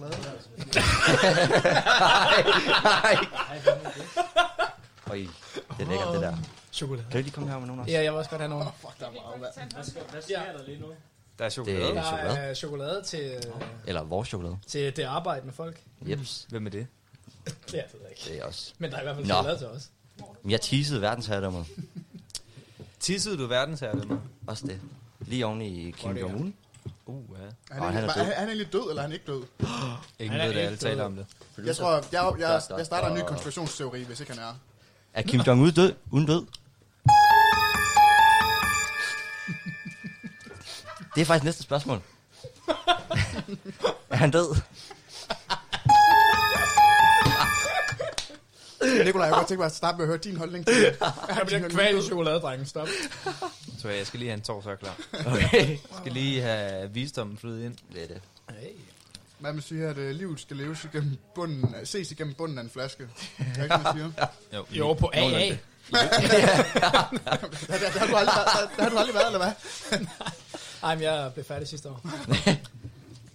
Speaker 4: <laughs>
Speaker 1: Åh, oh, chokolade. nej, nej. Øj, det er lækkert, det der.
Speaker 4: Chokolade.
Speaker 1: Kan du lige komme her med nogen også?
Speaker 4: Ja, jeg vil også godt have nogen.
Speaker 5: Hvad sker der lige nu?
Speaker 2: Der er chokolade.
Speaker 1: Det-
Speaker 4: Der
Speaker 1: chokolade.
Speaker 4: er øh, chokolade til, øh,
Speaker 1: Eller vores chokolade.
Speaker 4: til det arbejdende folk.
Speaker 1: Jeps,
Speaker 2: Hvem er det?
Speaker 4: Det er det ikke.
Speaker 1: det er også.
Speaker 4: Men der er i hvert fald
Speaker 1: Nå.
Speaker 4: chokolade til os.
Speaker 1: Men Jeg teasede verdensherredømmet.
Speaker 2: Tissede du verdensherredømmer?
Speaker 1: Også det. Lige oven i Kim Jong-un.
Speaker 2: Uh, ja.
Speaker 3: er han,
Speaker 1: Og han er
Speaker 3: er,
Speaker 1: død.
Speaker 3: er, han egentlig død, eller er han ikke død?
Speaker 2: Ingen
Speaker 4: Han er
Speaker 2: ved det,
Speaker 4: ikke
Speaker 2: alle taler om det.
Speaker 3: Jeg tror, jeg, jeg, jeg,
Speaker 1: Dot, dot,
Speaker 3: jeg starter en ny
Speaker 1: dot.
Speaker 3: konspirationsteori, hvis ikke han er.
Speaker 1: Er Kim Jong-un død?
Speaker 4: <laughs>
Speaker 1: Uden død? Det er faktisk næste spørgsmål. <laughs> er han død?
Speaker 3: Nikolaj, jeg kunne godt tænke mig at starte med at høre din holdning til det.
Speaker 4: <laughs> Jeg bliver kvalt chokoladedrengen, stop.
Speaker 2: Så jeg skal lige have en torsdag klar.
Speaker 1: Okay.
Speaker 2: Jeg skal lige have visdommen flydet ind.
Speaker 1: Det er det.
Speaker 4: Hey.
Speaker 3: Hvad man siger, at øh, livet skal leves igennem bunden, af- ses igennem bunden af en flaske. Er det ikke, man siger?
Speaker 4: <laughs> Jo, på AA.
Speaker 3: <laughs> Der, der, der, har du aldrig, været- der, der har du aldrig været, eller hvad?
Speaker 4: <laughs> Ej, men jeg blev færdig sidste år.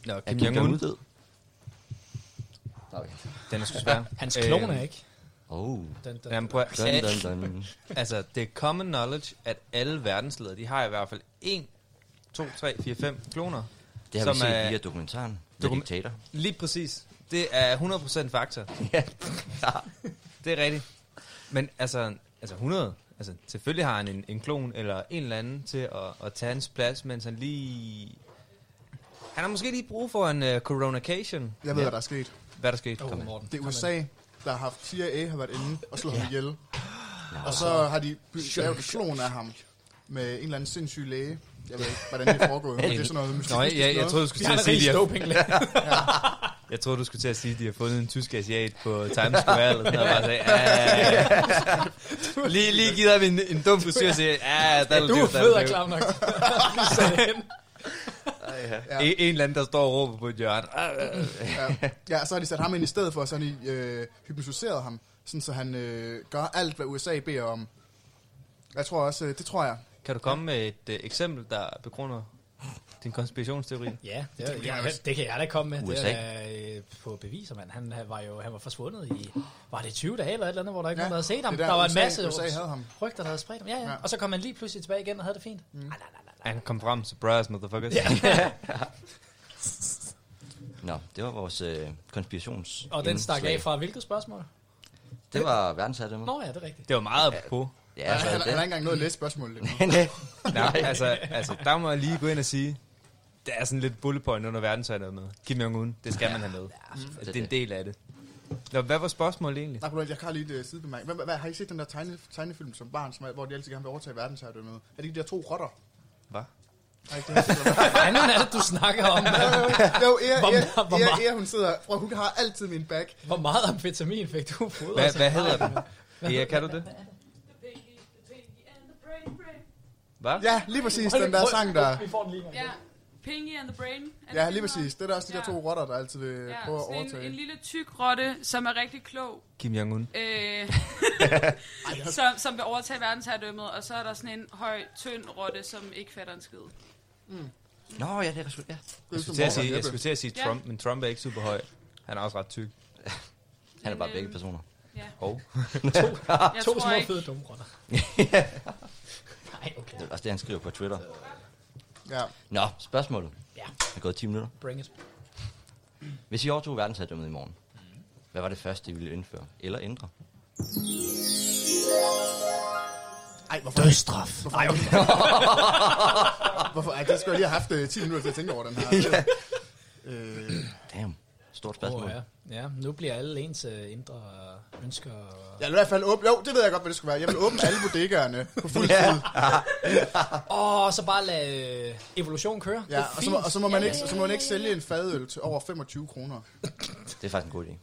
Speaker 2: Nå,
Speaker 1: Er
Speaker 2: Kim
Speaker 1: Kim Jong-un
Speaker 2: Jong-un,
Speaker 1: død? Okay.
Speaker 2: den er sgu svær.
Speaker 4: Ah, Hans
Speaker 2: Øh,
Speaker 4: klon er ikke.
Speaker 1: Oh.
Speaker 4: Den, den,
Speaker 2: Jamen, prøv at,
Speaker 1: Dun, dun,
Speaker 2: <laughs>
Speaker 1: dun.
Speaker 2: Altså, det er common knowledge, at alle verdensledere, de har i hvert fald 1, 2, 3, 4, 5 kloner.
Speaker 1: Det har
Speaker 2: som
Speaker 1: vi set
Speaker 2: er-
Speaker 1: via dokumentaren. The
Speaker 2: Dokumen-
Speaker 1: Dictator.
Speaker 2: Lige præcis. Det er 100% fakta.
Speaker 1: <laughs> Ja.
Speaker 2: Det er rigtigt. Men altså, altså 100. Altså, selvfølgelig har han en, en klon eller en eller anden til at, at tage hans plads, mens han lige... Han har måske lige brug for en uh, coronation.
Speaker 3: Jeg ved, hvad der er sket.
Speaker 2: Hvad er der skete?
Speaker 4: oh, Morten.
Speaker 3: Det er USA, der har haft CIA har været inde og slået ham ihjel. Og så har de by- lavet en klon af ham med en eller anden sindssyg læge. Jeg ved ikke, hvordan det er foregået. men Det er sådan noget mystisk
Speaker 2: Nå, jeg, jeg, jeg
Speaker 3: noget.
Speaker 2: troede, du skulle
Speaker 4: Vi
Speaker 2: til
Speaker 4: har
Speaker 2: at
Speaker 4: en
Speaker 2: sige, de
Speaker 4: rigtig
Speaker 2: har,
Speaker 4: doping
Speaker 2: <laughs> jeg troede, du skulle til at sige, de har fundet en tysk asiat på Times Square, eller sådan noget, og bare sagde, "Ah." lige, lige givet ham en, en dum frisyr og sige, ja, der <laughs>
Speaker 4: Du er fed og klam nok. Vi sagde hen.
Speaker 1: Ej,
Speaker 2: Ja. En, en eller anden, der står og råber på et hjørne. Ah, ah.
Speaker 3: ja. ja, så har de sat ham ind i stedet for, og så har de øh, hypnotiseret ham, sådan så han øh, gør alt, hvad USA beder om. Jeg tror også, øh, det tror jeg.
Speaker 2: Kan du komme med et øh, eksempel, der begrunder din konspirationsteori?
Speaker 4: Ja, det, det,
Speaker 2: Det kan jeg
Speaker 4: jeg,
Speaker 2: også.
Speaker 4: det kan jeg da komme med.
Speaker 2: USA.
Speaker 4: Det er øh, på beviser, mand. Han øh, var jo han var forsvundet i, var det 20 dage eller et eller andet, hvor der ikke ja,
Speaker 3: Ja,
Speaker 4: nogen, der havde set
Speaker 3: det
Speaker 4: ham.
Speaker 3: er der,
Speaker 4: der var en
Speaker 3: USA
Speaker 4: masse
Speaker 3: USA havde ham.
Speaker 4: rygter, der havde spredt ham. Ja, ja,
Speaker 3: Ja.
Speaker 4: ja. Og så kom han lige pludselig tilbage igen og havde det fint. Mm. Ej, nej, nej, nej.
Speaker 2: Han kom frem, surprise, motherfuckers.
Speaker 4: Ja.
Speaker 1: <laughs> Nå, det var vores øh, konspirations...
Speaker 4: Og den stak af
Speaker 1: indslag.
Speaker 4: fra hvilket spørgsmål?
Speaker 1: Det var verdensherredømmet.
Speaker 4: Nå ja, det er rigtigt.
Speaker 2: Det var meget på.
Speaker 1: Ja,
Speaker 3: Ja, han,
Speaker 1: altså,
Speaker 3: han, han har ikke
Speaker 1: det.
Speaker 3: engang nået at læse spørgsmålet. endnu.
Speaker 1: Nej,
Speaker 2: <laughs> Nej, altså, altså, der må jeg lige gå ind og sige, der er sådan lidt bullet point under verdensøjnet med. Kim Jong-un, det skal man have med.
Speaker 1: selvfølgelig.
Speaker 2: det er en del af det. Nå, hvad var spørgsmålet egentlig?
Speaker 3: Nej, prøv, jeg har lige et uh, sidebemærkning. Hvad, hvad, har I set den der tegne, tegnefilm som barn, som, er- hvor de altid gerne vil overtage verdensherredømmet? Er det ikke de der to rotter?
Speaker 2: Hvad?
Speaker 3: Nej, det er det.
Speaker 4: <laughs> Fanden er det, du snakker om? mand?
Speaker 3: Jo, Ea,
Speaker 4: Hvor-
Speaker 3: Ea,
Speaker 4: hvor
Speaker 3: Ea,
Speaker 4: meget?
Speaker 3: Ea, hun sidder... Prøv, hun har altid min back.
Speaker 4: Hvor meget amfetamin fik du på
Speaker 2: Hvad, hvad hedder den? Ja, kan du det?
Speaker 10: The pinky, the pinky and the brain, brain.
Speaker 2: Hvad?
Speaker 3: Ja, lige præcis den der sang der.
Speaker 4: Vi får den lige gang.
Speaker 10: Ja, pinky and the brain. Er det
Speaker 3: Ja, lige
Speaker 10: den
Speaker 3: præcis.
Speaker 10: hedder?
Speaker 3: Det er der også de der
Speaker 10: Ja.
Speaker 3: to rotter, der altid vil
Speaker 10: Ja,
Speaker 3: prøve at
Speaker 10: sådan en, en
Speaker 3: overtage.
Speaker 10: lille tyk rotte, som er rigtig klog,
Speaker 2: Kim Jong-un.
Speaker 3: <laughs>
Speaker 10: øh, som, som vil overtage verdensherredømmet, og så er der sådan en høj, tynd rotte, som ikke fatter en skid.
Speaker 1: Nå, ja, det er resultat. Ja.
Speaker 3: Det er
Speaker 2: Jeg skulle til at
Speaker 3: som Morten
Speaker 2: sige,
Speaker 3: og
Speaker 2: jeg
Speaker 3: Jeppe.
Speaker 2: skulle til at sige
Speaker 10: Ja.
Speaker 2: Trump, men Trump er ikke super høj. Han er også ret tyk.
Speaker 1: Han er bare
Speaker 10: Men,
Speaker 1: begge
Speaker 10: øhm,
Speaker 1: personer.
Speaker 10: Ja.
Speaker 1: <laughs>
Speaker 2: Og
Speaker 10: Jeg
Speaker 4: To
Speaker 10: tror
Speaker 4: små
Speaker 10: ikke,
Speaker 4: fede dumme rotter. Nej, okay.
Speaker 1: Det er også Altså, det, han skriver på Twitter.
Speaker 3: Ja.
Speaker 1: Nå, spørgsmålet.
Speaker 4: Ja,
Speaker 1: Det er gået 10 minutter.
Speaker 4: bring it.
Speaker 1: Hvis I overtog verdensherredømmet i morgen, hvad var det første, I ville indføre eller
Speaker 4: <clears throat>
Speaker 1: ændre?
Speaker 3: Ej, hvorfor? Dødstraf. Hvorfor? Ej,
Speaker 2: <laughs>
Speaker 3: hvorfor? Ej, det skulle jeg lige have haft øh, 10 minutter til at tænke over den <laughs> her. Øh,
Speaker 1: Damn, stort spørgsmål.
Speaker 4: Oh, ja. ja, nu bliver alle ens øh, indre ønsker.
Speaker 3: <laughs> jeg vil i hvert fald åbne... Jo, det ved jeg godt, hvad det skulle være. Jeg vil åbne alle bodegaerne på fuld tid.
Speaker 4: Åh, oh, så bare lade øh, evolution køre.
Speaker 3: Ja, og så, må, og så, må man ikke, så må man ikke sælge en fadøl til over 25 kroner.
Speaker 1: Det er faktisk en god idé.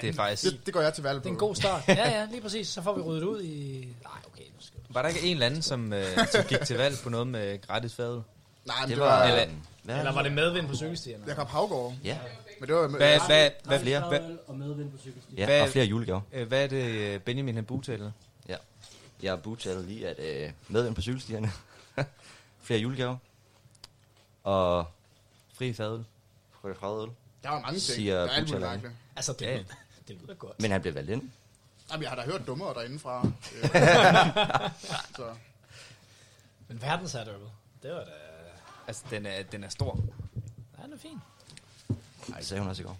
Speaker 2: det er faktisk...
Speaker 3: Det, det går jeg til valg på.
Speaker 4: Det er en god
Speaker 3: <laughs>
Speaker 4: start. Ja, ja, lige præcis. Så får vi ryddet ud i... Nej, okay, nu skal du...
Speaker 2: Var der ikke en eller anden, som, øh, som gik til valg på noget med gratis fad?
Speaker 3: Nej,
Speaker 1: Det
Speaker 3: men det
Speaker 1: var...
Speaker 3: var...
Speaker 1: Eller, hvad?
Speaker 4: Eller var det medvind på cykelstierne?
Speaker 3: Jakob Havgård.
Speaker 1: Ja,
Speaker 3: Men det var... Med,
Speaker 2: Hvad, hvad, hvad,
Speaker 1: flere?
Speaker 2: hvad,
Speaker 5: Og medvind
Speaker 2: <laughs>
Speaker 5: på cykelstien.
Speaker 1: ja
Speaker 2: Hvad-
Speaker 1: og flere julegaver.
Speaker 2: øh, hvad er det, øh, Benjamin han butaler?
Speaker 1: Ja. Jeg har bootaget lige, at øh, medvind på cykelstierne. <laughs> flere julegaver. Og
Speaker 2: Fri fadøl.
Speaker 1: frø fradøl.
Speaker 3: der var mange ting.
Speaker 1: siger
Speaker 3: der er alt muligt
Speaker 1: Butchallerne.
Speaker 3: mærkeligt.
Speaker 4: Altså, det,
Speaker 2: Ja.
Speaker 4: det lyder godt.
Speaker 1: Men han blev valgt ind.
Speaker 3: Jamen, jeg har da hørt dummere
Speaker 2: <laughs>
Speaker 3: derindefra. Øh, så.
Speaker 4: Men verdensherredømmet, det var da...
Speaker 2: Altså, den er, den er stor.
Speaker 4: Ja, det er fint.
Speaker 1: Nej, det sagde hun også i går.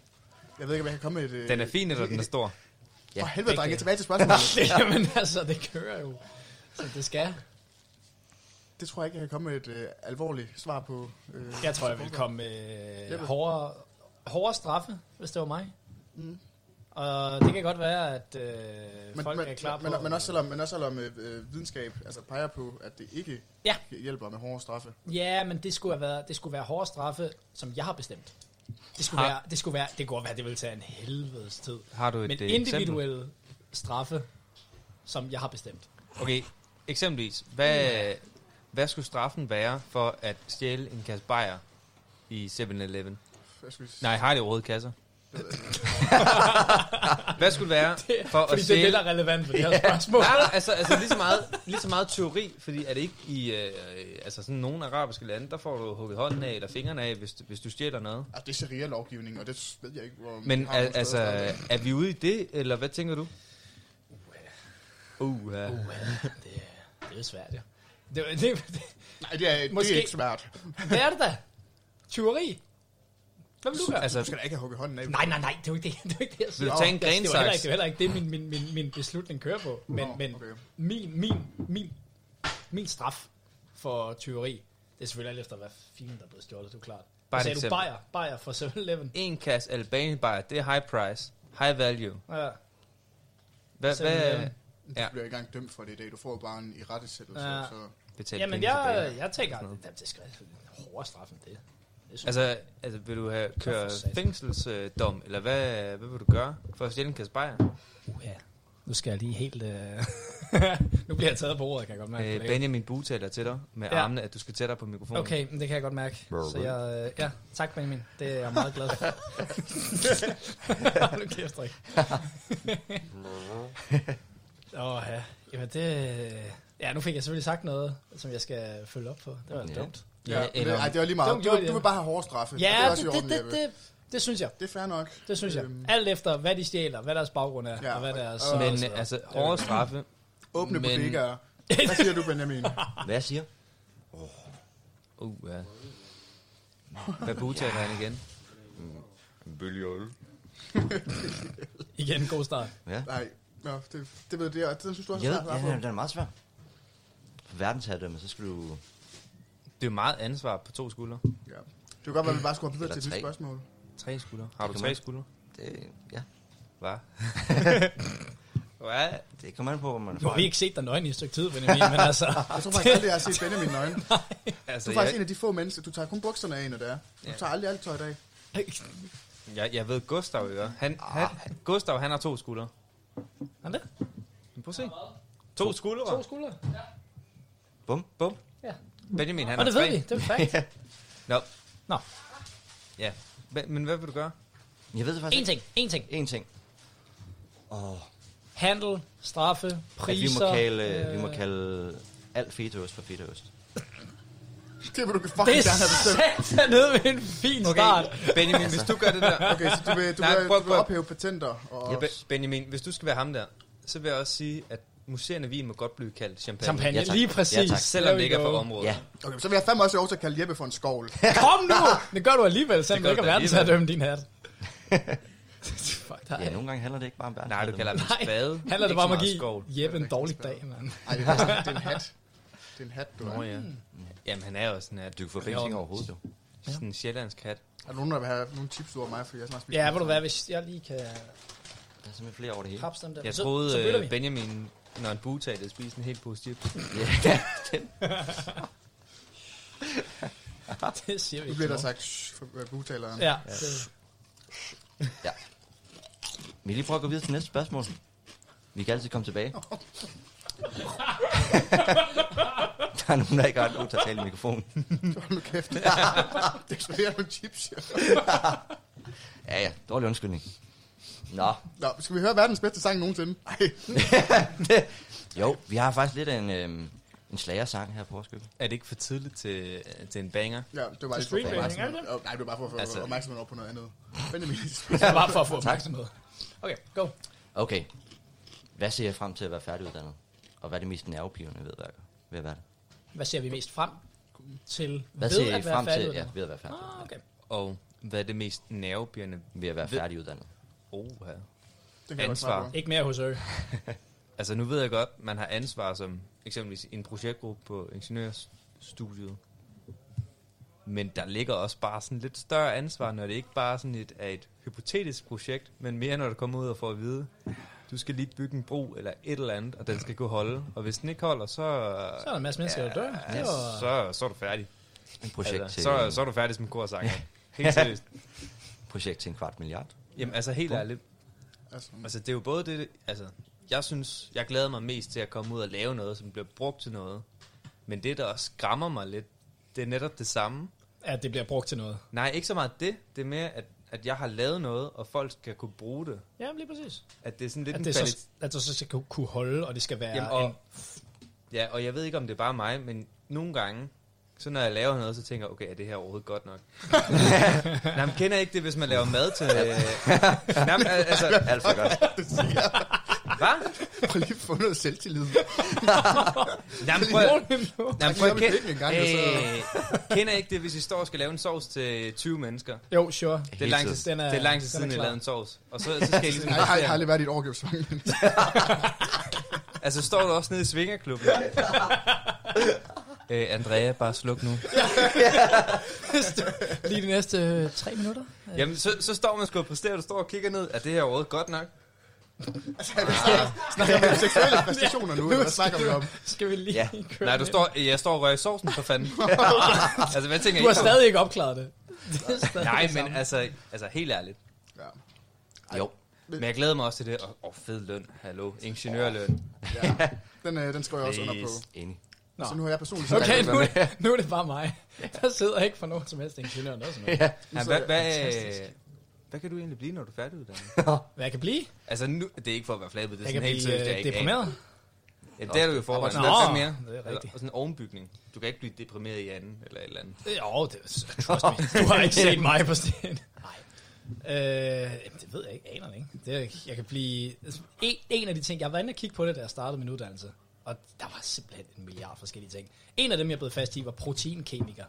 Speaker 3: Jeg ved ikke, om jeg kan komme med et... øh,
Speaker 2: Den er fin, eller den er stor?
Speaker 3: For
Speaker 1: Ja,
Speaker 3: helvede, drenge,
Speaker 4: begge.
Speaker 3: tilbage til spørgsmålet.
Speaker 4: <laughs> Jamen altså, det kører jo, som det skal.
Speaker 3: Det tror jeg ikke, jeg kan komme med et øh, alvorligt svar på. Øh,
Speaker 4: Jeg tror, jeg vil komme med øh, hårdere, hårdere straffe, hvis det var mig. Mm. Og det kan godt være, at øh, folk
Speaker 3: men,
Speaker 4: er klar på...
Speaker 3: men, men også selvom, men også selvom øh, øh, videnskab altså peger på, at det ikke
Speaker 4: Ja.
Speaker 3: hjælper med hårde straffe.
Speaker 4: Ja, men det skulle, have været, det skulle være hårde straffe, som jeg har bestemt. Det skulle,
Speaker 2: Har-
Speaker 4: være, det skulle være, det kunne godt være, det ville tage en helvedes tid.
Speaker 2: Har du et,
Speaker 4: Men
Speaker 2: øh,
Speaker 4: individuelle straffe, som jeg har bestemt.
Speaker 2: Okay, eksempelvis, hvad, hvad skulle straffen være for at stjæle en kasse bajer i 7-Eleven?
Speaker 3: Jeg skulle,
Speaker 2: Nej, har det røde kasser? <laughs> hvad skulle det være for
Speaker 4: Fordi
Speaker 2: at
Speaker 4: det er det,
Speaker 2: stjæle...
Speaker 4: der er relevant for det her spørgsmål.
Speaker 2: Nej, nej, altså, altså lige, så meget, lige så meget teori, fordi er det ikke i øh, altså sådan nogle arabiske lande, der får du hugget hånden af eller fingrene af, hvis, hvis du stjæler noget.
Speaker 3: altså, det er sharia-lovgivning, og det ved jeg ikke, hvor...
Speaker 2: Men
Speaker 3: har nogen
Speaker 2: al-
Speaker 3: steder
Speaker 2: altså,
Speaker 3: straffe.
Speaker 2: er vi ude i det, eller hvad tænker du? Uh, uh.
Speaker 4: Det, er- det er svært, ja. Det, det, det,
Speaker 3: Nej, det er, det
Speaker 4: Måske-
Speaker 3: er ikke svært.
Speaker 4: <laughs> Hvad er det da? Tyveri? Hvad vil du gøre?
Speaker 2: Altså,
Speaker 3: Du skal da ikke have hugget hånden af.
Speaker 4: Nej, nej, nej, det er jo ikke det, <laughs> det, er jo ikke det jeg
Speaker 2: vil
Speaker 4: siger.
Speaker 2: du
Speaker 3: Nå,
Speaker 2: tage en
Speaker 4: Det er jo heller ikke,
Speaker 2: grensaks?
Speaker 4: det, er jo heller ikke det min, min, min, min beslutning kører på. Men,
Speaker 3: Nå,
Speaker 4: men
Speaker 3: okay.
Speaker 4: min, min, min, min straf for tyveri, det er selvfølgelig alt efter, hvad filen der er blevet stjålet, det er jo klart. Bare
Speaker 2: Bare et
Speaker 4: sagde du
Speaker 2: eksempel.
Speaker 4: bajer, bajer for 7-Eleven.
Speaker 2: En kasse Albanian bajer, det er high price, high value.
Speaker 4: Ja,
Speaker 2: Hvad, hvad
Speaker 4: 7-Eleven.
Speaker 2: Ja.
Speaker 3: Du bliver ikke engang dømt for det i dag. Du får jo bare en irettesættelse.
Speaker 4: Ja.
Speaker 3: Ja. Så.
Speaker 2: betaler
Speaker 4: Jamen,
Speaker 2: penge for
Speaker 4: jeg,
Speaker 2: bajer?
Speaker 4: jeg tænker, at det skal hårdere straf end det. det synes
Speaker 2: Altså, altså, vil du have køre
Speaker 4: for satan.
Speaker 2: fængselsdom, eller hvad, hvad vil du gøre for at stjæle en kasse bajer?
Speaker 4: jeg, ja. Nu skal jeg lige helt... Øh... <laughs> nu bliver jeg taget på ordet, kan jeg godt mærke. på
Speaker 2: Øh,
Speaker 4: det.
Speaker 2: Benjamin Butaler til dig med
Speaker 4: Ja.
Speaker 2: ja. armene, at du skal tættere på mikrofonen.
Speaker 4: Okay, men det kan jeg godt mærke. Så jeg, øh, ja, tak Benjamin. Det er jeg meget glad
Speaker 2: <laughs>
Speaker 4: for. Hold nu kæft, Rik. Åh, ja. Jamen, det... Ja, nu fik jeg selvfølgelig sagt noget, som jeg skal følge op på. Det var
Speaker 1: Ja.
Speaker 4: ja. dumt.
Speaker 3: Ja, ja, det, ej, det var lige
Speaker 4: Dumt
Speaker 3: meget. Du,
Speaker 4: gjort,
Speaker 3: du,
Speaker 4: ja.
Speaker 3: vil bare have hårde straffe. og
Speaker 4: Ja,
Speaker 3: det er også
Speaker 4: det,
Speaker 3: i orden,
Speaker 4: det, det,
Speaker 3: Jeppe.
Speaker 4: det, det, synes jeg.
Speaker 3: det er fair nok.
Speaker 4: Det synes jeg.
Speaker 3: Øhm.
Speaker 4: Alt efter, hvad de stjæler, hvad deres baggrund er,
Speaker 3: Ja,
Speaker 4: og hvad
Speaker 3: og-
Speaker 4: deres...
Speaker 3: og-
Speaker 2: Men øh, altså, hårde straffe.
Speaker 3: Åbne
Speaker 2: Men-
Speaker 3: bodegaer. Hvad siger du, Benjamin?
Speaker 4: Ah.
Speaker 1: Hvad jeg siger?
Speaker 2: Uh, ja. Hvad Butaler han igen?
Speaker 1: En bølge øl.
Speaker 4: <laughs> Igen, god start.
Speaker 3: Nej, Nå, det, det ved jeg. Det synes du også
Speaker 1: Ja,
Speaker 3: er svært at
Speaker 1: ja,
Speaker 3: svare
Speaker 1: den er meget svær. For verdensherredømme, så skal du...
Speaker 2: Det er jo meget ansvar på to skuldre.
Speaker 3: på. Ja. Det kunne godt være, at vi bare skulle have videre
Speaker 1: Eller
Speaker 3: til et nyt
Speaker 1: tre.
Speaker 3: spørgsmål.
Speaker 2: Tre skuldre. Har du
Speaker 1: Det kan
Speaker 2: tre
Speaker 1: man.
Speaker 2: skuldre?
Speaker 1: Det, ja, <laughs>
Speaker 2: Hvad? Hvad?
Speaker 1: det kommer an på, hvor man er
Speaker 4: Nu har vi ikke set dig nøgen <laughs> i et stykke tid, Benjamin, men <laughs> altså...
Speaker 3: Jeg tror faktisk aldrig, jeg har set Benjamin nøgen. Du
Speaker 2: Altså,
Speaker 3: er faktisk
Speaker 2: jeg,
Speaker 3: en af de få mennesker, du tager kun bukserne af, når det er. Du tager aldrig alt tøjet af.
Speaker 2: <laughs> jeg, jeg ved Gustav, ikke? Han, han, Gustav, han har to skuldre.
Speaker 4: Han det?
Speaker 2: Men Prøv at se. To skuldre.
Speaker 4: To skuldre.
Speaker 1: Bum, bum.
Speaker 2: Benjamin, han
Speaker 4: Og
Speaker 2: har
Speaker 4: det ved
Speaker 2: tre.
Speaker 4: vi, det er
Speaker 1: <laughs>
Speaker 4: fakt.
Speaker 2: Nå.
Speaker 4: Nå.
Speaker 2: Ja. Hva- Men hvad vil du gøre?
Speaker 1: Jeg ved det faktisk
Speaker 4: En ting, en ting.
Speaker 1: ikke. En ting.
Speaker 4: <laughs>
Speaker 1: Åh,
Speaker 4: Handel, straffe,
Speaker 1: at vi
Speaker 4: priser. Øh,
Speaker 1: må kalde, vi må kalde alt fetaost for fetaost.
Speaker 3: Det vil du fucking
Speaker 4: Det er
Speaker 3: gerne have bestemt.
Speaker 4: satan ned med en fin okay. start. Altså.
Speaker 2: Benjamin, hvis
Speaker 1: Altså.
Speaker 2: du gør det der...
Speaker 3: Okay, så du vil, du
Speaker 2: Nej,
Speaker 3: vil,
Speaker 2: prøv-
Speaker 3: du vil
Speaker 2: prøv.
Speaker 3: ophæve patenter og...
Speaker 2: Ja, Be- Benjamin, hvis du skal være ham der, så vil jeg også sige, at museerne vin må godt blive kaldt champagne.
Speaker 4: Champagne,
Speaker 1: Ja, tak.
Speaker 4: lige
Speaker 1: Ja,
Speaker 4: præcis.
Speaker 1: tak.
Speaker 2: Selvom
Speaker 4: There
Speaker 2: det ikke er
Speaker 4: we
Speaker 2: for
Speaker 4: go.
Speaker 2: området.
Speaker 1: Ja,
Speaker 3: Okay, så vil jeg fandme også have lov til at kalde Jeppe for en skovl.
Speaker 4: Kom
Speaker 2: <laughs>
Speaker 4: nu! Det gør du alligevel, selvom
Speaker 2: Det
Speaker 4: det ikke
Speaker 2: gør
Speaker 4: er
Speaker 2: du da
Speaker 4: verden til at dømme din hat. Fuck dig.
Speaker 1: <laughs> ja, nogle gange handler det ikke bare om verden.
Speaker 2: Nej, du kalder dem
Speaker 4: Nej,
Speaker 2: spade.
Speaker 4: <laughs> handler det
Speaker 2: Ikke
Speaker 4: bare om
Speaker 2: så
Speaker 4: at
Speaker 2: meget
Speaker 4: give <laughs>
Speaker 2: skovl.
Speaker 4: Jeppe en dårlig dag, mand. <laughs>
Speaker 3: Ej, det er, faktisk- det er en hat. Det er en hat, du har.
Speaker 2: Nå ja.
Speaker 4: Mm.
Speaker 2: Jamen, han er jo sådan her.
Speaker 1: Du kan få benzin over hovedet, jo.
Speaker 2: Sådan en sjællandsk kat.
Speaker 3: Er der nogen, der vil have nogle tips ud over mig, fordi jeg snart spiser
Speaker 4: Ja,
Speaker 3: pizza?
Speaker 4: ved du hvad, hvis jeg lige kan
Speaker 1: Der er simpelthen flere over det hele.
Speaker 4: krabbe dem der.
Speaker 2: Jeg
Speaker 4: så,
Speaker 2: troede,
Speaker 4: så bytter vi.
Speaker 2: øh, Benjamin, når en butalte spiste en helt positiv.
Speaker 1: <laughs> Ja,
Speaker 4: <laughs> det siger vi
Speaker 3: Nu
Speaker 4: ikke
Speaker 3: bliver der
Speaker 4: til
Speaker 3: sagt shh for øh, bugtaleren.
Speaker 4: nogen. Ja, det-
Speaker 1: Vi kan lige prøve at gå videre til næste spørgsmål. Vi kan altid komme tilbage. der er nogen, der ikke har lov til at tale i mikrofonen.
Speaker 3: Hold nu
Speaker 4: <laughs>
Speaker 3: kæft. <laughs> det er flere nogle tips, ja.
Speaker 1: Ja, ja. Dårlig undskyldning. Nå.
Speaker 3: Nå, skal vi høre verdens bedste sang nogensinde? Ej,
Speaker 1: Jo, vi har faktisk lidt af en, øhm, en slagersang her på Roskilde.
Speaker 2: Er det ikke for tidligt til, øh, til en banger?
Speaker 3: ja, det var bare lige for at
Speaker 4: streaming,
Speaker 3: få opmærksomhed.
Speaker 4: ikke
Speaker 3: Åh, Nej, det var bare for at få
Speaker 2: Altså-
Speaker 3: opmærksomhed over på noget
Speaker 4: <laughs>
Speaker 3: andet. Benjamin,
Speaker 4: det er bare for at
Speaker 3: <laughs>
Speaker 4: få opmærksomhed. Okay, go.
Speaker 1: Okay. Hvad ser jeg frem til at være færdiguddannet? Og hvad er det mest nervepivende ved at være, ved at være det?
Speaker 4: Hvad ser vi mest frem til
Speaker 1: Hvad
Speaker 4: ved
Speaker 1: ser I
Speaker 4: at være
Speaker 1: frem til
Speaker 4: færdig?
Speaker 1: ja, ved at være færdig?
Speaker 4: Ah, okay.
Speaker 2: Og hvad er det mest nervepirrende?
Speaker 1: Ved at være
Speaker 2: Ved-
Speaker 1: færdiguddannet.
Speaker 2: Oh, her.
Speaker 3: det kan jeg godt svare
Speaker 2: Ansvar.
Speaker 3: på.
Speaker 4: Ikke mere hos Ø.
Speaker 2: <laughs> Altså, nu ved jeg godt, man har ansvar som eksempelvis en projektgruppe på ingeniørstudiet. Men der ligger også bare sådan lidt større ansvar, når det ikke bare sådan et, er et hypotetisk projekt, men mere når du kommer ud og får at vide, du skal lige bygge en bro eller et eller andet, og den skal kunne holde. Og hvis den ikke holder, så,
Speaker 4: Så er der en masse mennesker, der dør. Det
Speaker 2: ja,
Speaker 4: var...
Speaker 2: så, så er du færdig.
Speaker 1: En projekt,
Speaker 2: altså,
Speaker 1: til,
Speaker 2: så, så er du færdig som korsanger. Helt seriøst.
Speaker 1: projekt til en kvart milliard.
Speaker 2: Jamen, altså helt ærligt.
Speaker 3: Altså,
Speaker 2: Altså, det er jo både det, altså, jeg synes, jeg glæder mig mest til at komme ud og lave noget, som bliver brugt til noget. Men det, der også skræmmer mig lidt, det er netop det samme.
Speaker 4: at det bliver brugt til noget.
Speaker 2: Nej, ikke så meget det. Det er mere, at, at jeg har lavet noget, og folk skal kunne bruge det.
Speaker 4: Ja, lige præcis.
Speaker 2: At det er sådan lidt
Speaker 4: At
Speaker 2: en
Speaker 4: det,
Speaker 2: kvalitet.
Speaker 4: så, at det så skal ku- kunne holde, og det skal være...
Speaker 2: Jamen,
Speaker 4: og, en,
Speaker 2: og, ja, og jeg ved ikke, om det er bare mig, men nogle gange, så når jeg laver noget, så tænker jeg, okay, er det her overhovedet
Speaker 4: <laughs>
Speaker 2: godt nok? Nej, men kender I ikke det, hvis man laver mad til... Øh... Nej, men, al- altså,
Speaker 1: Alt
Speaker 4: <laughs>
Speaker 1: for godt.
Speaker 3: <laughs>
Speaker 2: hvad?
Speaker 3: prøv lige at få noget selvtillid.
Speaker 2: Nej, men prøv, at- Nej, men prøv at
Speaker 3: Altså, Jeg
Speaker 2: kende,
Speaker 3: vil ikke engang, og
Speaker 2: øh, kender I ikke det, hvis I står og skal lave en sovs til 20 mennesker?
Speaker 4: jo, sure.
Speaker 2: Det er lang tid,
Speaker 4: Den er-
Speaker 2: det er lang tid
Speaker 4: den er
Speaker 2: siden, jeg
Speaker 4: klar.
Speaker 2: lavede en sovs. Og så, så skal I ligesom...
Speaker 3: Nej, <laughs> jeg har- jeg har aldrig været i et overgivsvang.
Speaker 2: Altså, står du også nede i svingerklubben? øh, Andrea, bare sluk nu.
Speaker 4: <laughs> Lige de næste øh, tre minutter. <laughs>
Speaker 2: Jamen, så, så står man sgu og præsterer, og du står og kigger ned. Er det her overhovedet godt nok?
Speaker 3: Altså, Snakker vi om seksuelle <laughs> præstationer nu, eller hvad snakker vi om?
Speaker 4: Skal vi lige
Speaker 1: Ja.
Speaker 4: køre
Speaker 2: Nej, du
Speaker 4: den?
Speaker 3: <laughs>
Speaker 2: står, jeg står og rører i sovsen, for fanden. altså, hvad tænker
Speaker 4: Du har
Speaker 2: I?
Speaker 4: stadig ikke opklaret <laughs> det. det er stadig
Speaker 2: Nej,
Speaker 4: det samme.
Speaker 2: men altså, altså helt ærligt.
Speaker 3: Ja.
Speaker 1: Jo,
Speaker 2: Men jeg glæder mig også til det. Åh, oh, fed løn. Hallo. Ingeniørløn.
Speaker 3: Ja. Den, øh, den skriver jeg også under på.
Speaker 2: Mest enig.
Speaker 3: Nå. Så nu har jeg personligt sagt,
Speaker 4: Okay, nu, nu er det bare mig. Der sidder ikke for nogen som helst ingeniør. Noget som helst.
Speaker 2: Ja. Ja, hvad, hvad, øh,
Speaker 4: Fantastisk.
Speaker 2: hvad kan du egentlig blive, når du er færdiguddannet?
Speaker 4: <laughs> Hvad jeg kan blive?
Speaker 2: altså, nu, det er ikke for at være flabet. Det er
Speaker 4: Jeg kan
Speaker 2: sådan helt
Speaker 4: blive
Speaker 2: seriøst, jeg
Speaker 4: øh,
Speaker 2: ikke
Speaker 4: deprimeret.
Speaker 2: aner. Ja, det er du jo i forvejen.
Speaker 4: Nå,
Speaker 2: Nå, hvad mere?
Speaker 4: det er
Speaker 2: Eller-
Speaker 4: rigtigt.
Speaker 2: Og sådan en ovenbygning. Du kan ikke blive deprimeret i anden eller et eller andet.
Speaker 4: Øh, Jo, det, trust me, du har ikke set mig på scenen. Nej. Øh, jamen, det ved jeg ikke, aner det ikke. Det, er ikke- jeg kan blive... En, en af de ting, jeg var inde og kigge på det, da jeg startede min uddannelse, og der var simpelthen en milliard forskellige ting. En af dem, jeg blev fast i, var proteinkemiker.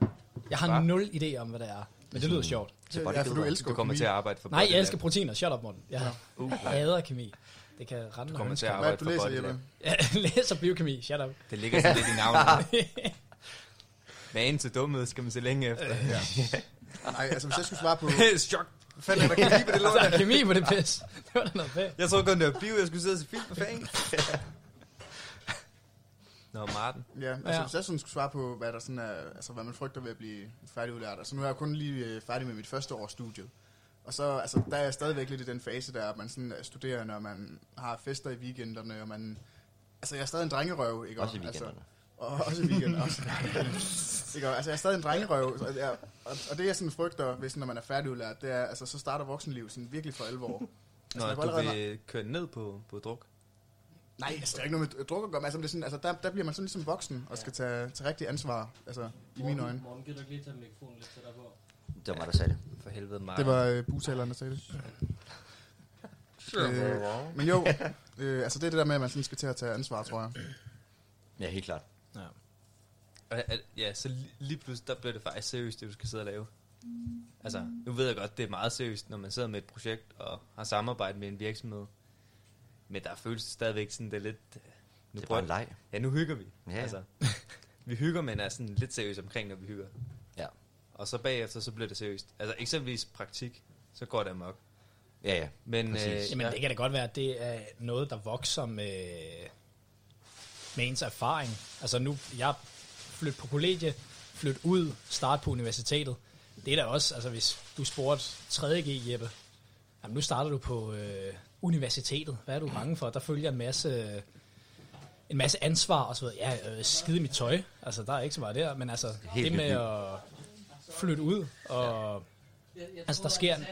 Speaker 4: Jeg har nul idé om, hvad det er, men det lyder sjovt.
Speaker 1: Til
Speaker 3: Ja, for du
Speaker 1: bodybuilder.
Speaker 3: elsker
Speaker 2: Du kommer
Speaker 3: kemi.
Speaker 2: til at arbejde for
Speaker 4: Nej, jeg
Speaker 2: Bodyland.
Speaker 4: elsker proteiner. Shut up, Morten. Jeg <laughs>
Speaker 2: Uh,
Speaker 4: hader kemi. Det kan rende
Speaker 2: Du
Speaker 4: og
Speaker 2: kommer til
Speaker 4: hønske.
Speaker 2: at
Speaker 3: Hvad er
Speaker 2: arbejde
Speaker 3: det, du
Speaker 2: for
Speaker 3: læser,
Speaker 2: Bodyland.
Speaker 3: Jeppe?
Speaker 4: <laughs> Jeg læser biokemi. Shut up.
Speaker 2: Det ligger sådan lidt i navnet.
Speaker 4: <laughs>
Speaker 2: Vanen til dumhed skal man se længe efter.
Speaker 4: Øh,
Speaker 3: Nej, altså hvis jeg skulle svare på...
Speaker 2: <laughs> Chok.
Speaker 3: Hvad fanden er der kemi på det lort?
Speaker 4: Der er kemi på det pis. Det var da noget fedt.
Speaker 2: Jeg troede kun, det var bio, jeg skulle sidde og se film på
Speaker 4: <laughs>
Speaker 2: fanden. Nå, Martin.
Speaker 3: Ja, altså
Speaker 4: Ja.
Speaker 3: ja. hvis jeg sådan skulle svare på, hvad, der sådan er, altså, hvad man frygter ved at blive færdigudlært. Altså nu er jeg kun lige øh, færdig med mit første års studie. Og så altså, der er jeg stadigvæk lidt i den fase der, at man sådan er studerende, og man har fester i weekenderne, og man... Altså jeg er stadig en drengerøv, ikke?
Speaker 1: Også i
Speaker 3: Altså,
Speaker 1: weekenderne.
Speaker 3: og også i weekenden også. <laughs> ikke? Og, Altså, jeg er stadig en drengerøv, så jeg, og, og, det jeg sådan frygter, hvis, når man er færdigudlært, det er, altså, så starter voksenlivet sådan virkelig for alvor.
Speaker 2: Nå,
Speaker 3: Altså, man kan
Speaker 2: du
Speaker 3: allerede-
Speaker 2: vil køre ned på, på druk.
Speaker 3: Nej, altså, det er ikke noget med øh, druk at gøre, men altså, det er sådan, altså, der, der bliver man sådan ligesom voksen og skal tage, tage rigtig ansvar, altså i mine øjne.
Speaker 5: Morgen, gider du ikke lige tage mikrofonen lidt tættere på?
Speaker 1: Det var mig, der sagde det.
Speaker 2: For helvede, Martin.
Speaker 3: Det var øh, butaleren, der sagde det. Øh, men jo, øh, altså det er det der med, at man sådan skal til at tage ansvar, tror jeg.
Speaker 1: Ja, helt klart.
Speaker 2: Og, at- Ja, så li- lige pludselig, der bliver det faktisk seriøst, det du skal sidde og lave. Altså, nu ved jeg godt, det er meget seriøst, når man sidder med et projekt og har samarbejde med en virksomhed. Men der føles stadigvæk sådan, det er lidt... øh, Nu
Speaker 1: Det er
Speaker 2: prøver-
Speaker 1: bare en leg.
Speaker 2: Ja, nu hygger vi.
Speaker 1: Ja,
Speaker 2: Ja.
Speaker 1: ja.
Speaker 2: Altså, <laughs> vi hygger, men er sådan lidt seriøse omkring, når vi hygger.
Speaker 1: Ja.
Speaker 2: Og så bagefter, så bliver det seriøst. Altså eksempelvis praktik, så går det amok.
Speaker 1: Ja, ja.
Speaker 2: Men øh,
Speaker 1: Præcis.
Speaker 4: Jamen, det kan da godt være, at det er noget, der vokser med, med ens erfaring. Altså nu, jeg flytter på kollegie, flytter ud, start på universitetet. Det er da også, altså hvis du spurgte 3.G, Jeppe, jamen nu starter du på øh, universitetet. Hvad er du bange for? Der følger en masse, en masse ansvar og så videre. Ja, øh, skide i mit tøj. Altså, der er ikke så meget der, men altså,
Speaker 1: Helt
Speaker 4: det med
Speaker 1: nyt liv.
Speaker 4: at flytte ud og...
Speaker 5: Jeg, jeg
Speaker 4: Altså, der sker en-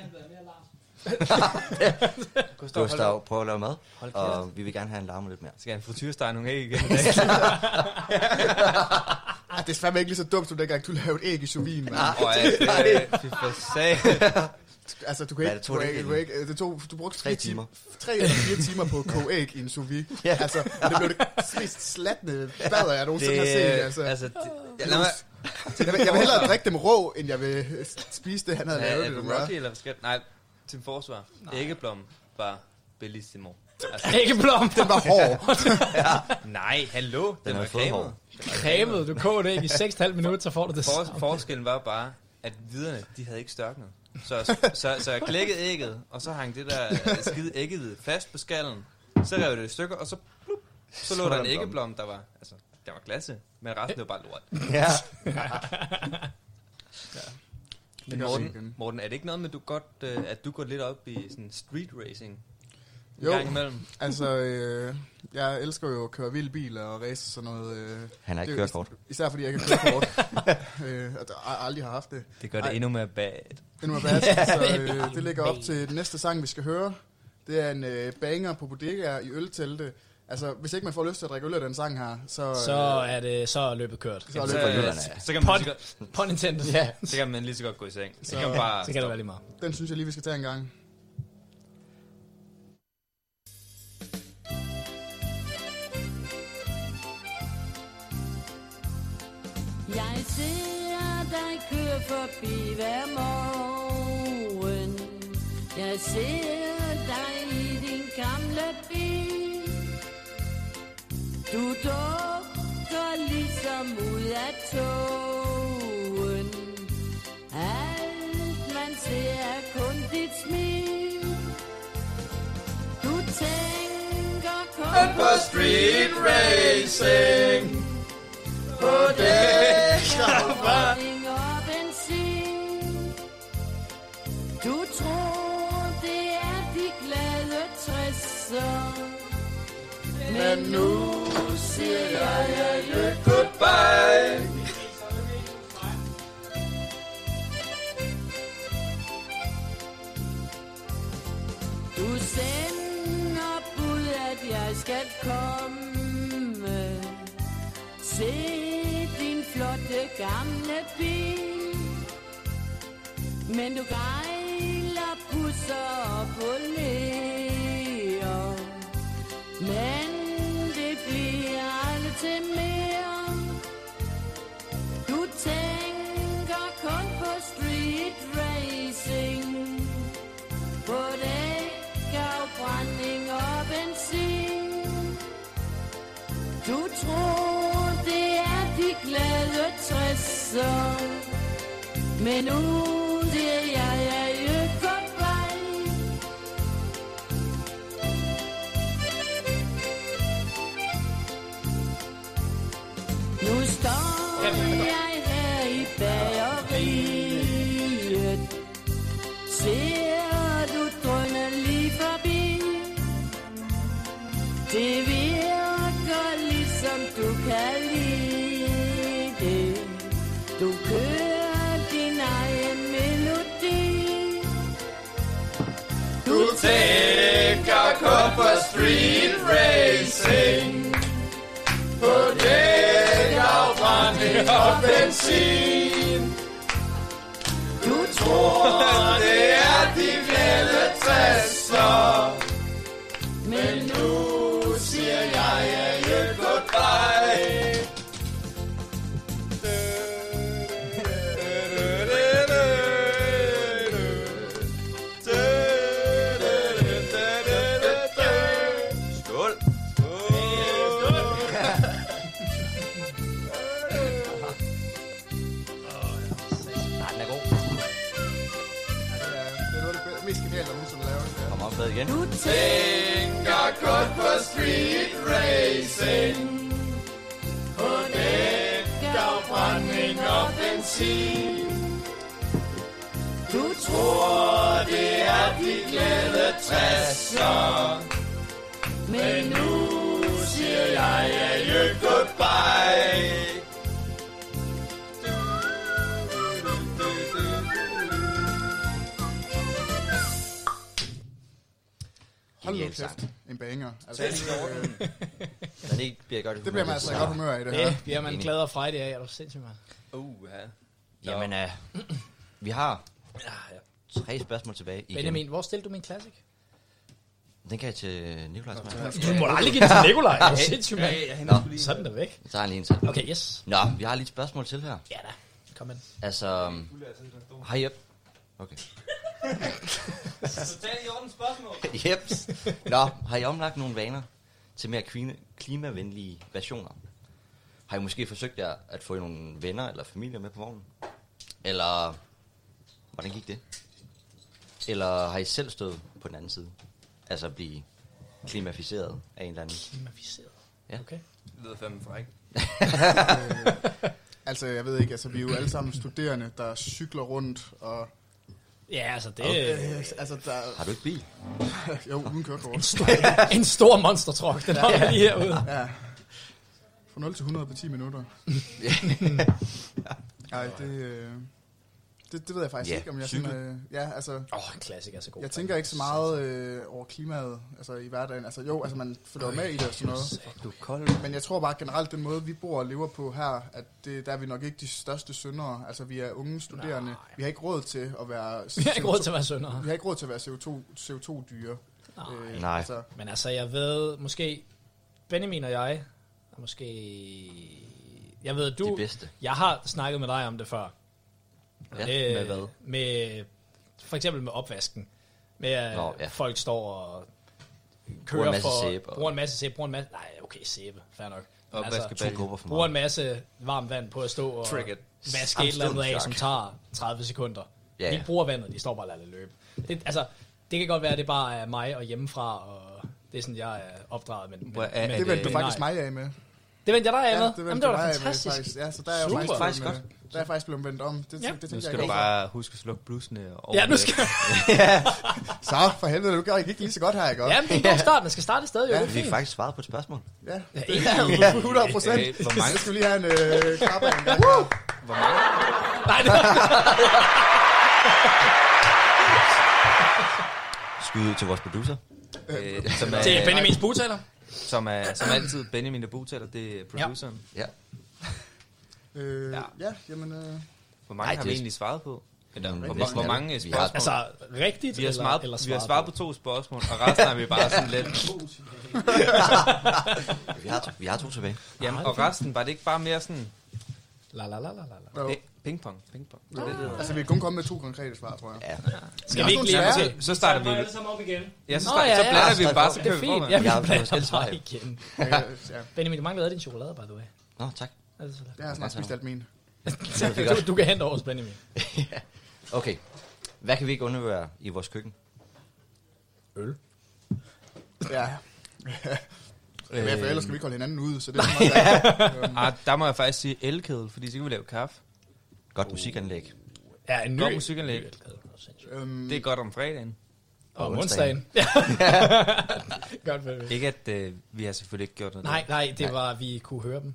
Speaker 1: Gustav, prøv at lave mad. Og vi vil gerne have en larme lidt mere.
Speaker 2: skal jeg en frityresteg nogle
Speaker 1: <laughs>
Speaker 2: æg igen? <laughs>
Speaker 3: Ah, det er fandme ikke lige så dumt, som dengang du lavede æg i sovin. mand. <laughs>
Speaker 2: Og øh, øh, fy for sag.
Speaker 3: Altså, du kan
Speaker 1: Hvad
Speaker 3: ikke...
Speaker 1: er det, to
Speaker 3: du, kan
Speaker 1: dage
Speaker 3: ikke- du, kan ikke- øh, det tog, du brugte
Speaker 1: Tre
Speaker 3: fire
Speaker 1: timer.
Speaker 3: Tre eller fire timer
Speaker 1: <laughs>
Speaker 3: på at koge æg i en sous vide. Ja. Altså, og det blev det mest slatne bader, jeg nogensinde har set. Altså.
Speaker 2: øh, altså, det, ja, lad mig,
Speaker 3: Jeg, vil, jeg vil hellere drikke dem rå, end jeg vil spise det, han havde
Speaker 2: Ja,
Speaker 3: lavet.
Speaker 2: er
Speaker 3: det,
Speaker 2: du
Speaker 3: der var.
Speaker 2: Rocky eller hvad skal Nej, Tim Forsvar. Æggeblom var bellissimo. Altså,
Speaker 4: <laughs> Æggeblom!
Speaker 3: Den var hård.
Speaker 2: <laughs> nej, hallo, den,
Speaker 1: Den
Speaker 2: var
Speaker 1: har fået hår.
Speaker 2: cremet.
Speaker 4: Cremet, du koger det ikke i 6,5 minutter, så får du det
Speaker 2: For, forskellen var bare, at viderne, de havde ikke størknet. Så, så, så jeg klækkede ægget, og så hang det der øh, skide æggehvide fast på skallen. Så rev jeg det i stykker, og så, plup, så lå der en æggeblom, der var, altså, der var klasse, men
Speaker 4: <laughs>
Speaker 2: resten var bare lort.
Speaker 1: Ja.
Speaker 2: Men Morten, Morten, er det ikke noget med, du godt, øh, at du går lidt op i sådan street racing? En
Speaker 3: Jo.
Speaker 2: gang imellem.
Speaker 3: <laughs> Altså, øh, jeg elsker jo at køre vild bil og race og sådan noget. Øh,
Speaker 1: Han har
Speaker 3: Det
Speaker 1: ikke
Speaker 3: er jo-
Speaker 1: kørekort.
Speaker 3: Især fordi jeg ikke
Speaker 1: <laughs>
Speaker 3: har kørekort. øh, og der har aldrig har haft det.
Speaker 2: Det gør
Speaker 3: det Ej.
Speaker 2: endnu mere bad.
Speaker 3: Endnu er bad, så øh, det ligger op til den næste sang, vi skal høre. Det er en øh, banger på bodegaer i øltelte. Altså, hvis ikke man får lyst til at drikke øl af den sang her, så...
Speaker 4: Så øh, er det så er løbet kørt.
Speaker 3: så er
Speaker 2: Så,
Speaker 3: det,
Speaker 1: jyderne.
Speaker 2: så, så, kan man lige så, godt,
Speaker 4: På Nintendo. Ja.
Speaker 2: så kan man lige så godt gå i seng. Så, kan man bare
Speaker 4: Så kan det være lige meget.
Speaker 3: den synes jeg lige, vi skal tage en gang.
Speaker 7: Jeg ser dig køre forbi hver morgen. Jeg ser dig i din gamle bil. Du dukker ligesom ud af togen. Alt man ser er kun dit smil. Du tænker kun på street racing. På det Forvandling og benzin Du tror det er de glade Men nu siger jeg adieu,
Speaker 9: goodbye.
Speaker 7: Du sender bud, at jeg skal komme Se din flotte gamle bil Men du gejler, pusser og polerer Men det bliver aldrig til mere Du tænker kun på street racing på dæk af brænding og benzin Du tror det er de glade 60'er Men nu det er jeg, jeg er goodbye Nu står jeg her i bageriet Ser du drønne lige forbi Det virker ligesom du kan lide det Du kører din egen melodi
Speaker 9: Du tænker kun på street racing På dæk afbrænding og benzin Du tror det er de glade 60'er Men nu siger jeg adieu goodbye Skål!
Speaker 1: Nej, den er god.
Speaker 3: Det er noget af det mest geniale, der nogensinde lavet.
Speaker 1: Kom op med igen.
Speaker 9: Tænker kun på street racing På dæk af brænding og benzin Du tror det er de glade 60'er Men nu siger jeg adieu goodbye
Speaker 3: Hold nu
Speaker 1: Genial sang.
Speaker 3: kæft. En banger. Altså,
Speaker 1: Tag lige over den. <laughs> Men det bliver godt humør.
Speaker 3: Det bliver man altså i godt humør i det her.
Speaker 4: Det bliver man
Speaker 1: Enig.
Speaker 4: glad og frejdig af, er du sindssygt meget.
Speaker 2: Uh, ja.
Speaker 1: Jamen, øh, <clears throat> vi har tre spørgsmål tilbage igen.
Speaker 4: Benjamin, hvor stillede du min klassik?
Speaker 1: Den kan jeg til Nikolaj. som er her.
Speaker 4: Du må da aldrig give den til Nikolaj. Er du
Speaker 1: Hey.
Speaker 4: sindssygt, mand?
Speaker 1: Hey, hey,
Speaker 4: Nå.
Speaker 1: hey.
Speaker 4: Så er den der væk.
Speaker 1: Så har jeg lige en til.
Speaker 4: Okay, yes.
Speaker 1: Nå, vi har lige et spørgsmål til her.
Speaker 4: Ja da. Kom ind.
Speaker 1: Altså, øhm, hej Jep. Okay.
Speaker 5: <laughs> Så tag i orden
Speaker 2: <laughs>
Speaker 5: spørgsmål.
Speaker 1: Jeps. Nå, har I omlagt nogle vaner til mere kvine- klimavenlige versioner? Har I måske forsøgt jer at få nogle venner eller familie med på vognen? Eller hvordan gik det? Eller har I selv stået på den anden side? Altså at blive klimaficeret af en eller anden?
Speaker 4: Klimaficeret?
Speaker 1: Ja.
Speaker 4: Okay.
Speaker 2: Det lyder fandme <laughs> fræk.
Speaker 3: Altså, jeg ved ikke, altså, vi er jo alle sammen studerende, der cykler rundt, og...
Speaker 4: Ja, altså, det-
Speaker 3: Øh, altså, der...
Speaker 1: Har du ikke bil?
Speaker 3: <laughs> jo, uden kørekort.
Speaker 4: En stor- <laughs> en stor monstertruck, den holder lige herude.
Speaker 3: Ja. Fra 0 til 100 på
Speaker 1: <laughs>
Speaker 3: 10 minutter. Nej, det, øh, det, det ved jeg faktisk
Speaker 1: Ja,
Speaker 3: ikke, om jeg
Speaker 1: cykel.
Speaker 3: sådan... Øh, ja, altså...
Speaker 4: Åh, en klassik er så god.
Speaker 3: Jeg tænker ikke så meget øh, over klimaet altså, i hverdagen. Altså jo, altså man følger jo med i det og sådan noget.
Speaker 1: Du er kold.
Speaker 3: Men jeg tror bare generelt, den måde, vi bor og lever på her, at det, der er vi nok ikke de største syndere. Altså, vi er unge studerende. Nej. Vi har ikke råd til at være...
Speaker 4: <laughs> Vi har ikke råd til at være syndere.
Speaker 3: Vi har ikke råd til at være CO2, CO2-dyre.
Speaker 4: Nej.
Speaker 1: Nej.
Speaker 4: Men altså, jeg ved måske, Benjamin og jeg, er måske, jeg ved, du,
Speaker 1: De bedste.
Speaker 4: jeg har snakket med dig om det før. Øh,
Speaker 1: Ja, med hvad?
Speaker 4: Med, for eksempel med opvasken. Med, at
Speaker 1: Nå, ja.
Speaker 4: folk står og kører
Speaker 1: Bruger en masse
Speaker 4: for,
Speaker 1: sæbe og-
Speaker 4: bruger en masse sæbe, bruger en masse, nej, okay, sæbe, fair nok. Men altså,
Speaker 1: Opvaskebag. To grupper for
Speaker 4: bruger en masse varmt vand på at stå og
Speaker 2: Trick it.
Speaker 4: vaske et eller andet af, som
Speaker 2: Amsterdam-shark.
Speaker 4: tager 30 sekunder.
Speaker 1: Ja,
Speaker 4: Ja,
Speaker 1: ja.
Speaker 4: De bruger vandet, de står bare og lader det løbe. Det, altså, det kan godt være, at det bare er mig og hjemmefra, og det er sådan, jeg er opdraget. Men, men,
Speaker 1: Hvor er-
Speaker 4: men
Speaker 1: er
Speaker 3: Det
Speaker 1: det-
Speaker 3: vendte du faktisk
Speaker 4: nej.
Speaker 3: mig af med.
Speaker 4: Det vendte jeg dig af
Speaker 3: Ja,
Speaker 4: med.
Speaker 3: det vendte
Speaker 4: Jamen,
Speaker 3: du
Speaker 4: det var da
Speaker 3: mig af med,
Speaker 4: fantastisk.
Speaker 3: faktisk. Ja, så der er jeg
Speaker 4: Super.
Speaker 1: Det er faktisk
Speaker 3: med
Speaker 1: godt.
Speaker 3: Der er faktisk blevet vendt om. Øh, Det, ja. det, det
Speaker 2: Nu
Speaker 3: tænker
Speaker 2: skal
Speaker 3: jeg
Speaker 2: du
Speaker 3: ikke
Speaker 2: bare huske at slukke blusene. Og
Speaker 3: Ja, nu skal-
Speaker 2: <laughs> ja.
Speaker 3: Så for helvede, du gør ikke lige så godt her, ikke? også?
Speaker 4: Jamen, det er en god start. Man skal starte et sted, jo.
Speaker 3: Ja,
Speaker 4: Det er
Speaker 3: vi
Speaker 1: Vi har
Speaker 4: fint.
Speaker 1: faktisk svaret på et spørgsmål.
Speaker 3: Ja,
Speaker 4: Ja,
Speaker 3: det
Speaker 4: ja.
Speaker 3: er 100 procent.
Speaker 1: Øh, hvor
Speaker 3: Hvor
Speaker 1: mange-
Speaker 3: mange? skal vi lige have en øh, klap af en gang.
Speaker 2: Hvor mange?
Speaker 4: Nej, det var...
Speaker 1: Skud ud til vores producer.
Speaker 2: Øh, som er,
Speaker 4: Det er Benjamins bugtaler.
Speaker 2: Som er som altid Benjamin, der bugtaler. Det er produceren.
Speaker 1: Ja.
Speaker 3: Øh, ja. ja, jamen... Øh,
Speaker 2: Hvor mange
Speaker 1: Nej,
Speaker 2: Ej, har
Speaker 1: det
Speaker 2: vi
Speaker 1: er-
Speaker 2: egentlig svaret på? Eller,
Speaker 1: Mm,
Speaker 2: hvor,
Speaker 1: rigtig
Speaker 2: hvor, hvor
Speaker 1: mange.
Speaker 2: mange
Speaker 1: Vi
Speaker 2: spørgsmål?
Speaker 1: har-
Speaker 4: Altså, rigtigt
Speaker 2: Vi har,
Speaker 4: eller-
Speaker 2: svaret,
Speaker 4: eller
Speaker 2: vi har
Speaker 4: svaret
Speaker 2: svaret på
Speaker 4: på?
Speaker 2: to spørgsmål, og resten har vi bare sådan
Speaker 4: <laughs>
Speaker 2: lidt...
Speaker 1: Vi har to- vi har to tilbage.
Speaker 2: Jamen,
Speaker 1: Ej,
Speaker 2: og
Speaker 1: fint.
Speaker 2: resten, var det ikke bare mere sådan...
Speaker 4: La la la la la.
Speaker 3: Jo.
Speaker 2: Ping- Pingpong, pingpong. Det er øh, det, det hedder.
Speaker 3: Altså, vi er kun kommet med to konkrete svar, tror jeg.
Speaker 1: Ja.
Speaker 4: Skal vi ikke lige...
Speaker 2: så, så starter
Speaker 5: Så går
Speaker 2: vi...
Speaker 5: alle sammen op igen.
Speaker 2: Ja, så,
Speaker 4: Nå,
Speaker 2: starter,
Speaker 4: ja,
Speaker 2: så
Speaker 4: ja.
Speaker 2: blander vi bare, så
Speaker 4: Det
Speaker 2: kører
Speaker 4: er
Speaker 2: vi
Speaker 4: fint.
Speaker 2: på.
Speaker 4: Ja, vi
Speaker 1: Jeg har fået
Speaker 4: blander
Speaker 1: selv svar,
Speaker 4: bare
Speaker 1: ja.
Speaker 4: igen.
Speaker 3: ja.
Speaker 4: Benjamin, du mangler din chokolade, by the way.
Speaker 1: Nå, tak.
Speaker 4: Er det så lidt?
Speaker 3: Jeg har snart spist alt
Speaker 4: <laughs>
Speaker 3: min.
Speaker 1: fik
Speaker 4: Du, du kan hente over hos Benjamin.
Speaker 1: <laughs> Ja. okay. Hvad kan vi ikke undvære i vores køkken?
Speaker 4: Øl.
Speaker 3: <laughs> Ja. Men for ellers skal vi ikke holde hinanden ude,
Speaker 2: <laughs>
Speaker 3: så det er
Speaker 2: Ah, der må jeg faktisk sige elkedel, fordi så kan vi lave kaffe.
Speaker 1: Godt musikanlæg.
Speaker 4: Ja, en ny.
Speaker 2: Godt musikanlæg.
Speaker 3: øhm,
Speaker 2: Det er godt om fredagen.
Speaker 4: Og
Speaker 1: Og
Speaker 4: om
Speaker 1: onsdagen.
Speaker 4: onsdagen. Ja. <laughs>
Speaker 2: <laughs>
Speaker 4: Godt, Benjamin.
Speaker 2: Ikke at øh, vi har selvfølgelig ikke gjort noget.
Speaker 4: Nej, nej, det var, vi kunne høre
Speaker 2: <laughs>
Speaker 4: dem.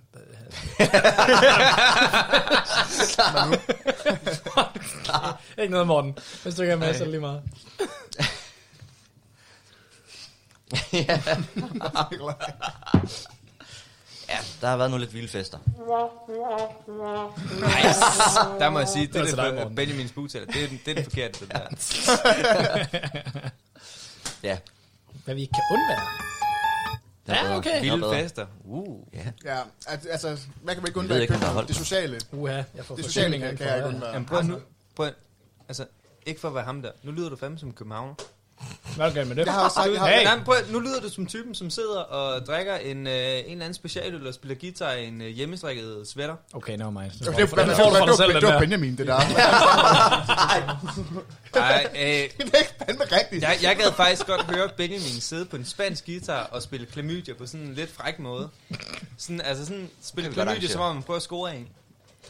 Speaker 2: <laughs>
Speaker 4: Ikke noget, Morten. Hvis du ikke er med, så er det lige meget.
Speaker 1: Ja, der har været nogle lidt vilde fester.
Speaker 2: Der må jeg sige, det,
Speaker 4: var
Speaker 2: det,
Speaker 4: til dig,
Speaker 2: det er
Speaker 4: Morten.
Speaker 2: Benjamins bugtaler. Det er, den- det er den forkerte, den
Speaker 4: <laughs>
Speaker 2: der.
Speaker 1: Ja.
Speaker 4: Hvad vi ikke kan undvære.
Speaker 1: der er
Speaker 4: Ja,
Speaker 1: bedre.
Speaker 4: okay.
Speaker 1: Der er
Speaker 2: Vilde
Speaker 1: bedre.
Speaker 2: fester. Uh.
Speaker 3: Øhm, ja, at- altså, hvad kan man ikke
Speaker 1: ved
Speaker 3: undvære i
Speaker 1: ikke, om der er
Speaker 3: køkkenet?
Speaker 1: holdt
Speaker 3: Det
Speaker 1: på.
Speaker 3: sociale.
Speaker 4: Uha, jeg får
Speaker 3: Det sociale
Speaker 4: forsyninger
Speaker 3: kan,
Speaker 4: inden
Speaker 3: kan jeg ikke
Speaker 4: for
Speaker 3: undvære.
Speaker 2: Jamen prøv nu. Prøv at, altså, ikke for at være ham der. Nu lyder du fandme som københavner.
Speaker 4: Hvad er du galt med det?
Speaker 3: Jeg har også sagt, jeg har,
Speaker 4: Hey.
Speaker 2: Nej, men prøv, at- nu lyder du som typen, som sidder og drikker en, øh, en eller anden specialøl og spiller guitar i en øh, hjemmestrikket sweater.
Speaker 4: Okay, no mig.
Speaker 3: det, var-
Speaker 4: Den
Speaker 3: det, var-
Speaker 4: får du for dig selv,
Speaker 3: det,
Speaker 4: den
Speaker 3: det var
Speaker 4: der.
Speaker 3: Benjamin,
Speaker 4: <laughs>
Speaker 3: det der. <laughs>
Speaker 2: Nej, øh,
Speaker 3: Det er ikke fandme rigtigt.
Speaker 2: jeg, jeg gad faktisk godt høre Benjamin sidde på en spansk guitar og spille klamydia på sådan en lidt fræk måde. Sådan, altså sådan, spille
Speaker 1: Det kan vi godt
Speaker 2: klamydia, som
Speaker 1: arrangere.
Speaker 2: om man prøver at score en.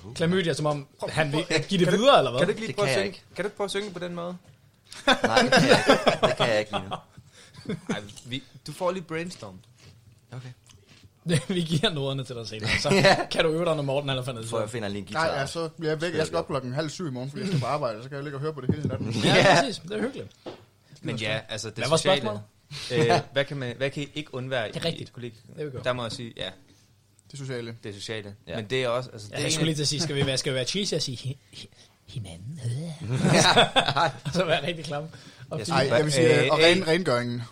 Speaker 4: Uh. Klamydia, som om han vil give det videre, eller hvad?
Speaker 2: Kan du ikke lige
Speaker 1: Det
Speaker 2: prøve
Speaker 1: kan
Speaker 2: at
Speaker 1: jeg
Speaker 2: synge? Kan du ikke prøve at synge på
Speaker 4: <laughs>
Speaker 2: den måde?
Speaker 1: Nej, det kan jeg ikke. Det kan jeg ikke lige nu.
Speaker 2: Nej, vi, du får lige brainstorm.
Speaker 1: Okay.
Speaker 4: <laughs> vi giver noderne til dig senere, så kan du øve dig, når Morten han er fandt
Speaker 1: For jeg finder lige en guitar.
Speaker 3: Nej, ja, så bliver jeg væk. Jeg skal op klokken halv syv i morgen, fordi jeg skal på arbejde, og så kan jeg ligge og høre på det hele natten.
Speaker 4: Ja, præcis. Det er hyggeligt.
Speaker 2: Men ja, altså det
Speaker 4: Hvad var
Speaker 2: sociale.
Speaker 4: spørgsmålet?
Speaker 2: øh, hvad, kan man, hvad kan I ikke undvære
Speaker 4: er
Speaker 2: i
Speaker 4: rigtigt.
Speaker 2: et kollega?
Speaker 4: Det er vi godt.
Speaker 2: Der må jeg sige, ja,
Speaker 3: Det sociale.
Speaker 2: det er sociale.
Speaker 1: Ja.
Speaker 2: Ja. Men det er også... Altså, det
Speaker 4: Ja,
Speaker 2: er
Speaker 4: jeg
Speaker 2: en-
Speaker 4: skulle lige til at sige, skal vi være, skal vi være cheesy og sige hi- hi- hinanden?
Speaker 2: <laughs>
Speaker 4: Og så være rigtig klam. Og
Speaker 2: Jeg
Speaker 4: fint.
Speaker 3: Nej, jeg vil sige,
Speaker 2: Øh,
Speaker 3: øh, og
Speaker 2: øh.
Speaker 3: ren, rengøringen.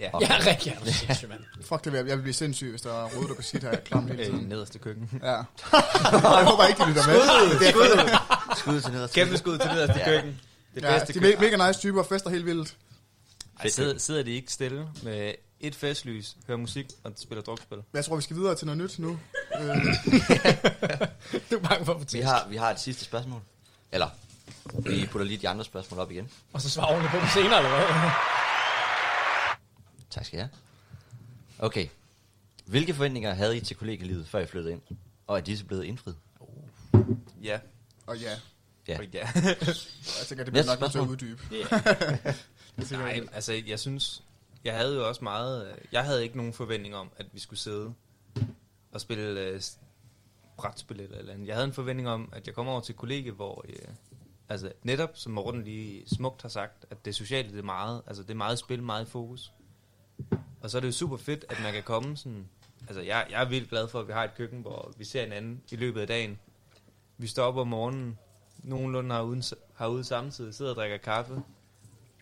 Speaker 2: ja.
Speaker 4: Ja, rigtig. Ja, du er sindssyg, mand.
Speaker 3: Fuck det, vil jeg jeg vil blive sindssyg, hvis der er rodet, der kan sige, at jeg er klam hele
Speaker 2: Øh,
Speaker 3: tiden.
Speaker 2: nederste køkken.
Speaker 3: Ja. <laughs> jeg håber ikke, de lytter med. Det er fedt.
Speaker 1: Skud til nederst.
Speaker 2: Kæmpe skud til nederste
Speaker 1: Ja.
Speaker 2: køkken. Det
Speaker 3: Ja,
Speaker 2: bedste
Speaker 3: de er
Speaker 2: køkken.
Speaker 3: me- mega nice typer, fester helt vildt. Altså,
Speaker 2: Ej, sidder, sidder de ikke stille med et festlys, hører musik og spiller drukspil?
Speaker 3: Jeg tror, vi skal videre til noget nyt nu. <laughs> Øh,
Speaker 4: Du er bange for at få
Speaker 1: Vi
Speaker 4: tæsk.
Speaker 1: har, vi har et sidste spørgsmål. Eller, vi putter lige de andre spørgsmål op igen.
Speaker 4: Og så svarer ordentligt på dem senere, eller hvad?
Speaker 1: Tak skal jeg. Okay. Hvilke forventninger havde I til kollegelivet, før I flyttede ind? Og er disse blevet indfriet?
Speaker 2: Ja.
Speaker 3: og
Speaker 2: <laughs>
Speaker 3: Uh, ja,
Speaker 1: Ja.
Speaker 2: Og ja.
Speaker 3: <laughs> jeg tænker,
Speaker 1: Næste
Speaker 3: det bliver nok nødt til at
Speaker 1: spørgsmål.
Speaker 3: uddybe. <laughs>
Speaker 2: Nej, altså jeg synes, jeg havde jo også meget... øh, Jeg havde ikke nogen forventning om, at vi skulle sidde og spille øh, s- brætspil eller et eller andet. Jeg havde en forventning om, at jeg kom over til et kollega, hvor... Øh, altså netop, som Morten lige smukt har sagt, at det sociale, det er meget... Altså det er meget spil, meget i fokus. Og så er det jo super fedt, at man kan komme sådan... Altså jeg, jeg er vildt glad for, at vi har et køkken, hvor vi ser hinanden i løbet af dagen. Vi står op om morgenen, nogenlunde herude, herude samtidig, sidder og drikker kaffe.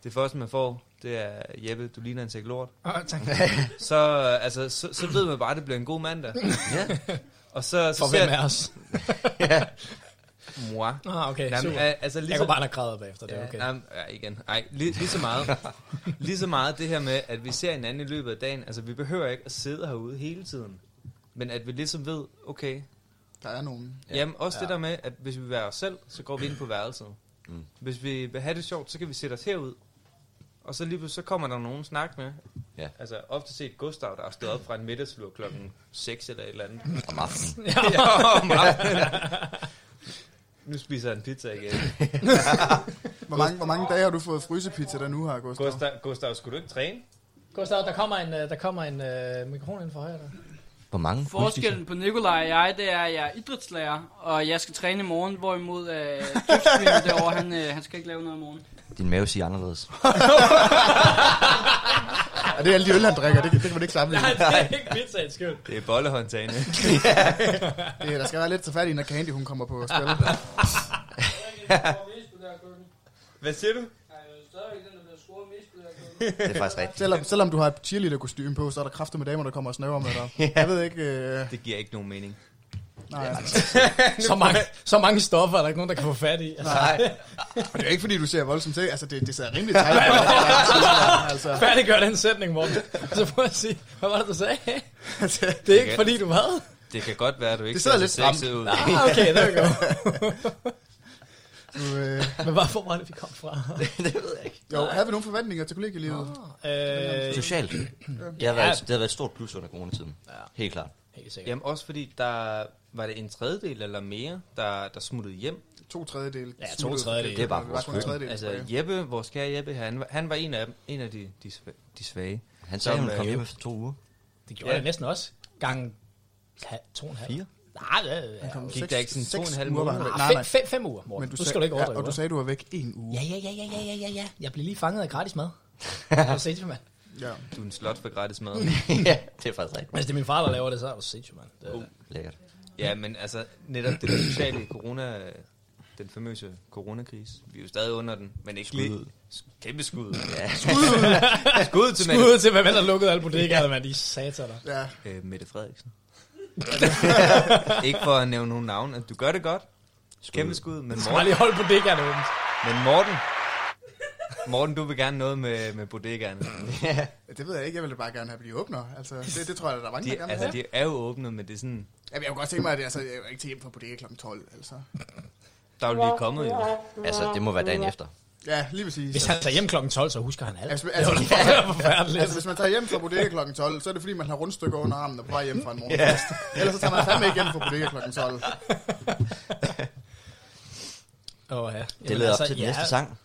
Speaker 2: Det første, man får, det er, Jeppe, du ligner en sæk lort.
Speaker 4: Åh, tak.
Speaker 2: <laughs> Så, øh, altså, så, så ved man bare, at det bliver en god mandag.
Speaker 1: Ja.
Speaker 2: Og så, så
Speaker 4: For hvem er os?
Speaker 2: <laughs> Moi.
Speaker 4: Nå, okay,
Speaker 2: Jamen,
Speaker 4: super.
Speaker 2: øh, altså, lige
Speaker 4: Jeg
Speaker 2: så,
Speaker 4: går bare og græder bagefter, det er okay.
Speaker 2: Ja, jamen, ja, igen. Ej, lige, lige, så meget, <laughs> lige så meget det her med, at vi ser hinanden i løbet af dagen. Altså, vi behøver ikke at sidde herude hele tiden. Men at vi ligesom ved, okay,
Speaker 3: Der er nogen.
Speaker 2: Ja. Jamen også ja. det der med, at hvis vi vil være os selv, så går vi ind på værelset. Mm. Hvis vi vil have det sjovt, så kan vi sætte os herud. Og så lige pludselig, så kommer der nogen snak med.
Speaker 1: Ja.
Speaker 2: Altså ofte set Gustav, der er stået op fra en middagslur <laughs> klokken 6 eller et eller andet.
Speaker 1: Om aftenen.
Speaker 2: ja, om aftenen. Nu spiser jeg en pizza igen.
Speaker 3: Hvor mange, hvor mange dage har du fået frysepizza der nu har, Gustav?
Speaker 2: Gustav, Gustav, skulle du ikke træne?
Speaker 4: Gustav, der kommer en, øh, der kommer en øh, mikrofon ind for højre. Der.
Speaker 1: Hvor mange
Speaker 8: Forskellen på Nikolaj og jeg, det er, at jeg er idrætslærer, og jeg skal træne i morgen, hvorimod øh, Dybsby derovre, han, øh, han skal ikke lave noget i morgen.
Speaker 1: Din mave siger anderledes.
Speaker 3: Og det er alle de øl, han drikker, det, det kan man ikke sammenligne.
Speaker 4: Nej, det er ikke pizzaen skyld.
Speaker 2: Det er <laughs> bollehåndtagene.
Speaker 3: <laughs> det, er- der skal være lidt til fat i, når Candy hun kommer på spil.
Speaker 2: Hvad siger du?
Speaker 3: Det
Speaker 1: er faktisk rigtigt.
Speaker 3: Selvom, selvom du har et cheerleader-kostume på, så er der kræfter med damer, der kommer og snøver med
Speaker 1: <laughs>
Speaker 3: dig. Jeg ved ikke... Øh...
Speaker 2: Det giver ikke nogen mening.
Speaker 3: Nej,
Speaker 4: <laughs> så, mange, så mange stoffer er der ikke nogen, der kan få fat i. Altså. <laughs>
Speaker 3: Nej. Og det er ikke, fordi du ser voldsomt til. Altså, det, det ser rimelig tegnet. altså.
Speaker 4: Færdiggør den sætning, Morten. Og så prøv at sige, hvad var det, du
Speaker 2: <laughs>
Speaker 4: sagde? Det er ikke, fordi du hvad?
Speaker 2: Det kan godt være, at du ikke
Speaker 4: Det sidder
Speaker 2: ser
Speaker 4: lidt
Speaker 2: så sexet
Speaker 4: stramt.
Speaker 2: ud.
Speaker 4: Ah,
Speaker 2: <laughs>
Speaker 4: okay, there we go.
Speaker 3: Du, øh...
Speaker 4: Men hvorfor var det, vi kom
Speaker 2: <laughs>
Speaker 4: fra?
Speaker 1: det ved jeg ikke.
Speaker 3: Jo, havde vi nogle forventninger til kollegielivet?
Speaker 4: Øh,
Speaker 1: Socialt. Det har, været, det har været et stort plus under coronatiden. Helt klart.
Speaker 4: Helt sikkert.
Speaker 2: Jamen også fordi, der var det en tredjedel eller mere, der, der smuttede hjem.
Speaker 3: To tredjedel.
Speaker 4: Ja, to tredjedele.
Speaker 1: Det er bare vores skyld.
Speaker 2: Altså Jeppe, vores kære Jeppe, han, var- han var en af, dem, en af de, de, sva- de svage.
Speaker 1: Han sagde,
Speaker 2: Som,
Speaker 1: at hun kom
Speaker 2: øh,
Speaker 1: hjem efter to uger.
Speaker 4: Det gjorde
Speaker 2: Ja.
Speaker 4: ja. jeg næsten også. Gang ha, to og en halv.
Speaker 1: Fire?
Speaker 4: Nej, det er...
Speaker 3: kom
Speaker 4: Kom.
Speaker 2: Gik
Speaker 3: seks-
Speaker 2: der ikke sådan to
Speaker 3: seks
Speaker 2: og en halv
Speaker 3: uger, var
Speaker 2: måned?
Speaker 3: han væk.
Speaker 4: Nej, fem, fem, fem uger, Morten.
Speaker 3: Men
Speaker 4: Men du nu
Speaker 3: du sagde-
Speaker 4: skal du ikke
Speaker 3: ja,
Speaker 4: overdrive.
Speaker 3: og du sagde, du var væk en uge.
Speaker 4: Ja, ja, ja, ja, ja, ja, ja, ja. Jeg blev lige fanget af gratis
Speaker 3: <laughs>
Speaker 4: mad. Du sindssygt, mand.
Speaker 3: Ja.
Speaker 2: Du er en slot for gratis mad.
Speaker 1: <laughs> ja, det er faktisk rigtigt.
Speaker 4: Hvis altså, det er min far, der laver det, så er du sindssygt, mand. Det,
Speaker 2: Uh.
Speaker 1: Lækkert.
Speaker 2: ja, men altså netop det der sociale i corona, øh, den famøse coronakrise. Vi er jo stadig under den, men ikke
Speaker 1: Skud
Speaker 2: lige.
Speaker 1: ud.
Speaker 2: Kæmpe skud. Ja.
Speaker 1: <laughs>
Speaker 2: Skud. skud til Mette.
Speaker 4: Skud til, hvem der lukkede alle bodegaerne, mand. De satter dig.
Speaker 3: Ja,
Speaker 2: Øh, Mette Frederiksen. ikke for at nævne nogen navn. Du gør det godt. Kæmpe skud. Men
Speaker 4: Bare
Speaker 2: Morten,
Speaker 4: lige holde bodegaerne åbent.
Speaker 2: men Morten, Morten, du vil gerne noget med, med
Speaker 1: <laughs>
Speaker 2: <laughs> bodegaerne.
Speaker 3: det ved jeg ikke. Jeg ville bare gerne have, at de åbner. Altså, det, det tror jeg, der er mange, der
Speaker 2: De,
Speaker 3: gerne vil
Speaker 2: altså,
Speaker 3: have.
Speaker 2: de er jo åbne, men det er sådan,
Speaker 3: Jamen, jeg kunne godt tænke mig, at det, altså, jeg er ikke til hjem fra bodega kl. 12. Altså.
Speaker 2: der er jo lige kommet jo.
Speaker 1: Altså, det må være dagen efter.
Speaker 3: Ja, lige præcis.
Speaker 4: Hvis han tager hjem klokken 12, så husker han alt.
Speaker 3: Altså,
Speaker 4: Det
Speaker 3: altså-
Speaker 4: var da forfærdeligt.
Speaker 3: Altså, hvis man tager hjem fra bodega kl. 12, så er det fordi, man har rundstykker under armen og på vej hjem fra en morgenfest. Ellers så tager man fandme ikke hjem fra bodega kl. 12.
Speaker 4: Åh, ja.
Speaker 1: Det leder op til den næste sang.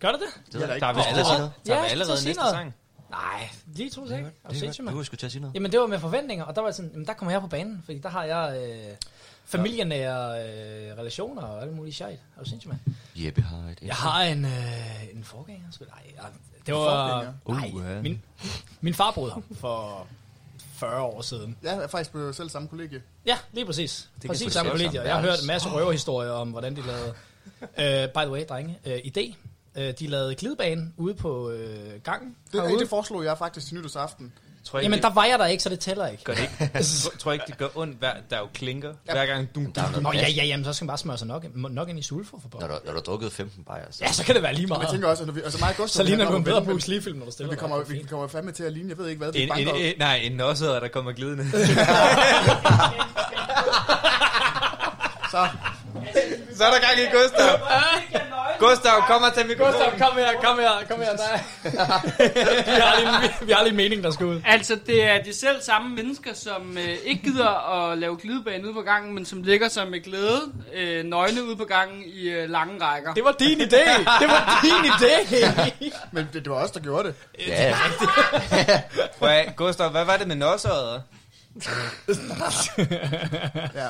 Speaker 4: Gør det det?
Speaker 1: Det ved jeg
Speaker 3: ikke.
Speaker 1: ikke.
Speaker 2: Der er vi
Speaker 1: Åh,
Speaker 2: allerede, der er vi
Speaker 4: Ja,
Speaker 2: allerede
Speaker 4: så sig
Speaker 2: næste
Speaker 4: noget.
Speaker 2: sang.
Speaker 4: Nej, lige to sekunder. Er du
Speaker 1: Det er
Speaker 4: sindssyg,
Speaker 1: godt.
Speaker 4: mand?
Speaker 1: Du husker til at sige noget.
Speaker 4: Jamen, det var med forventninger, og der var jeg sådan, jamen, der kommer jeg på banen, fordi der har jeg øh, familienære øh, relationer og alt muligt shit. Er du sindssygt, mand?
Speaker 1: Jeppe har et...
Speaker 4: Jeg har en, øh, en forgænger. sgu. Nej, jeg- det var...
Speaker 1: Uh, ja.
Speaker 4: Nej, min, <laughs> min far boede her for 40 år siden.
Speaker 3: Ja, jeg er faktisk på selv samme kollegie.
Speaker 4: Ja, lige præcis. Det
Speaker 2: kan for
Speaker 4: præcis samme
Speaker 2: sjældent
Speaker 4: kollegier.
Speaker 2: være.
Speaker 4: Jeg har hørt en masse røverhistorier om, hvordan de lavede... Uh, by the way, drenge, uh, idé. Uh, de lavede glidebane ude på uh, gangen
Speaker 3: Det,
Speaker 4: herude.
Speaker 3: det foreslog jeg faktisk til nytårsaften.
Speaker 2: Tror jeg ikke,
Speaker 4: Jamen,
Speaker 2: det,
Speaker 4: der var jeg der ikke, så det tæller ikke.
Speaker 2: gør det
Speaker 4: <laughs>
Speaker 2: ikke. Tror jeg ikke, det gør ondt. Hver, der er jo klinker. Hver gang du...
Speaker 1: Der er
Speaker 4: Nå,
Speaker 1: noget
Speaker 4: ja,
Speaker 1: plads.
Speaker 4: ja, jamen, så skal man bare smøre sig nok, nok ind i sulfur for
Speaker 1: Når
Speaker 4: pokker.
Speaker 1: du, når du har drukket 15 bajer, så...
Speaker 4: Ja, så kan det være lige
Speaker 3: Og jeg
Speaker 4: meget.
Speaker 3: tænker også, at når vi, altså mig og Gustav,
Speaker 4: Så ligner
Speaker 3: vi
Speaker 4: du en
Speaker 3: kommer
Speaker 4: bedre
Speaker 3: på-
Speaker 4: Bruce Lee-film, når du stiller
Speaker 3: Vi
Speaker 4: dig.
Speaker 3: kommer, vi kommer fandme til at ligne, jeg ved ikke hvad, vi
Speaker 2: En, en,
Speaker 3: banker op.
Speaker 2: en, nej, en nosser, der kommer <laughs> glidende.
Speaker 3: Så,
Speaker 2: Så er der gang i Gustav. Gustav, kom og tag mikrofonen.
Speaker 4: Gustav, kom her, kom her, kom her, nej. <laughs> vi, har lige, en- vi, vi har lige en mening, der skal ud.
Speaker 8: Altså, det er de selv samme mennesker, som øh, ikke gider at lave glidebane ude på gangen, men som ligger sig med glæde øh, nøgne ude på gangen i øh, lange rækker.
Speaker 4: Det var din idé, det var din idé.
Speaker 3: <laughs> men det, det var os, der gjorde det.
Speaker 1: Ja,
Speaker 2: Prøv at, Gustav, hvad var det med <laughs> nosseret?
Speaker 3: Ja,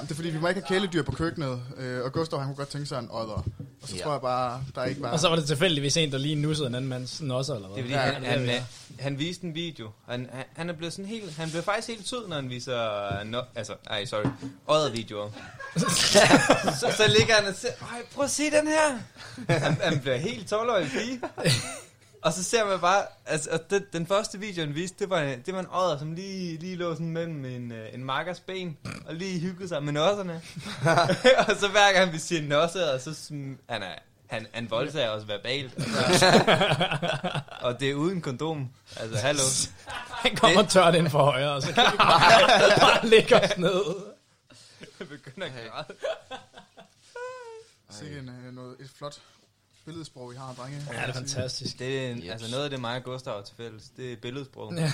Speaker 3: det er fordi, vi må ikke have kæledyr på køkkenet, øh, og Gustav han kunne godt tænke sig en odder. Og så
Speaker 1: Ja.
Speaker 3: ja. tror jeg bare, der er ikke var...
Speaker 4: Og så var det tilfældigvis en, der lige nussede en anden mands nosser, eller hvad?
Speaker 2: Det er fordi,
Speaker 3: Ja,
Speaker 2: han,
Speaker 4: det er
Speaker 2: han,
Speaker 4: vi.
Speaker 2: han, han viste en video. Han, han, han er blevet sådan helt... Han blev faktisk helt sød, når han viser... øh, No, altså, nej, sorry. Øjet
Speaker 4: <laughs>
Speaker 2: videoer. så, så ligger han og ser... Ej, prøv at se den her. Han, han bliver helt 12-årig pige. Og så ser man bare... Altså, og den, den første video, han viste, det var, en- det var en odder, som lige, lige lå sådan mellem en, øh, en markers ben, og lige hyggede sig med
Speaker 4: <laughs>
Speaker 2: nosserne. og så hver gang vi siger nosser, så... Sm- han er, han, han voldtager
Speaker 4: <laughs>
Speaker 2: os verbalt. Og det er uden kondom. Altså, hallo.
Speaker 4: Han kommer tørt ind for højre, og så kan vi bare,
Speaker 2: <laughs>
Speaker 4: bare lægge os ned.
Speaker 2: Jeg begynder at græde.
Speaker 3: Sikke en, øh, noget, et flot billedsprog, I har, drenge.
Speaker 4: Ja, det er fantastisk.
Speaker 2: Det er en,
Speaker 1: Jeps.
Speaker 2: altså noget af det, mig og Gustav har til fælles. Det er billedsprog. <laughs>
Speaker 4: Ja.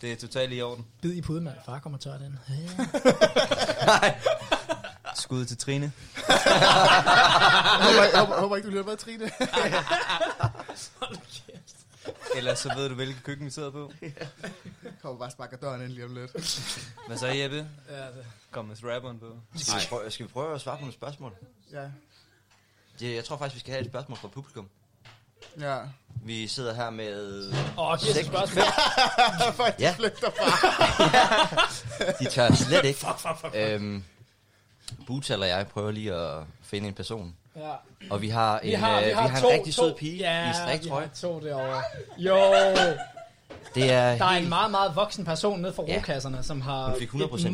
Speaker 2: Det er totalt i orden.
Speaker 4: Bid i puden, mand. Far kommer tørt ind.
Speaker 2: Skud til Trine.
Speaker 3: Jeg håber, jeg håber, jeg håber ikke, du lytter med,
Speaker 4: <laughs>
Speaker 3: Trine.
Speaker 2: Ellers så ved du, hvilket køkken vi sidder på.
Speaker 3: Kommer bare og sparker døren ind lige om lidt.
Speaker 2: Hvad så, Jeppe?
Speaker 3: Ja, det-
Speaker 2: Kom med rapperen på.
Speaker 1: Skal vi, prøve, skal vi prøve at svare på nogle spørgsmål?
Speaker 3: Ja.
Speaker 1: Det, jeg tror faktisk, vi skal have et spørgsmål fra publikum.
Speaker 3: Ja.
Speaker 1: Vi sidder her med...
Speaker 4: Åh, giv os et
Speaker 1: seks-
Speaker 3: <laughs>
Speaker 4: spørgsmål.
Speaker 3: Folk, de
Speaker 1: Ja.
Speaker 3: flygter bare.
Speaker 1: <laughs> De tør slet ikke.
Speaker 3: Fuck, fuck, fuck, fuck.
Speaker 1: Øhm, Buta eller jeg prøver lige at finde en person.
Speaker 4: Ja.
Speaker 1: Og vi har en,
Speaker 4: vi har,
Speaker 1: øh,
Speaker 4: vi har,
Speaker 1: vi har
Speaker 4: to,
Speaker 1: en rigtig
Speaker 4: to,
Speaker 1: sød pige
Speaker 4: ja,
Speaker 1: i striktrøje.
Speaker 4: vi har to derovre. Jo,
Speaker 1: Det er
Speaker 4: der er en meget, meget voksen person nede fra
Speaker 1: Ja.
Speaker 4: rokasserne, som har...
Speaker 1: Hun fik 100%
Speaker 4: et
Speaker 1: voksen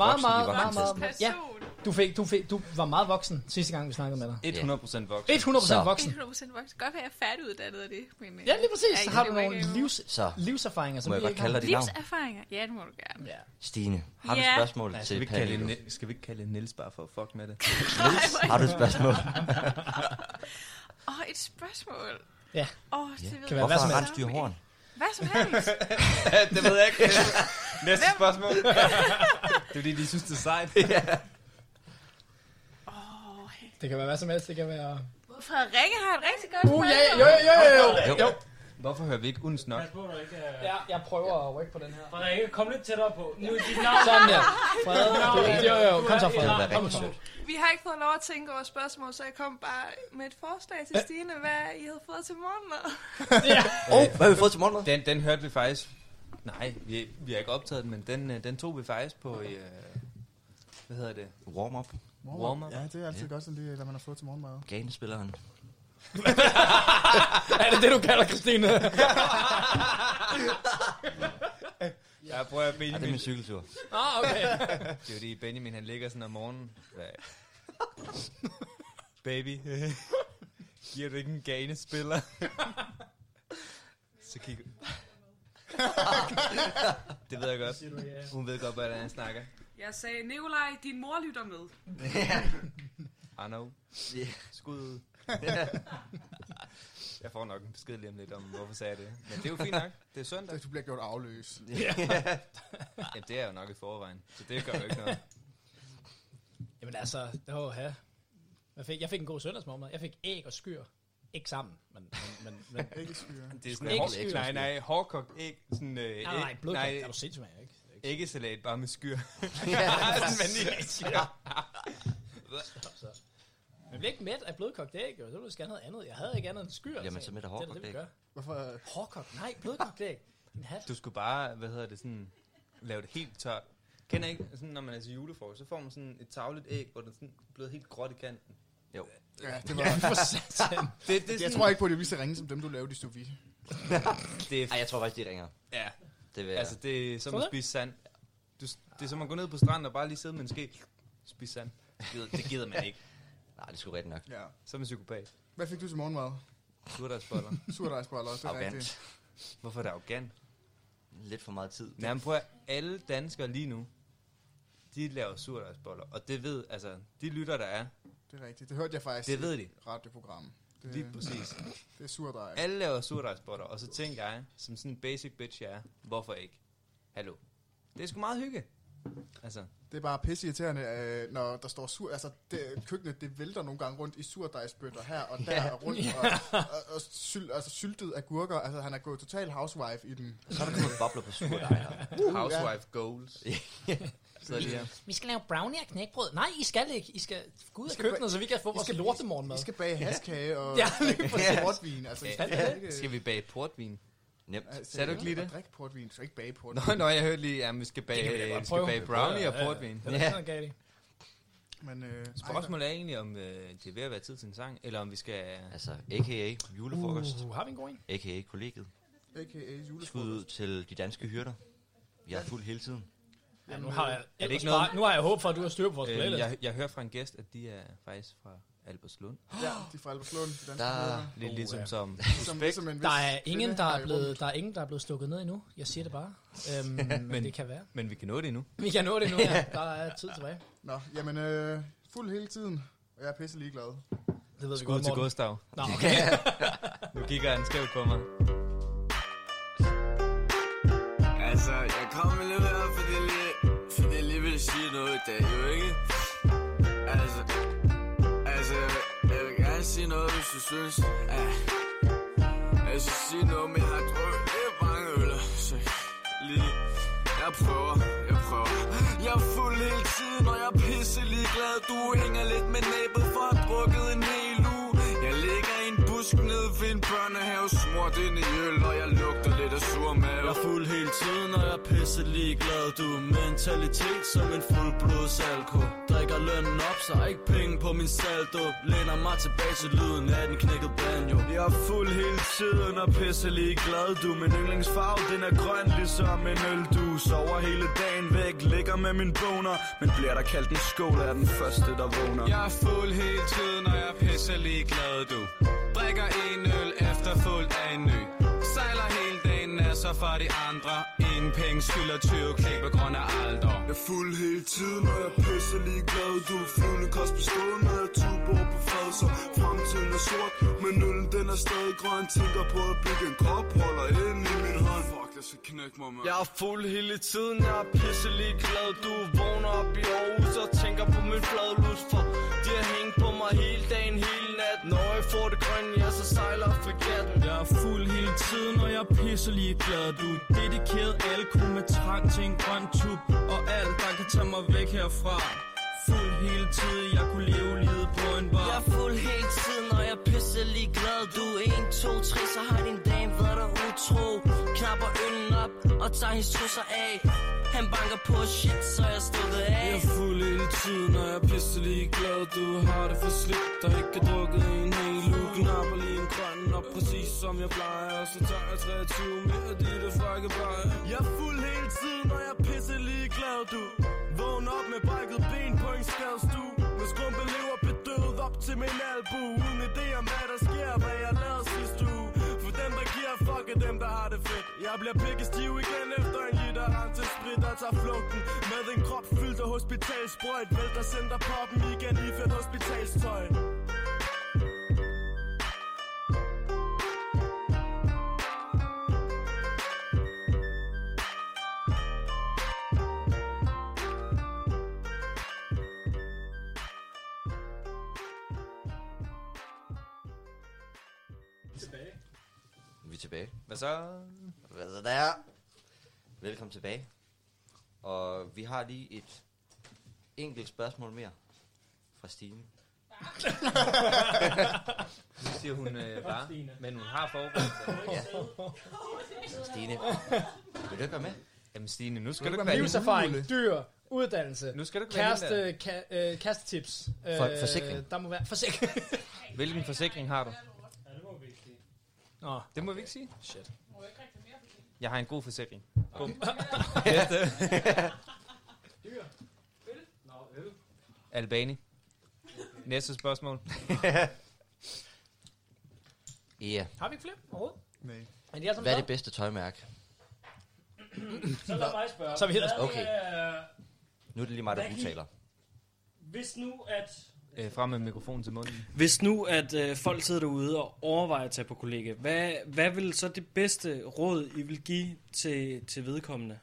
Speaker 1: i voksentesten.
Speaker 4: ja, du, fik, du, fik, du var meget voksen sidste gang, vi snakkede med dig.
Speaker 2: 100% voksen.
Speaker 4: 100%
Speaker 1: Så.
Speaker 4: voksen.
Speaker 10: 100% voksen. Godt være, jeg er færdiguddannet af det. Men, øh,
Speaker 4: Ja, lige præcis.
Speaker 10: jeg
Speaker 4: Så
Speaker 10: er
Speaker 4: har
Speaker 10: ikke
Speaker 4: du
Speaker 10: det,
Speaker 4: nogle
Speaker 10: jeg
Speaker 4: livs,
Speaker 1: Så
Speaker 4: livserfaringer, som
Speaker 1: må
Speaker 4: vi
Speaker 1: jeg godt
Speaker 4: ikke har.
Speaker 1: kalde dig dit navn?
Speaker 10: Livserfaringer. Ja, det må du gerne. Ja.
Speaker 1: Stine, har du et
Speaker 10: Ja.
Speaker 1: spørgsmål
Speaker 2: Nej, skal, vi
Speaker 1: til
Speaker 2: ikke kalde
Speaker 1: Pernille?
Speaker 2: Ni- skal vi ikke kalde Niels bare for at fuck
Speaker 1: <laughs>
Speaker 2: med det?
Speaker 1: Niels, har du et spørgsmål?
Speaker 10: Åh, et spørgsmål.
Speaker 4: Ja.
Speaker 10: Åh, det ved jeg
Speaker 1: Kan være hvad som
Speaker 10: ikke.
Speaker 1: helst. Hvorfor horn?
Speaker 10: Hvad som
Speaker 2: <laughs>
Speaker 1: <laughs>
Speaker 10: helst.
Speaker 2: det ved jeg ikke. Næste
Speaker 10: Hvem?
Speaker 2: spørgsmål. det er fordi, de synes, det er sejt.
Speaker 4: Det kan være hvad som helst. Det kan være...
Speaker 10: Frederikke har et rigtig godt
Speaker 4: Uh, ja,
Speaker 10: spørgsmål.
Speaker 4: ja, jo, jo, jo, jo.
Speaker 2: <laughs> jo. Hvorfor hører vi ikke uns nok?
Speaker 5: Pas på, du ikke er...
Speaker 4: Ja, jeg prøver at rykke på den her.
Speaker 5: Frederikke, kom lidt tættere på. Nu er dit navn.
Speaker 4: Sådan der.
Speaker 5: Dit navn
Speaker 4: Frederik.
Speaker 5: er-
Speaker 4: Jo, jo, kom så,
Speaker 5: Du er
Speaker 4: Frederik.
Speaker 5: et navn.
Speaker 4: Kom så.
Speaker 10: Vi har ikke fået lov at tænke over spørgsmål, så jeg kom bare med et forslag til Stine, hvad I havde fået til morgenmad.
Speaker 1: Åh, hvad har vi fået til morgenmad?
Speaker 2: Øh, Den, den hørte vi faktisk... Nej, vi, vi har ikke optaget den, men den, øh, den tog vi faktisk på... Øh, hvad hedder det?
Speaker 1: Warm-up.
Speaker 2: Warm-up.
Speaker 3: Ja, det er altid
Speaker 1: Ja.
Speaker 3: godt sådan lige, hvad man har fået til morgenmad.
Speaker 1: Ganespilleren.
Speaker 4: <laughs> Er det det, du kalder Christine?
Speaker 2: Jeg prøver at
Speaker 1: Ja, det er min cykeltur.
Speaker 4: ah, okay.
Speaker 2: Det er jo det, Benjamin han ligger sådan om morgenen. Hvad? Baby, giver du ikke en ganespiller? Så kigger Det ved jeg godt. Hun ved godt, hvordan han snakker.
Speaker 10: Jeg sagde, Nikolaj, din mor lytter med.
Speaker 2: I know.
Speaker 1: Ja.
Speaker 2: Skud ud. <laughs> Jeg får nok en besked lige om lidt om, hvorfor sagde jeg det. Men det er jo fint nok. Det er søndag.
Speaker 3: Du bliver gjort afløs.
Speaker 2: <laughs> Ja, det er jeg jo nok i forvejen. Så det gør jo ikke noget.
Speaker 4: Jamen altså, åh, ja. Jeg fik, jeg fik en god søndagsmorgenmad. Jeg fik æg og skyr. Ikke sammen, men... men, men,
Speaker 2: <laughs>
Speaker 4: men
Speaker 3: Ikke skyer.
Speaker 2: Det er sådan
Speaker 4: Ikke
Speaker 2: hård-
Speaker 4: skyr.
Speaker 2: Nej,
Speaker 4: <laughs>
Speaker 2: nej, hårdkogt æg. Sådan,
Speaker 4: nej,
Speaker 2: øh,
Speaker 4: nej,
Speaker 2: æg-
Speaker 4: blodkage. Nej. Er du sindssygt, man? Ikke?
Speaker 2: Ikke salat, bare med skyr.
Speaker 4: <laughs>
Speaker 2: <laughs> sådan <laughs> vanilje skyr.
Speaker 4: <laughs> Stop så. Man bliver ikke mæt af blødkogt æg, og så vil du skal have noget andet. Jeg havde ikke andet end skyr.
Speaker 1: Jamen,
Speaker 4: sagde
Speaker 1: så mæt
Speaker 4: jeg.
Speaker 1: af
Speaker 4: Det er da
Speaker 1: hårdkogt
Speaker 4: det, vi
Speaker 1: æg.
Speaker 4: gør.
Speaker 3: Hvorfor?
Speaker 4: Hårdkogt? Nej, blødkogt æg. En hat.
Speaker 2: Du skulle bare, hvad hedder det, sådan, lave det helt tørt. Kender I ikke, sådan, når man er til julefrokost, så får man sådan et tavlet æg, hvor den sådan er blevet helt gråt i kanten.
Speaker 1: Jo.
Speaker 3: Ja,
Speaker 2: <laughs>
Speaker 3: det var... <laughs>
Speaker 4: For satan.
Speaker 2: Det, det, er
Speaker 3: Jeg
Speaker 2: sådan,
Speaker 3: tror ikke på, at det er lige så ringe som dem, du lavede i sous
Speaker 2: <laughs>
Speaker 3: vide.
Speaker 2: det er,
Speaker 1: Ej, jeg tror faktisk, de ringer.
Speaker 2: ja,
Speaker 1: Det vil jeg.
Speaker 2: altså det er som
Speaker 4: Tror
Speaker 2: at
Speaker 4: du?
Speaker 2: spise sand. Du, det er som at gå ned på stranden og bare lige sidde med en ske. Spise sand. Det gider, det gider man ikke.
Speaker 1: Nej, det er sgu rigtigt nok.
Speaker 3: Ja.
Speaker 2: Som en psykopat.
Speaker 3: Hvad fik du til morgenmad?
Speaker 2: Du er der spotter.
Speaker 3: Surdejsboller, det er
Speaker 1: Arrogant.
Speaker 3: rigtigt.
Speaker 2: Hvorfor er det arrogant?
Speaker 1: Lidt for meget tid.
Speaker 2: Jamen prøv at høre, alle danskere lige nu, de laver surdejsboller. Og det ved, altså, de lytter, der er,
Speaker 3: Det er rigtigt. Det hørte jeg faktisk
Speaker 2: Det ved
Speaker 3: i
Speaker 2: de.
Speaker 3: et radioprogram. Det,
Speaker 2: lige præcis.
Speaker 3: det er surdej.
Speaker 2: Alle laver surdejsbotter, og så tænker jeg, som sådan en basic bitch jeg er, hvorfor ikke? Hallo. Det er sgu meget hygge.
Speaker 3: <laughs>
Speaker 2: Altså,
Speaker 3: Det er bare pisseirriterende, øh, når der står sur... Altså, det, køkkenet, det vælter nogle gange rundt i surdejsbøtter her og der og rundt. Og, og, og syl, altså, syltet agurker. Altså, han er gået total housewife i den.
Speaker 1: Så er der kommet bobler på surdej
Speaker 3: <laughs>
Speaker 1: her.
Speaker 2: uh, housewife goals. Så lige her.
Speaker 4: Vi skal lave brownie og knækbrød. Nej, I skal ikke. I skal gå ud af
Speaker 3: skal
Speaker 4: køkkenet, så vi kan få vores lortemorgenmad.
Speaker 3: I skal bage haskage og
Speaker 4: <laughs> Ja.
Speaker 3: ja. drikke på portvin. Altså, I skal,
Speaker 4: Ja.
Speaker 3: ikke,
Speaker 2: Skal vi bage portvin?
Speaker 1: Nemt.
Speaker 3: altså,
Speaker 2: Sagde du ikke lige det?
Speaker 3: og Drikke portvin, du skal ikke bage portvin.
Speaker 2: Nå, nå, jeg hørte lige, at vi skal
Speaker 4: kan vi da
Speaker 2: bage,
Speaker 4: godt
Speaker 2: vi
Speaker 4: prøve.
Speaker 2: skal bage brownie og
Speaker 4: Ja, ja, ja.
Speaker 2: portvin.
Speaker 4: Det er sådan, galt i.
Speaker 3: Men, øh,
Speaker 2: Spørgsmålet er egentlig, om øh, det er ved at være tid til en sang, eller om vi skal...
Speaker 1: Altså, a.k.a. julefrokost,
Speaker 4: Uh, har vi en god en?
Speaker 1: a.k.a. kollegiet.
Speaker 3: ej, a.k.a.
Speaker 1: Skud
Speaker 3: julefrokost.
Speaker 1: ud til de danske hyrder. Jeg er fuld hele tiden.
Speaker 4: Ja, nu har jeg,
Speaker 2: Er det ikke
Speaker 4: ellers bare-
Speaker 2: noget-
Speaker 4: Nu har jeg håb for, at du har styr på vores
Speaker 2: Øh,
Speaker 4: playlist.
Speaker 2: jeg, jeg hører fra en gæst, at de er faktisk fra Albertslund.
Speaker 4: <gasps>
Speaker 3: Ja, de er fra Albertslund. de danske
Speaker 1: Der er
Speaker 3: jøder.
Speaker 4: Oh,
Speaker 2: Lidt ligesom som...
Speaker 3: Som, ligesom en vis
Speaker 4: Der er ingen,
Speaker 3: kvinde
Speaker 4: der
Speaker 3: har
Speaker 4: er
Speaker 3: i
Speaker 4: blevet, der er ingen, der er blevet stukket ned endnu. Jeg siger det <laughs> bare. Øhm, men, men det kan være.
Speaker 2: Men vi kan nå det endnu.
Speaker 4: Vi kan nå det nu,
Speaker 2: <laughs>
Speaker 4: ja. Der er tid tilbage.
Speaker 3: rummet. Nå, jamen, øh, fuld hele tiden. Og jeg er pisse ligeglad.
Speaker 4: Det ved vi
Speaker 2: Skud
Speaker 4: godt,
Speaker 2: til
Speaker 4: Morten.
Speaker 2: Gustav. <laughs>
Speaker 4: Nå, okay. <laughs>
Speaker 2: Nu kigger han skævt på mig.
Speaker 9: Altså, jeg kommer lidt her, fordi jeg lige, fordi jeg lige vil sige noget i dag, jo ikke? Altså,
Speaker 11: altså, sige noget, hvis du synes ah. Altså sige noget, men jeg har drukket lidt mange øl Så lige, jeg prøver, jeg prøver Jeg er fuld hele tiden, og jeg er pisse ligeglad Du hænger lidt med næbet for at have drukket en hel uge Jeg ligger i en busk nede ved en børnehave Smurt ind i øl, og jeg lugter lidt af sur mave
Speaker 12: Jeg er fuld hele tiden, og jeg er pisse ligeglad Du er mentalitet som en fuldblods alko Drikker lønnen op, så har ikke penge på min saldo Læner mig tilbage til lyden af den knækkede banjo Jeg er fuld hele tiden og pisse ligeglad Du min yndlingsfarve, den er grøn ligesom en øl Du sover hele dagen væk, ligger med min boner Men bliver der kaldt en skål af den første, der vågner
Speaker 13: Jeg er fuld hele tiden, og jeg er pisse ligeglad, du Drikker en øl efter fuld af en ny Sejler hele dagen af så for de andre Ingen penge skylder 20 klip på grund af alder
Speaker 11: Jeg er fuld hele tiden, og jeg er pisse ligeglad Du er flyvende kost på stålen, og jeg tuber på fad Så fremtiden er sort, men nullen den er stadig grøn Tænker på at bygge en kop, holder ind i min hånd Fuck, jeg skal knække mig, mand
Speaker 12: Jeg er fuld hele tiden, jeg er pisselig glad Du vågner op i Aarhus og tænker på min fladlus For de har hængt på mig hele dagen, hele natten Når jeg får det grønne, ja, så sejler fregatten
Speaker 14: Jeg er fuld hele tiden, og jeg er pisselig glad Du er dedikeret alko med trang til en grøn tub Og alt, der kan tage mig væk herfra Fuld hele tiden, jeg kunne leve livet på en bar
Speaker 15: Jeg er fuld hele tiden, og jeg er pisselig glad Du er 1, 2, 3, så har din dame været der utro Knapper øllen op og tager hendes trusser af Han banker på shit, så jeg stukket af
Speaker 12: Jeg er fuld hele tiden, og jeg er pisselig glad Du har det for slidt, der ikke har drukket en hel uge Knapper lige en grøn, og præcis som jeg plejer Og så tager jeg 23 mere, det er det frække bare Jeg er fuld hele tiden, og jeg er pisselig glad Du
Speaker 11: Vågn op med brækket ben på en skadestue Med skrumpe lever bedøvet op til min albu Uden idé om hvad der sker, hvad jeg lavede sidste uge For dem der giver fuck er dem der har det fedt Jeg bliver pikkestiv igen efter en liter rand til sprit Der tager flugten med en krop fyldt af hospitalsprøjt Vælter center poppen igen i fedt hospitalstøj
Speaker 1: Tilbage.
Speaker 2: Vi er tilbage. Hvad så?
Speaker 1: Hvad så der? Velkommen tilbage. Og vi har lige et enkelt spørgsmål mere fra Stine.
Speaker 2: Nu siger hun øh, bare, men hun har forberedt sig.
Speaker 1: Så Stine, vil du ikke være med?
Speaker 2: Jamen Stine, nu
Speaker 1: Vil
Speaker 2: skal
Speaker 1: du
Speaker 2: du ikke
Speaker 1: være
Speaker 2: være
Speaker 4: Livserfaring, dyr, uddannelse,
Speaker 2: Nu skal du ikke være
Speaker 4: kæreste,
Speaker 2: hende
Speaker 4: ka, øh, kastetips.
Speaker 2: For- forsikring.
Speaker 4: Der må være forsikring.
Speaker 2: Hvilken forsikring har du?
Speaker 4: Nå,
Speaker 2: det må vi ikke sige.
Speaker 4: Shit.
Speaker 2: Jeg har en god forsikring. Bum.
Speaker 5: Dyr. Øl? Nå, øl.
Speaker 2: <laughs> Albani. Næste
Speaker 4: <laughs>
Speaker 2: spørgsmål.
Speaker 1: Ja.
Speaker 4: Har vi ikke flere overhovedet?
Speaker 3: Nej.
Speaker 4: Men de er som
Speaker 1: Hvad er det bedste tøjmærke?
Speaker 4: <clears throat>
Speaker 5: Så lad mig spørge.
Speaker 1: Så er vi helt-
Speaker 5: Hvad,
Speaker 1: Okay.
Speaker 5: øh,
Speaker 1: Nu er det lige mig, der
Speaker 5: hvad
Speaker 1: udtaler.
Speaker 5: Hvis nu at...
Speaker 2: Øh, frem med mikrofonen til munden.
Speaker 16: Hvis nu, at øh, folk sidder derude og overvejer at tage på kollega, hvad, hvad vil så det bedste råd, I vil give til, til vedkommende?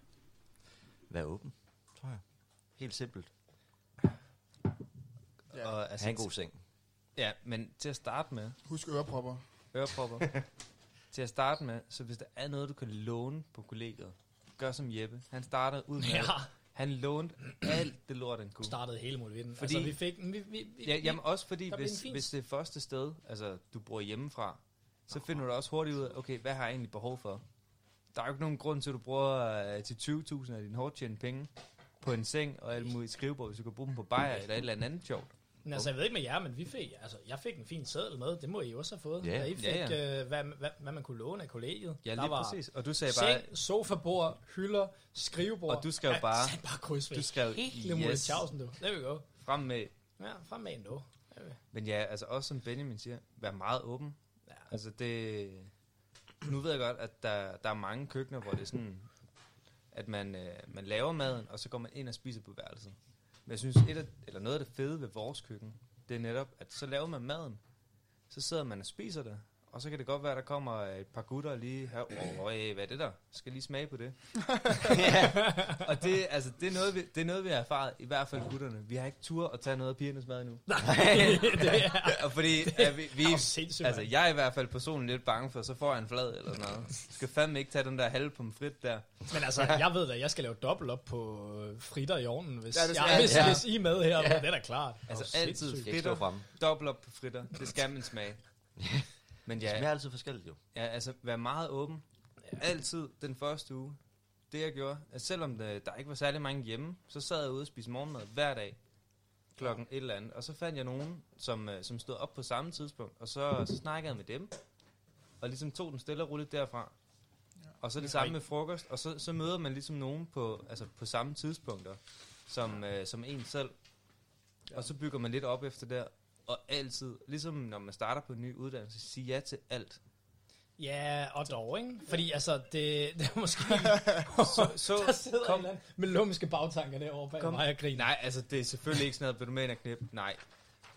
Speaker 1: Vær åben, tror jeg. Helt simpelt.
Speaker 2: Ja. Og,
Speaker 1: Ha' en god seng.
Speaker 2: Ja, men til at starte med...
Speaker 3: Husk ørepropper. <laughs>
Speaker 2: Ørepropper. til at starte med, så hvis der er noget, du kan låne på kollegiet, gør som Jeppe. Han startede ud med...
Speaker 4: Ja.
Speaker 2: Han lånte alt det lort, han kunne.
Speaker 4: Startede hele muligheden. Fordi, altså, vi fik, vi, vi, vi,
Speaker 2: ja, jamen også fordi,
Speaker 4: der blev en
Speaker 2: hvis,
Speaker 4: fin
Speaker 2: hvis det er første sted, altså du bor hjemmefra, så finder du også hurtigt ud af, okay, hvad har jeg egentlig behov for? Der er jo ikke nogen grund til, at du bruger øh, til 20.000 af dine hårdt tjente penge på en seng og alt muligt skrivebord, hvis du kan bruge dem på bajer eller et eller andet sjovt.
Speaker 4: Men altså, jeg ved ikke med jer, men vi fik, altså, jeg fik en fin seddel med. Det må I også have fået.
Speaker 2: Ja.
Speaker 4: Ja, I fik,
Speaker 2: Ja,
Speaker 4: ja,
Speaker 2: ja.
Speaker 4: ja. Øh, hvad, hvad, hvad, man kunne låne af kollegiet.
Speaker 2: Ja, lige præcis. Og du sagde
Speaker 4: seng,
Speaker 2: bare-
Speaker 4: sofabord, hylder, skrivebord.
Speaker 2: Og du skrev
Speaker 4: ja,
Speaker 2: bare-
Speaker 4: sagde bare krydsvæg.
Speaker 2: du skrev
Speaker 4: Hele yes. muligt
Speaker 2: yes.
Speaker 4: tjavsen, du. There we go.
Speaker 2: Frem med
Speaker 4: Ja, frem med en nu.
Speaker 2: Men ja, altså også som Benjamin siger, vær meget åben. Ja. Altså det... Nu ved jeg godt, at der, der er mange køkkener, hvor det er sådan, at man, øh, man laver maden, og så går man ind og spiser på værelset. Men jeg synes, et af, eller noget af det fede ved vores køkken, det er netop, at så laver man maden, så sidder man og spiser det, og så kan det godt være, der kommer et par gutter lige her. Åh, øh, hvad er det der? Skal lige smage
Speaker 4: <laughs>
Speaker 2: på det. ja. Og det, altså, det, er noget, vi, det er noget, vi har erfaret, i hvert fald gutterne. Vi har ikke tur at tage noget af pigernes mad endnu. Nej,
Speaker 4: det er-
Speaker 2: <laughs> Og fordi, ja, vi, vi,
Speaker 4: Det er jo sindssygt,
Speaker 2: altså,
Speaker 4: mand.
Speaker 2: jeg er i hvert fald personligt lidt bange for, så får jeg en flad eller sådan noget. Skal fandme ikke tage den der halve pomfrit der.
Speaker 4: Men altså, jeg ved da, jeg skal lave dobbelt op på øh, fritter i ovnen, hvis, ja,
Speaker 2: Ja, det skal
Speaker 4: jeg,
Speaker 2: jeg.
Speaker 4: hvis,
Speaker 2: Ja.
Speaker 4: hvis I er med her.
Speaker 2: Ja.
Speaker 4: Ja. Det er da klart.
Speaker 2: Altså
Speaker 4: Åh,
Speaker 2: altid
Speaker 4: sindssygt.
Speaker 2: fritter, dobbelt op på fritter. Det skal man smage. Men ja,
Speaker 1: Det smager altid forskelligt, jo.
Speaker 2: Ja, altså vær meget åben. Altid den første uge. Det jeg gjorde, at selvom der, der ikke var særlig mange hjemme, så sad jeg ude og spiste morgenmad hver dag klokken et eller andet. Og så fandt jeg nogen, som, øh, som stod op på samme tidspunkt, og så, så snakkede jeg med dem. Og ligesom tog den stille og roligt derfra. Og så det samme med frokost, og så, så møder man ligesom nogen på, altså på samme tidspunkter, som, øh, som en selv. Og så bygger man lidt op efter der, og altid, ligesom når man starter på en ny uddannelse, sige ja til alt.
Speaker 4: Ja, og dog, ikke? Fordi altså, det, <laughs> det er måske...
Speaker 2: <laughs> så, så,
Speaker 4: der sidder
Speaker 2: kom.
Speaker 4: kom. en eller anden med lumske bagtanker derovre bag mig.
Speaker 2: og griner. Nej, altså det er selvfølgelig ikke sådan noget, vil du med ind og knip? Nej.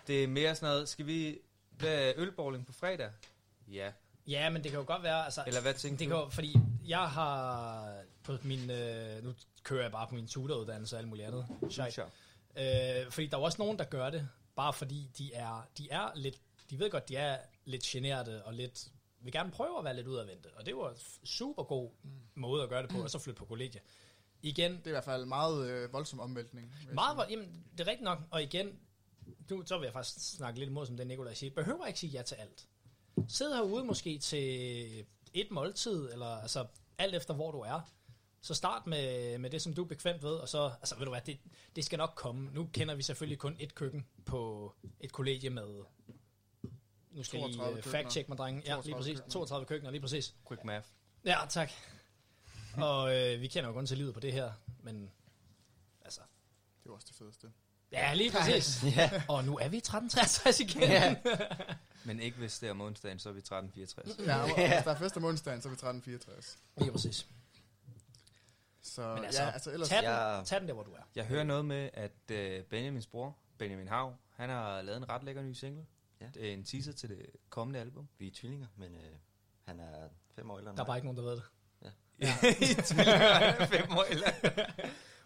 Speaker 2: Det er mere sådan noget, skal vi have ølbowling på fredag? Ja.
Speaker 4: Ja, men det kan jo godt være... Altså,
Speaker 2: Eller hvad tænker
Speaker 4: det
Speaker 2: du?
Speaker 4: Kan jo, fordi jeg har på min... Øh, nu kører jeg bare på min tutoruddannelse og alt muligt andet.
Speaker 2: Mm,
Speaker 4: Shit. Øh, fordi der er jo også nogen, der gør det, bare fordi de er, de er lidt... De ved godt, de er lidt generte og lidt vil gerne prøve at være lidt udadvendte. Og det var en f- super god
Speaker 2: Mm.
Speaker 4: måde at gøre det på, og så flytte på kollegie. Igen. Det er
Speaker 3: i hvert fald meget øh, voldsom omvæltning.
Speaker 4: Meget, vold- jamen, det er rigtigt nok. Og igen, du, så vil jeg faktisk snakke lidt imod, som det Nikolaj siger. Behøver ikke sige ja til alt. Sid herude måske til et måltid, eller altså alt efter, hvor du er. Så start med, med det, som du er bekvemt ved, og så, altså ved du hvad, det, det skal nok komme. Nu kender vi selvfølgelig kun et køkken på et kollegie med, nu skal jeg lige
Speaker 2: 32
Speaker 4: øh, fact-check mig, drenge. Ja, lige
Speaker 2: 32
Speaker 4: præcis.
Speaker 2: køkkener.
Speaker 4: 32 køkkener, lige præcis.
Speaker 2: Quick math.
Speaker 4: Ja, tak. Og øh, vi kender jo kun til livet på det her, men altså...
Speaker 3: Det er jo også det fedeste.
Speaker 4: Ja, lige præcis.
Speaker 2: Ja.
Speaker 4: Og nu er vi i 1363 igen.
Speaker 2: Ja. Men ikke hvis det er om onsdagen, så er vi 13.64.
Speaker 4: <laughs>
Speaker 3: Ja, og hvis der er fest om onsdagen, så er vi 1364.
Speaker 4: Lige præcis.
Speaker 3: Så
Speaker 4: Men
Speaker 3: altså, ja, altså ellers...
Speaker 2: Jeg-
Speaker 4: der, hvor du er.
Speaker 2: Jeg hører noget med, at øh, Benjamins bror, Benjamin Hav, han har lavet en ret lækker ny single. Ja. Det er en teaser til det kommende album.
Speaker 1: Vi er tvillinger, men øh, han er fem år ældre end
Speaker 4: Der er
Speaker 1: mig.
Speaker 4: bare ikke nogen, der ved det.
Speaker 1: Ja.
Speaker 2: Ja. <laughs> Tvillinger, fem år ældre.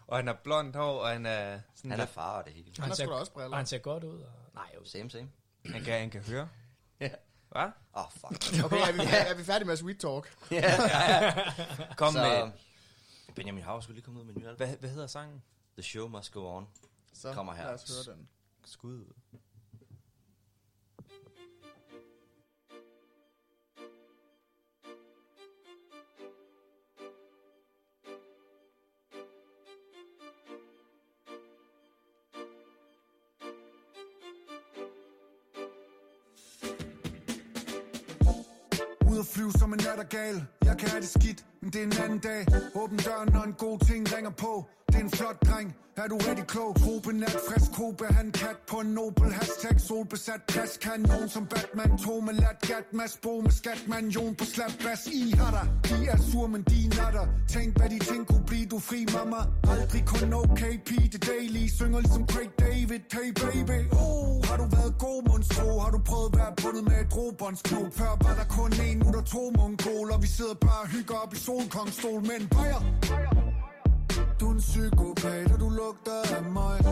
Speaker 2: Og han har blondt hår, og han er... Sådan
Speaker 1: Han er
Speaker 2: lidt-
Speaker 1: far og det hele.
Speaker 4: Og ser, og han ser godt ud. Og, nej, jo.
Speaker 1: Same, same.
Speaker 2: Han kan, han kan høre.
Speaker 1: Ja.
Speaker 2: Hvad?
Speaker 1: Åh, oh, fuck.
Speaker 3: Okay, er vi, er vi færdige med sweet talk?
Speaker 1: Kom så, med. Benjamin Hav skulle lige komme ud med en ny album.
Speaker 2: Hvad, hvad hedder sangen?
Speaker 1: The Show Must Go On.
Speaker 3: Så
Speaker 1: kommer her.
Speaker 3: lad os høre den.
Speaker 2: Skud.
Speaker 17: Ude at flyve som en nattergal Jeg kan have det skidt, men det er en anden dag Åbn døren, når en god ting ringer på Det er en flot dreng, er du rigtig klog? Trope nat, frisk kobe, han kat på en nobel Hashtag solbesat plads Kanon som Batman, tog med lat Gat, mas bo med skat, man jon på slap Bas i har der, de er sur, men de er natter Tænk hvad de ting kunne blive, du er fri mamma Aldrig kun okay, pige det daily Synger ligesom Craig David, hey baby oh, Har du været god, monstro? Har du prøvet at være bundet med et drobåndsklub? Før var der kun en, nu er der to mongoler Vi sidder bare og hygger op i solkongstol Men bajer, du er en psykopat, og du lugter af mig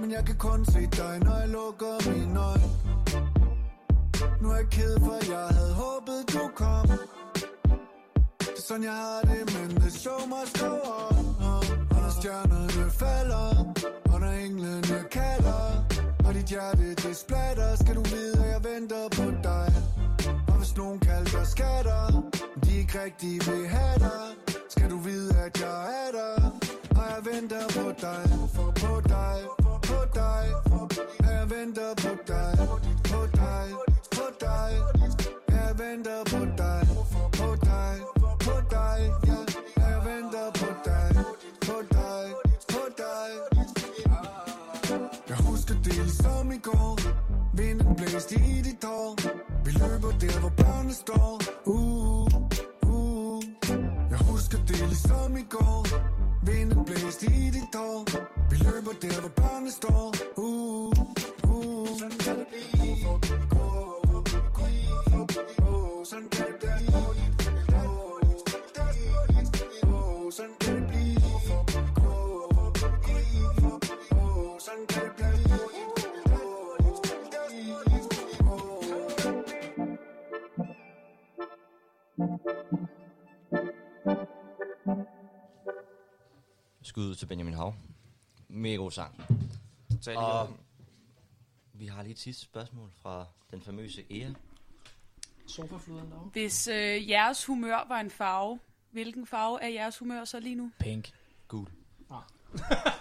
Speaker 17: Men jeg kan kun se dig, når jeg lukker mine øjne Nu er jeg ked, for jeg havde håbet, du kom Det er sådan, jeg har det, men det show must go on Og når stjernerne falder, og når englene kalder Og dit hjerte, det splatter, skal du vide, at jeg venter på dig Og hvis nogen kalder dig skatter, de ikke rigtig vil have dig Skal du vide, at jeg er der, og jeg venter på dig For på dig, på dig, jeg venter på dig På dig, på dig, jeg venter på dig På dig, på dig, ja, jeg venter på dig På dig, på dig jeg husker det ligesom i går Vinden blæste i dit hår Vi løber der hvor børnene står uh, uh. Jeg husker det ligesom i går Vinden blæste i dit hår Vi løber der hvor børnene står uh, uh. Sådan kan det blive. Gå, gå, gå.
Speaker 1: Skud ud til Benjamin Hav. Mega god sang.
Speaker 2: Total
Speaker 1: og
Speaker 2: god.
Speaker 1: vi har lige et sidste spørgsmål fra den famøse Ea.
Speaker 16: Sofafloderen derovre.
Speaker 10: Hvis øh, jeres humør var en farve, hvilken farve er jeres humør så lige nu?
Speaker 4: Pink.
Speaker 1: Gul.
Speaker 16: Ah. <laughs>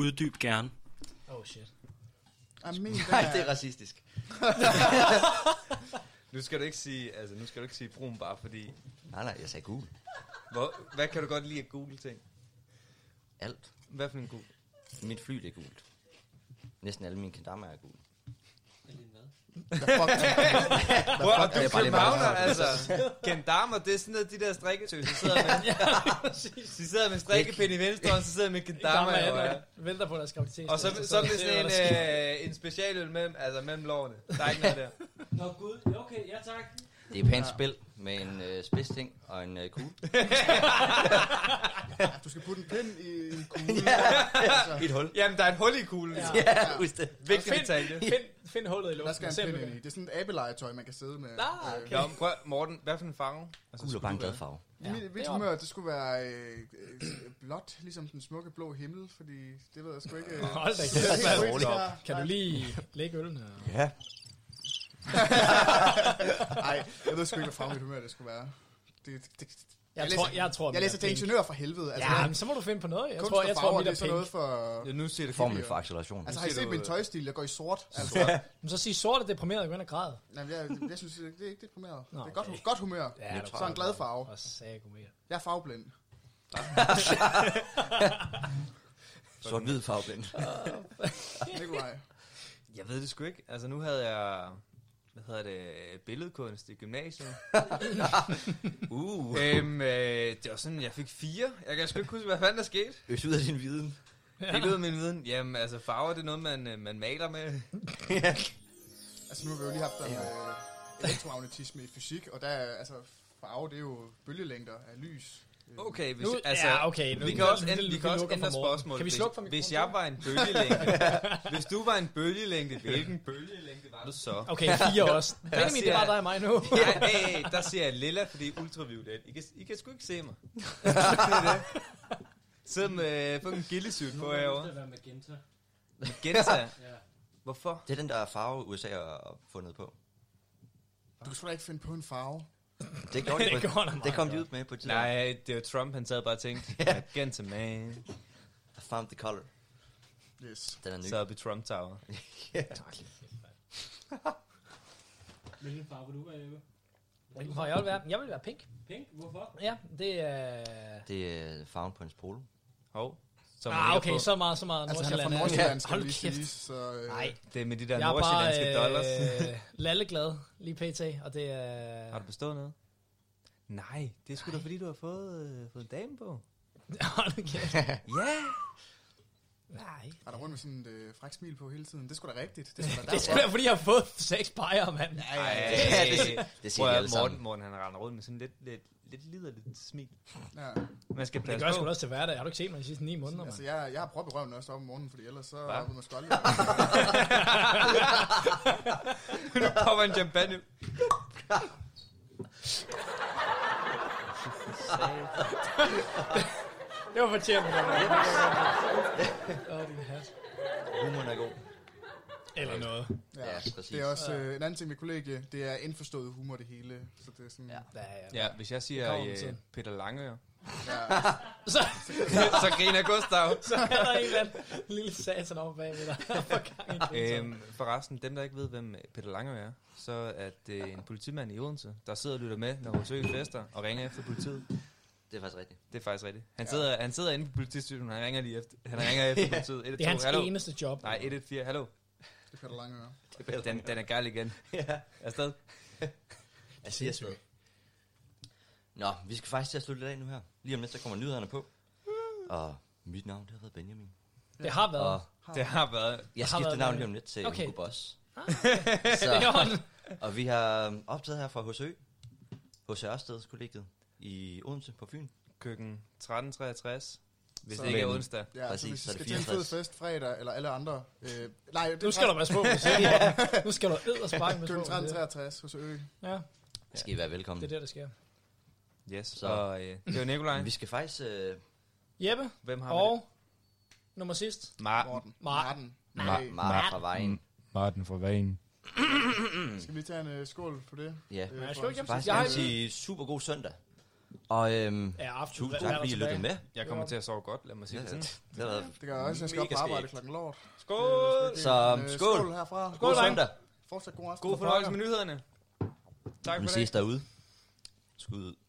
Speaker 16: Uddyb gerne.
Speaker 4: Oh shit.
Speaker 3: Ej, min,
Speaker 1: Nej, det er
Speaker 2: <laughs>
Speaker 3: <laughs>
Speaker 1: racistisk.
Speaker 2: nu skal du ikke sige, altså, nu skal du ikke sige brun bare fordi...
Speaker 1: Nej, nej, jeg sagde gul.
Speaker 2: Hvor, hvad kan du godt lide af gule ting?
Speaker 1: Alt.
Speaker 2: Hvad for en gul?
Speaker 1: Mit fly, det er gult. Næsten alle mine kendammer er gule.
Speaker 2: <laughs> Hvor er du
Speaker 1: Jeg er bare lidt
Speaker 2: københavner,
Speaker 1: meget-
Speaker 2: altså? Kendammer, det er sådan noget, de der strikketøser sidder med. <laughs> De sidder med strikkepinde i venstre, og så sidder med kendammer i højre.
Speaker 4: Venter på, at der skal kapitæs.
Speaker 2: Og så, så er det sådan en, øh, en specialøl mellem, altså mellem lårene. Der er ikke noget der.
Speaker 16: Nå gud, okay, ja tak.
Speaker 1: Det er et pænt spil med en øh, spidsting og en øh,
Speaker 3: <laughs>
Speaker 1: kugle.
Speaker 3: Du skal putte en pind i en
Speaker 2: <laughs>
Speaker 3: kugle.
Speaker 1: I et hul.
Speaker 2: Jamen, der er et hul i kuglen.
Speaker 3: Ja.
Speaker 1: Ja, husk det.
Speaker 2: Vigtig detalje.
Speaker 4: Find, find hullet i
Speaker 3: Der
Speaker 4: luften.
Speaker 3: skal
Speaker 4: Se, om
Speaker 3: en
Speaker 4: du
Speaker 3: pind
Speaker 4: kan-
Speaker 3: ind i. Det er sådan et abelegetøj, man kan sidde med.
Speaker 4: Ah,
Speaker 3: Øh,
Speaker 2: Nå, men prøv, Morten, hvad for en farve? Altså,
Speaker 1: Gul er
Speaker 2: skulle
Speaker 1: bare en
Speaker 2: du være?
Speaker 1: glad farve.
Speaker 3: Ja. Mit,
Speaker 2: Det
Speaker 3: mit
Speaker 2: er
Speaker 3: humør, det skulle være øh, øh, blåt, ligesom den smukke blå himmel, fordi det ved jeg sgu ikke. Øh,
Speaker 4: Hold da
Speaker 3: det
Speaker 4: kæft,
Speaker 3: er helt
Speaker 4: mand.
Speaker 3: roligt.
Speaker 4: Kan du lige
Speaker 3: <laughs>
Speaker 4: lægge øllen her?
Speaker 1: Ja.
Speaker 3: Nej, jeg ved sgu ikke, hvad fra mit humør det skulle være. Det, det, det,
Speaker 4: Jeg, jeg, tror, jeg tror,
Speaker 3: jeg
Speaker 4: mit er
Speaker 3: læser til
Speaker 4: pink.
Speaker 3: ingeniør for helvede. Altså,
Speaker 4: ja,
Speaker 3: jeg-
Speaker 4: men så må du finde på noget. Jeg
Speaker 3: Kunst
Speaker 4: tror,
Speaker 3: og
Speaker 4: jeg
Speaker 3: farver,
Speaker 4: tror, mit
Speaker 3: det
Speaker 4: er
Speaker 3: er sådan
Speaker 4: pink. Øh.
Speaker 3: noget for...
Speaker 2: Ja, nu ser det
Speaker 1: Formel for acceleration.
Speaker 3: Altså, har I
Speaker 2: Nu siger
Speaker 3: set
Speaker 2: du-
Speaker 3: min tøjstil, der går i sort? Altså,
Speaker 4: Ja. Men så sig sort er deprimeret og gå ind og græde.
Speaker 3: nej, men jeg, jeg synes, det er ikke deprimeret.
Speaker 4: Nå,
Speaker 3: Nå, det er godt,
Speaker 4: okay.
Speaker 3: godt humør.
Speaker 4: Ja,
Speaker 3: Ja,
Speaker 4: det
Speaker 3: så en glad farve.
Speaker 4: Og sagde god mere.
Speaker 3: Jeg er farveblind.
Speaker 1: Sort-hvid
Speaker 2: <laughs>
Speaker 1: farveblind.
Speaker 3: Nikolaj.
Speaker 2: Jeg ved det sgu ikke. Altså, nu havde jeg, hvad hedder det, billedkunst i <laughs> gymnasiet.
Speaker 1: uh.
Speaker 2: Øhm, øh, det var sådan, jeg fik fire. Jeg kan sgu ikke huske, hvad fanden der skete.
Speaker 1: Øs ud af din viden.
Speaker 2: Ja. Helt ud af min viden. Jamen, altså, farver, det er noget, man, øh, man maler med.
Speaker 3: Altså, nu har vi jo lige haft den øh, elektromagnetisme i fysik, og der er, altså, farve, det er jo bølgelængder af lys. Øh,
Speaker 2: Okay, hvis,
Speaker 4: Nu-
Speaker 2: altså,
Speaker 4: ja, okay, nu-
Speaker 2: vi kan
Speaker 4: nu-
Speaker 2: også
Speaker 4: nu-
Speaker 2: ændre,
Speaker 4: nu-
Speaker 2: vi
Speaker 4: vi
Speaker 2: kan også
Speaker 4: lukker
Speaker 2: ændre
Speaker 4: for Morten.
Speaker 2: spørgsmålet.
Speaker 4: Kan vi
Speaker 2: Hvis-
Speaker 4: slukke for mikrofonen?
Speaker 2: Hvis jeg var
Speaker 4: <laughs>
Speaker 2: en bølgelængde, hvis du var en bølgelængde,
Speaker 4: <laughs>
Speaker 2: hvilken bølgelængde var du så?
Speaker 4: Okay, fire også.
Speaker 2: <laughs> Der
Speaker 4: Benjamin,
Speaker 2: siger
Speaker 4: det var
Speaker 2: jeg-
Speaker 4: dig og mig nu. <laughs>
Speaker 2: ja, hey, hey, der ser jeg lilla, fordi ultraviolet. I kan, I kan sgu ikke
Speaker 4: <laughs>
Speaker 2: se mig. Det er det. Sidder med fucking gillesygt på herovre.
Speaker 5: være magenta.
Speaker 4: <laughs>
Speaker 2: Genta.
Speaker 5: Ja.
Speaker 2: Hvorfor?
Speaker 1: Det er den der farve, USA har fundet på.
Speaker 3: Du kan sgu da ikke finde på en farve.
Speaker 1: Det
Speaker 2: <laughs>
Speaker 1: gjorde de,
Speaker 4: Det
Speaker 1: det,
Speaker 4: gjorde der
Speaker 1: det,
Speaker 4: meget
Speaker 1: kom de
Speaker 4: godt.
Speaker 1: ud med på et tidspunkt.
Speaker 2: Nej, det var Trump, han sad bare og
Speaker 1: <laughs>
Speaker 2: tænkte, Magenta man.
Speaker 1: I found the color.
Speaker 3: Yes.
Speaker 1: Den er ny.
Speaker 2: Så op i Trump
Speaker 1: <laughs>
Speaker 2: Tower.
Speaker 5: <laughs> Hvilken farve vil du være, Ebbe?
Speaker 4: Hvilken farve jeg vil være? Jeg vil være pink.
Speaker 5: Pink? Hvorfor?
Speaker 4: Ja, det er...
Speaker 1: Det er øh, farven på hans polo.
Speaker 2: Hov. Som han
Speaker 4: Ah,
Speaker 2: ligger
Speaker 4: okay,
Speaker 2: på.
Speaker 4: så meget, så meget.
Speaker 3: Altså, han er fra
Speaker 4: Nordsjælland.
Speaker 3: Nordsjælland, skal
Speaker 4: Hold <laughs>
Speaker 3: vi lige
Speaker 4: kæft.
Speaker 3: sige, så... Øh,
Speaker 4: Nej,
Speaker 2: Det er med de der
Speaker 4: jeg er
Speaker 2: nordsjællandske dollars. <laughs>
Speaker 4: bare øh, lalleglad lige pt, og det er...
Speaker 2: Har du bestået noget? Nej, det er sgu da fordi, du har fået, øh, fået en dame på.
Speaker 4: Hold da kæft.
Speaker 2: Ja!
Speaker 4: Nej.
Speaker 3: Har der rundt med sådan et øh, fræk smil på hele tiden? Det er sgu da rigtigt. Det er
Speaker 4: <laughs>
Speaker 3: sgu da
Speaker 4: Det er sgu da, fordi jeg har fået seks bajer, mand.
Speaker 3: Ej, ej, ej.
Speaker 1: <laughs> Ja, det siger- det siger
Speaker 2: Prøv
Speaker 1: de
Speaker 2: at
Speaker 1: alle
Speaker 2: Morten,
Speaker 1: sammen.
Speaker 2: Morten, han render rundt med sådan lidt, lidt, lidt liderligt smil.
Speaker 3: Ja.
Speaker 2: Man skal
Speaker 4: Det
Speaker 2: passe
Speaker 4: gør jeg sgu da
Speaker 2: på.
Speaker 4: også til hverdag. Har du ikke set mig de sidste ni måneder,
Speaker 2: <laughs>
Speaker 4: mand?
Speaker 3: Altså, jeg, jeg har prop i røven også op om morgenen, fordi ellers så
Speaker 2: Hva?
Speaker 3: har man sgu aldrig...
Speaker 2: <laughs> Nu popper en champagne.
Speaker 4: Det var fortjent, men det var Åh, din hat.
Speaker 1: Humoren er god.
Speaker 4: <laughs>
Speaker 3: <laughs>
Speaker 4: Eller noget.
Speaker 1: Ja, præcis.
Speaker 3: Det er også øh, en anden ting med kollegie, det er indforstået humor det hele, så det er sådan... Ja.
Speaker 4: Ja, ja.
Speaker 2: Ja, hvis jeg
Speaker 4: Det
Speaker 2: siger
Speaker 4: kommer med
Speaker 2: øh,
Speaker 4: tiden.
Speaker 2: Peter Langeør,
Speaker 4: <laughs>
Speaker 3: ja.
Speaker 4: Så,
Speaker 2: så <laughs> griner
Speaker 4: <laughs>
Speaker 2: Gustav.
Speaker 4: så er der en eller anden lille satan oppe bagved
Speaker 2: <laughs>
Speaker 4: dig. For gang i den, så.
Speaker 2: Øhm, forresten, dem der ikke ved, hvem øh, Peter Langeør er, så er det en politimand i Odense, der sidder og lytter med, når Rosø fester og ringer efter politiet.
Speaker 1: Det er faktisk rigtigt.
Speaker 2: Det er faktisk rigtigt. Han sidder, han sidder inde på politistationen, han ringer lige efter, han ringer efter politiet. 112,
Speaker 4: Det er hans
Speaker 2: hallo.
Speaker 4: eneste job.
Speaker 2: Nej, 114, hallo.
Speaker 3: Det kan du langt høre.
Speaker 2: Den, den er gal igen.
Speaker 1: Ja.
Speaker 2: Afsted.
Speaker 1: Jeg siger så. Nå, vi skal faktisk til at slutte lidt af nu her. Lige om lidt, så kommer nyhederne på. Og mit navn, det har været Benjamin.
Speaker 4: Det har været.
Speaker 1: Og
Speaker 2: Det har været...
Speaker 4: Har
Speaker 1: jeg skifter
Speaker 4: været
Speaker 1: navn
Speaker 4: Benjamin.
Speaker 1: lige om lidt til
Speaker 4: Okay. Ah.
Speaker 1: okay. Hugo Boss. <laughs>
Speaker 4: <laughs> Det er
Speaker 1: så,
Speaker 4: orden.
Speaker 1: og vi har um, optaget her fra Hosø. Hos Ørsted kollegiet i Odense på Fyn.
Speaker 2: Køkken 1363. Hvis
Speaker 3: Så-
Speaker 2: det ikke er
Speaker 1: Men-
Speaker 2: onsdag.
Speaker 3: Ja,
Speaker 1: Præcis,
Speaker 3: Præcis, så hvis
Speaker 1: så
Speaker 3: I
Speaker 1: er det
Speaker 3: skal til en fed
Speaker 1: 64.
Speaker 3: fest fredag, eller alle andre... Øh, nej, det <laughs>
Speaker 4: Nu skal du passe på, hvis ikke. Nu skal du eddersparke med
Speaker 3: Køkken
Speaker 4: på.
Speaker 3: 1363 hos Ø.
Speaker 4: Ja.
Speaker 1: Skal I være velkommen.
Speaker 4: Det er det, der sker.
Speaker 2: Yes, så og, øh, det var Nikolaj.
Speaker 1: Vi skal faktisk... Øh,
Speaker 4: Jeppe
Speaker 2: Hvem har vi
Speaker 4: og nummer sidst.
Speaker 2: Martin.
Speaker 4: Martin.
Speaker 3: Martin.
Speaker 1: Mar- Mar- fra vejen.
Speaker 18: Martin fra vejen.
Speaker 3: <clears throat> Skal vi tage en øh, skål for det?
Speaker 1: Ja.
Speaker 3: Øh, for-
Speaker 1: Faktisk jeg vil sige super god søndag. Og øhm,
Speaker 4: Ja, aften.
Speaker 1: tusind
Speaker 4: Hvad er
Speaker 1: tak,
Speaker 4: der
Speaker 1: fordi I lyttede
Speaker 4: tilbage?
Speaker 1: med.
Speaker 2: Jeg kommer til at sove godt, lad mig sige det
Speaker 1: Ja,
Speaker 2: sådan.
Speaker 1: det har været
Speaker 3: Det gør jeg også. Jeg skal op
Speaker 1: mega
Speaker 3: på arbejde
Speaker 1: skægt.
Speaker 3: klokken lort.
Speaker 2: Skål!
Speaker 3: Øh, det er
Speaker 1: Så,
Speaker 3: en, øh,
Speaker 1: skål.
Speaker 3: Skål herfra.
Speaker 1: Skål, God drenge. søndag.
Speaker 3: Fortsat god aften.
Speaker 2: God fornøjelse med nyhederne. Tak for
Speaker 1: Vi
Speaker 2: det.
Speaker 1: ses derude. Skud ud.